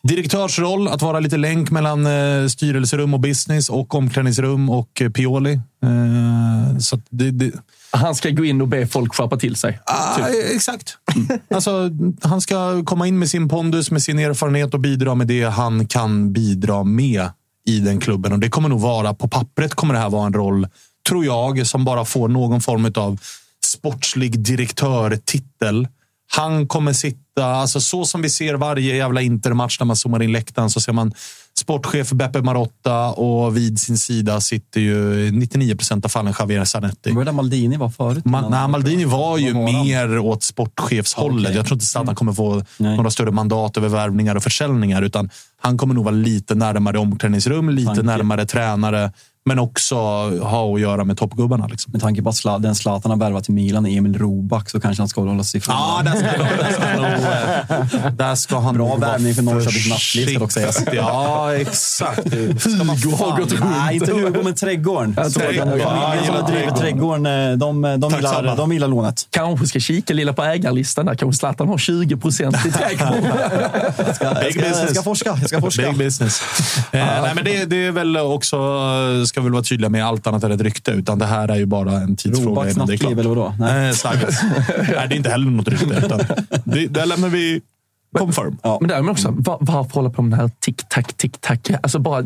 direktörsroll, att vara lite länk mellan eh, styrelserum och business och omklädningsrum och eh, Pioli. Eh, så att det, det,
Han ska gå in och be folk skärpa till sig.
Ah, eh, Exakt. Alltså, han ska komma in med sin pondus, med sin erfarenhet och bidra med det han kan bidra med i den klubben. Och det kommer nog vara, på pappret kommer det här vara en roll, tror jag, som bara får någon form av sportslig direktörtitel. Han kommer sitta, alltså så som vi ser varje jävla intermatch när man zoomar in läktaren så ser man sportchef Beppe Marotta och vid sin sida sitter ju i 99 procent av fallen Javier Zanetti.
Det var där Maldini var förut.
Man, nej, Maldini var ju
Vad var han?
mer åt sportchefshållet.
Okej. Mm.
Jag tror inte Zlatan kommer få
Nej.
några större mandat över värvningar och försäljningar. Utan Han kommer nog vara lite närmare omklädningsrum, lite
Tanke.
närmare tränare, men också ha att göra med toppgubbarna. Liksom.
Med tanke på att Zla- den Zlatan har värvat till Milan, Emil Roback, så kanske han ska hålla sig ifrån.
Ja, där ska, där ska, nog- eh, där ska han
Bra
nog vara
värvning för Norrköpings nattliv, ska dock sägas.
försiktig. Ja, exakt. Ska man
Hugo har
fan-
gått runt. Nej, inte Hugo, men trädgården. Jag tror att den
Trädgården. Ja,
Familjen
jag
som
gillar
driver trädgården, eh, de, de,
Tack,
gillar,
Sabba.
de gillar lånet.
Kanske ska kika lilla på ägarlistan där. Kanske Zlatan har 20 procent
[LAUGHS]
i trädgården.
Jag
Big
ska, jag
business.
ska forska. Jag ska forska.
Big business. Eh, nej, men det, det är väl också, eh, ska väl vara tydliga med, allt annat är ett rykte. Utan det här är ju bara en tidsfråga
Robacks
innan det
nattliv,
är klart.
eller vadå? Nej. [LAUGHS]
Nej, stackars. nej, det är inte heller något rykte. Utan det, där lämnar vi confirm.
Men där är man också, var, varför hålla på med den här tick-tack, tick-tack? Alltså bara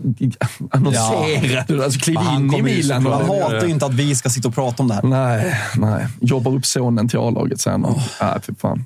annonsera. Ja. Alltså kliv
Men han
in i
kommer ju
Milan.
Jag
såklart-
och-
hatar ju inte att vi ska sitta och prata om det här.
Nej, nej. Jobbar upp sonen till A-laget sen. Och, nej, fy fan.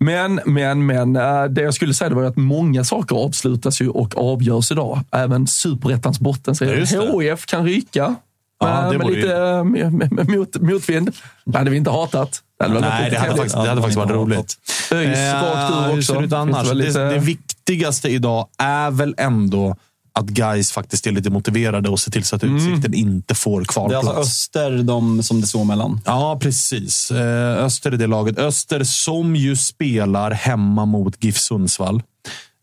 Men, men, men. eh, Det jag skulle säga det var ju att många saker avslutas ju och avgörs idag. Även superettans
Ja,
bottenserie.
just det.
HIF kan ryka.
Ja,
eh,
det
med
vore
lite eh, med, med, mot, motvind. Det hade vi inte hatat. Det hade, väl varit
Nej,
lite
det hade
trevligt.
faktiskt, det hade faktiskt varit
Ja,
roligt.
ÖIS rakt ur
Eh, Hur
också.
ser det ut
Finns det
annars? Det,
väl lite-
det, viktigaste idag är väl ändå att guys faktiskt är lite motiverade och ser till så att Utsikten inte får
Mm. Det är
kvalplats.
alltså Öster de som det står mellan.
Ja, precis. Eh, Öster är det laget. Öster som ju spelar hemma mot GIF Sundsvall.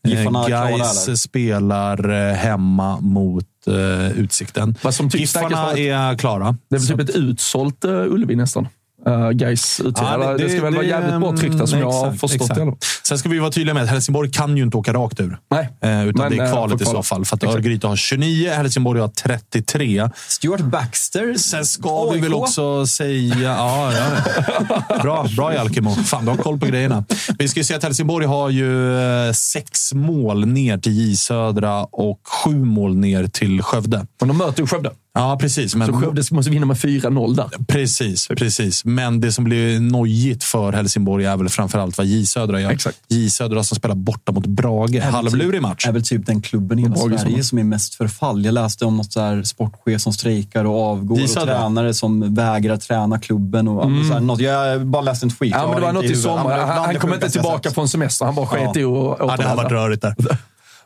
Giffarna
Eh,
är klara, eller?
Gais spelar eh, hemma mot eh, Utsikten.
Vad som tycks
Giffarna
starkast
är klara.
Det är väl typ ett utsålt uh, Ullevi nästan. Uh, Gais
Ja,
utgivare. det, ska väl vara jävligt bra tryck där som jag har
exakt,
förstått
exakt.
det. eller?
Sen ska vi vara tydliga med att Helsingborg kan ju inte åka rakt ur.
Nej.
Eh, utan
Men,
det är
eh,
kvalet
får
i så
kvala.
fall. För att
Exakt.
Örgryte har 29, Helsingborg har 33.
Stuart Baxter.
Sen ska vi
AIK.
väl också säga... Ja, ja. Bra, bra Jalkemo. Fan, du har koll på grejerna. Vi ska ju säga att Helsingborg har ju eh, sex mål ner till J Södra och sju mål ner till Skövde.
Men de möter ju Skövde.
Ja, precis. Men,
Så Skövde Typ. måste vinna med 4-0 där.
Precis, precis. Men det som blir nojigt för Helsingborg är väl framförallt vad J Södra gör.
Exakt.
J Södra som spelar borta mot Brage. Halvlurig match.
är väl typ den klubben i hela
Brage
Sverige som är mest förfall. Jag läste om något så här sportchef som strejkar och avgår och
Gissar du?
tränare som vägrar träna klubben. Och, så här, något. Jag bara läste en tweet.
Mm. Ja, men
Jag
det
har
var
inte
något i
huvudet. Ja,
sommar.
men det är
Han,
bland
han
det
kom inte
sjukaste jag
tillbaka
sett.
från semester. Han bara sket
Ja.
i att
Ja, det har varit
återvända.
rörigt där.
[LAUGHS]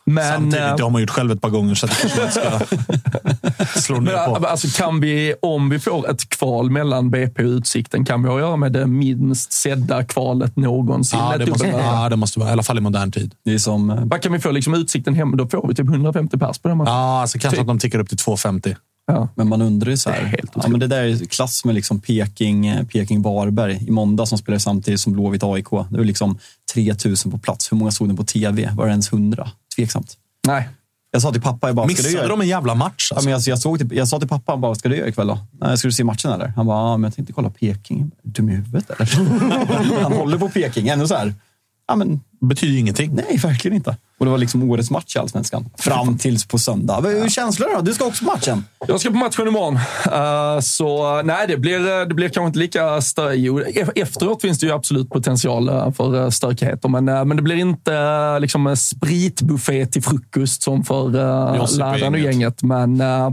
Men,
Samtidigt,
eh,
det har man gjort själv ett par gånger så att det kanske man
[LAUGHS]
inte ska slå ner
men,
på.
eh, alltså, kan vi, om vi får ett kval mellan BP och Utsikten, kan vi ha att göra med det minst sedda kvalet någonsin?
Ja, det
Ett
måste,
dubbelmöte.
ja, det måste vara. I alla fall i modern tid.
Det är som... eh,
Vad kan vi få liksom, Utsikten hem? Då får vi typ 150 pers på den matchen.
Ja, alltså kanske att de tickar upp till 2,50.
Ja.
Men man undrar ju så
Det är
här.
helt
ja, men det där är ju klass med liksom Peking, eh, Peking Varberg i måndag som spelar samtidigt som Blåvitt AIK. Det var liksom 3000 på plats. Hur många såg den på tv? Var det ens 100? Tveksamt.
Nej.
Jag sa till pappa, jag bara, ska du
Missade
göra?
de en jävla match?
Ja,
Alltså.
men jag, jag, såg till, jag sa till pappa, han bara, ska du göra ikväll då? Nej, ska du se matchen eller? Han bara, ja, men jag tänkte kolla Peking. Dum i huvudet eller? [LAUGHS] han håller på Peking, ändå så här. Ja, men
betyder ju ingenting.
nej, verkligen inte. Och det var liksom årets match i Allsvenskan. Fram tills på söndag. Men Hur är känslorna då? Du ska också på matchen.
Jag ska på matchen imorgon. Eh, så eh, nej, det blir, det blir kanske inte lika stökigt. Efteråt finns det ju absolut potential eh, för eh, stökigheter, men, eh, men det blir inte eh, liksom en spritbuffé till frukost som för uh,
Josip och
läraren och
gänget.
gänget. Men uh,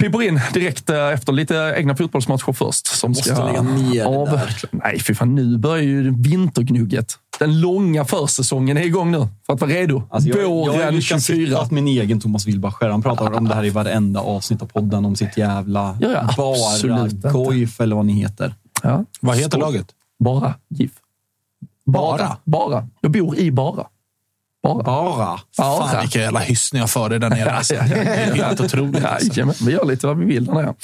piper in direkt eh, efter lite egna fotbollsmatcher först. Som
Måste
ska
lägga ner det
av. Nej, fy fan. Nu börjar ju vintergnugget. Den långa försäsongen är igång nu för att vara redo.
Alltså jag, jag har
Våren
ju lyckats
24.
hitta min egen Thomas Wilbacher. Han pratar om det här i varenda avsnitt av podden. Om sitt jävla
Ja, ja, absolut inte.
bara Goif eller vad ni heter.
Ja.
Vad heter
Skål.
laget?
Bara GIF. Bara?
Bara?
Bara. Jag bor i Bara. Bara.
Bara?
Bara.
Fan, vilka jävla hyssningar jag för dig där nere. Alltså.
Ja, ja, ja.
[LAUGHS] Det är helt otroligt. Alltså.
Jajamän, vi gör lite vad vi vill där nere.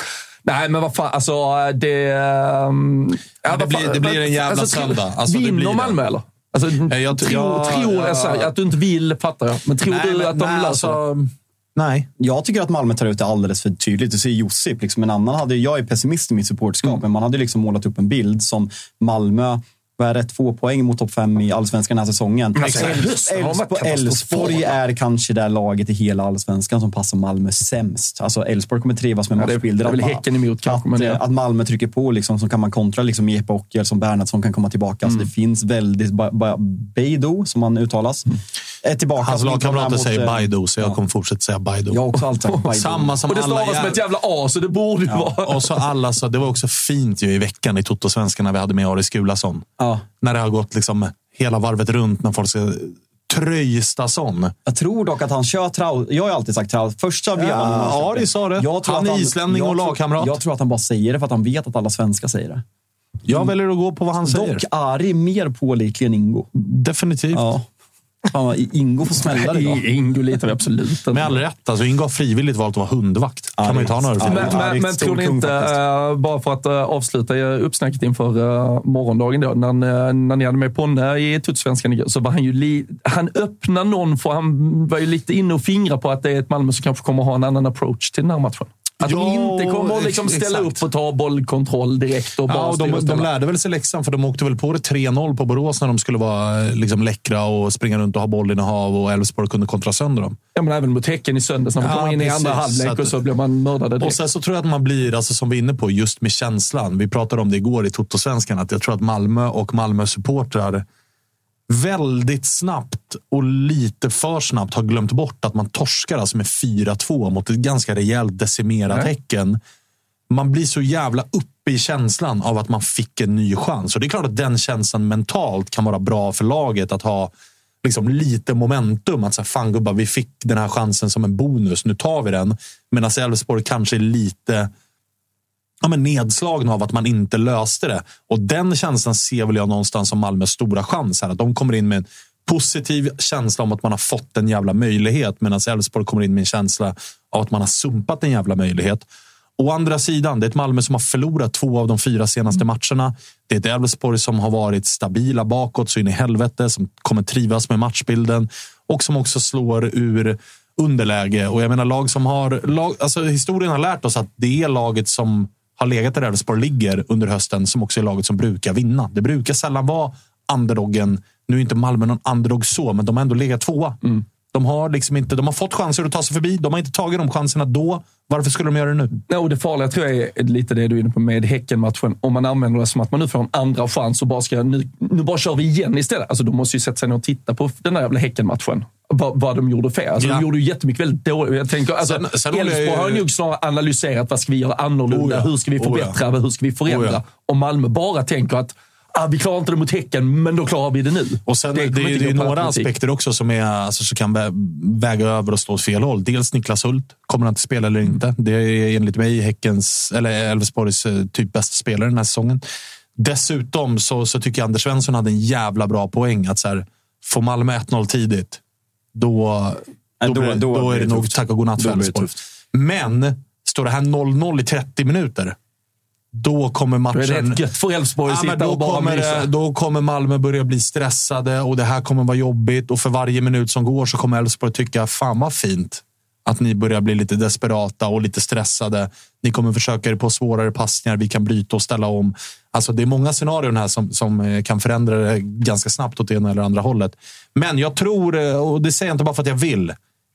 Nej, men vad fan. Alltså, det... ehm, ja,
det
vad
blir-
fan,
det blir en jävla
tror-
söndag. Alltså, det blir
vinner
det.
Malmö, eller? Alltså,
jag tror-
tror,
ja,
tror
ja.
alltså, att du inte vill, fattar jag. Men tror du
men-
att de
nej,
löser det?
alltså, Nej.
Jag tycker att Malmö tar ut det alldeles för tydligt. Du ser Josip. Liksom en annan hade, jag är pessimist i mitt supportskap,
Mm.
men man hade liksom målat upp en bild som Malmö vad är rätt få poäng mot topp fem i allsvenskan den här säsongen.
alltså,
Elfs-
hösten har
Elfs-
varit katastrofal.
Elfsborg är kanske det laget i hela allsvenskan som passar Malmö sämst. Alltså Elfsborg kommer trivas med
Ja, det är-
matchbilder.
det är väl
att ma-
Häcken emot kanske,
Att,
men ja.
eh, att Malmö trycker på liksom, så kan man kontra liksom, med Jeppe Ockel som Bernhardsson kan komma tillbaka.
Mm.
Alltså, det finns väldigt... Ba, ba, Beido, som han uttalas,
Mm.
är tillbaka.
Hans
Som inte var med
lagkamrater
mot,
säger
eh,
Baido, så jag kommer fortsätta säga Baido.
Jag har också
[LAUGHS]
alltid sagt Baidu.
Samma som
Och det
alla
stavas med ett jävla A, så det borde ju vara...
[LAUGHS]
[LAUGHS]
Och så alla så, det var också fint ju i veckan i Toto-svenskan när vi hade med Aris Gulason.
Ja.
När det har gått liksom hela varvet runt när folk ska Tröjstason.
Jag tror dock att han kör Traut. Jag har ju alltid sagt Traut. Första vevan.
Ja, Ari sa det. Han är islänning och lagkamrat.
Jag tror att han bara säger det för att han vet att alla svenskar säger det.
Jag väljer att gå på vad han säger.
Dock Ari mer pålitlig än Ingo.
Definitivt.
Ja. Fan, vad Ingo får smälla det idag.
Ingo litar vi absolut
Med all rätt. Alltså, Ingo har frivilligt valt att vara hundvakt. kan man ju ta några
Men, men, men
stor
tror ni
kung
inte,
faktiskt.
eh, bara för att eh, avsluta eh, uppsnacket inför eh, morgondagen, då, när, eh, när ni hade med Ponne i Tutsvenskan igår, så var han ju... Li, han öppnade någon, för han var ju lite inne och fingra på att det är ett Malmö som kanske kommer ha en annan approach till den här matchen. Att de
Ja,
inte kommer att liksom
ex-
ställa
exakt.
upp och ta bollkontroll direkt och bara
Ja, och
styra
de,
och ställa.
de lärde väl sig läxan, för de åkte väl på det 3-0 på Borås när de skulle vara eh, liksom, läckra och springa runt och ha bollinnehav och Elfsborg kunde kontra sönder dem.
Ja, men även mot Häcken i söndags när man
Ja,
kommer in i andra
precis. Så
halvlek
att-
och så blir man mördade direkt.
Och sen så tror jag att man blir, alltså som vi är inne på, just med känslan. Vi pratade om det igår i Toto-svenskan, att jag tror att Malmö och Malmö-supportrar väldigt snabbt och lite för snabbt har glömt bort att man torskar alltså med 4-2 mot ett ganska rejält decimerat
Nej.
Häcken. Man blir så jävla uppe i känslan av att man fick en ny chans. Och det är klart att den känslan mentalt kan vara bra för laget att ha liksom lite momentum. Att så här, fan gubbar, vi fick den här chansen som en bonus. Nu tar vi den. Medan Elfsborg kanske är lite ja, men nedslagna av att man inte löste det. Och den känslan ser väl jag någonstans som Malmös stora chans. Här. Att de kommer in med en positiv känsla om att man har fått en jävla möjlighet. Medan Elfsborg kommer in med en känsla av att man har sumpat en jävla möjlighet. Å andra sidan, det är ett Malmö som har förlorat två av de fyra senaste matcherna. Det är ett Elfsborg som har varit stabila bakåt så in i helvete, som kommer trivas med matchbilden och som också slår ur underläge. Och jag menar, lag som har, lag, alltså, historien har lärt oss att det är laget som har legat där Elfsborg ligger under hösten som också är laget som brukar vinna. Det brukar sällan vara underdoggen. Nu är inte Malmö någon underdog så, men de har ändå legat tvåa. De har liksom inte, de har fått chanser att ta sig förbi. De har inte tagit de chanserna då. Varför skulle de göra det nu?
Ja, och det farliga tror jag är lite det du är inne på med Häcken-matchen. Om man använder det som att man nu får en andra chans och bara ska, nu, nu bara kör vi igen istället. Alltså, de måste ju sätta sig ner och titta på den där jävla Häcken-matchen. Vad, vad de gjorde fel. Alltså,
Ja.
De gjorde ju jättemycket väldigt dåligt. Jag tänker, alltså,
Sen- sen håller jag
Elfsborg har
ju-
ju nog snarare analyserat vad ska vi göra annorlunda?
Oh ja.
Hur ska vi
Oh ja.
förbättra? Hur ska vi förändra?
Oh ja.
Och Malmö bara tänker att ah, vi klarar inte det mot Häcken, men då klarar vi det nu.
Och sen, det,
kommer
är,
inte
det är
gå på
några
automatik.
aspekter också som, är, alltså, som kan vä- väga över och stå åt fel håll. Dels Niklas Hult. Kommer han att spela eller inte? Det är enligt mig Häckens, eller Elfsborgs eh, typ bästa spelare den här säsongen. Dessutom så, så tycker jag Anders Svensson hade en jävla bra poäng. Att så här, får Malmö 1-0 tidigt, då,
Ja,
då,
då-
blir-
då
då, är
blir
det
det
nog
tufft.
tack och godnatt för
Då blir det
Elfsborg.
tufft.
Men står det här 0-0 i 30 minuter, då kommer matchen...
Då är det rätt gött för Elfsborg att
Ja, men
sitta
då,
och bara
kommer, eh, det-
mysa.
då kommer Malmö börja bli stressade och det här kommer vara jobbigt. Och för varje minut som går så kommer Elfsborg tycka, fan vad fint att ni börjar bli lite desperata och lite stressade. Ni kommer försöka er på svårare passningar. Vi kan bryta och ställa om. Alltså, det är många scenarion här som, som eh, kan förändra det ganska snabbt åt det ena eller andra hållet. Men jag tror, eh, och det säger jag inte bara för att jag vill,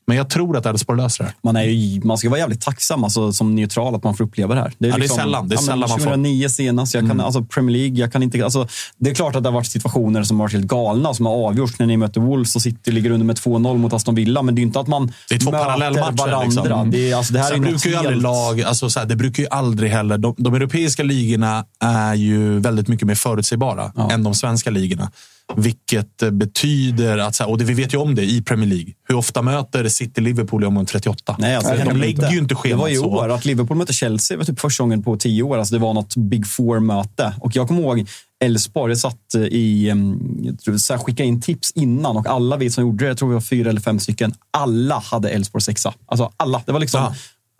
men jag tror att Elfsborg löser det.
Man, är ju, man ska vara jävligt tacksam alltså, som neutral att man får uppleva det här.
Ja, det är sällan- det är
men
sällan man får. Mm.
2009 senast. Jag kan, alltså, Premier League, jag kan inte... Alltså, det är klart att det har varit situationer som har varit helt galna som har avgjorts. När ni möter Wolves och City ligger under med 2-0 mot Aston Villa. Men det är ju inte att man
Det är två
möter
parallellmatcher.
varandra.
Liksom.
Det, är, alltså, det här
Sen
är ju något
brukar ju aldrig
helt-
lag, alltså, så här, det brukar ju aldrig heller... De, de europeiska ligorna är ju väldigt mycket mer förutsägbara än de svenska ligorna. Vilket eh, betyder att, så här, och det, vi vet ju om det i Premier League, hur ofta möter City Liverpool i omgång 38?
Nej, alltså, det
de
händer
lägger ju inte
Det var
schemat
i
så.
år. Att Liverpool mötte Chelsea var typ första gången på tio år. Alltså, det var något Big Four-möte. Och jag kommer ihåg Elfsborg jag satt eh, i... em, Jag tror, så här, skickade in tips innan och alla vi som gjorde det, jag tror vi var fyra eller fem stycken, alla hade Elfsborg sexa. Alltså alla. Det var liksom...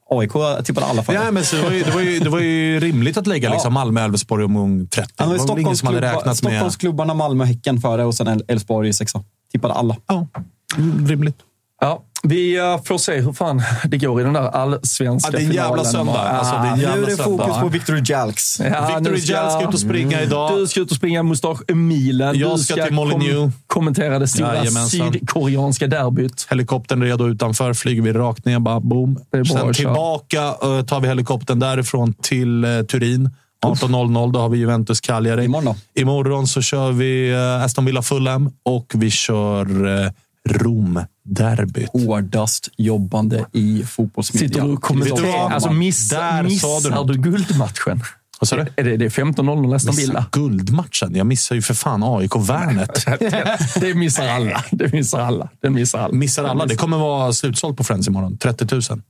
AIK tippade alla fall.
Ja, men så det, var ju, det, var ju, det var ju rimligt att lägga liksom, Malmö Elfsborg i omgång 30.
Ja,
det
men
var väl ingen som hade
Stockholmsklubba-
räknat med...
Stockholmsklubbarna Malmö och Häcken före och sen El- Elfsborg sexa. Tippade alla.
Ja, mm, rimligt.
Ja, vi eh, får se hur fan [LAUGHS] det går i den där allsvenska
Ja, det är en jävla
finalen.
söndag. Alltså, det är en
Ah,
jävla
Nu är det
söndag.
fokus på Victor Jalks.
Ja,
Victor
nu Mm.
Rijal ska ut och springa idag.
Du ska ut och springa mustaschmilen.
Jag
du
ska till Molineux.
kommentera det stora
Jajamensan.
sydkoreanska derbyt.
Helikoptern redo utanför, flyger vi rakt ner, bara boom.
Det är bra
Sen
att köra.
tillbaka eh, tar vi helikoptern därifrån till eh, Turin. 18.00, då har vi Juventus Cagliari.
Imorgon då?
Imorgon så kör vi eh, Aston Villa Fulham och vi kör eh, Rom-derbyt.
Oh.
Hårdast jobbande i fotbollsmedia.
Sitter du och
Vet du
kommenterar?
vad?
Alltså, miss,
Där sa du
missar
något.
du guldmatchen?
Vad sa du?
Är det, det är 15-0 nästan Villa?
[LAUGHS] guldmatchen. Jag missar ju för fan AIK-Värnet.
[LAUGHS] det missar alla. Det missar alla. Den missar alla.
Missar alla. Det kommer vara slutsålt på Friends imorgon. 30 000.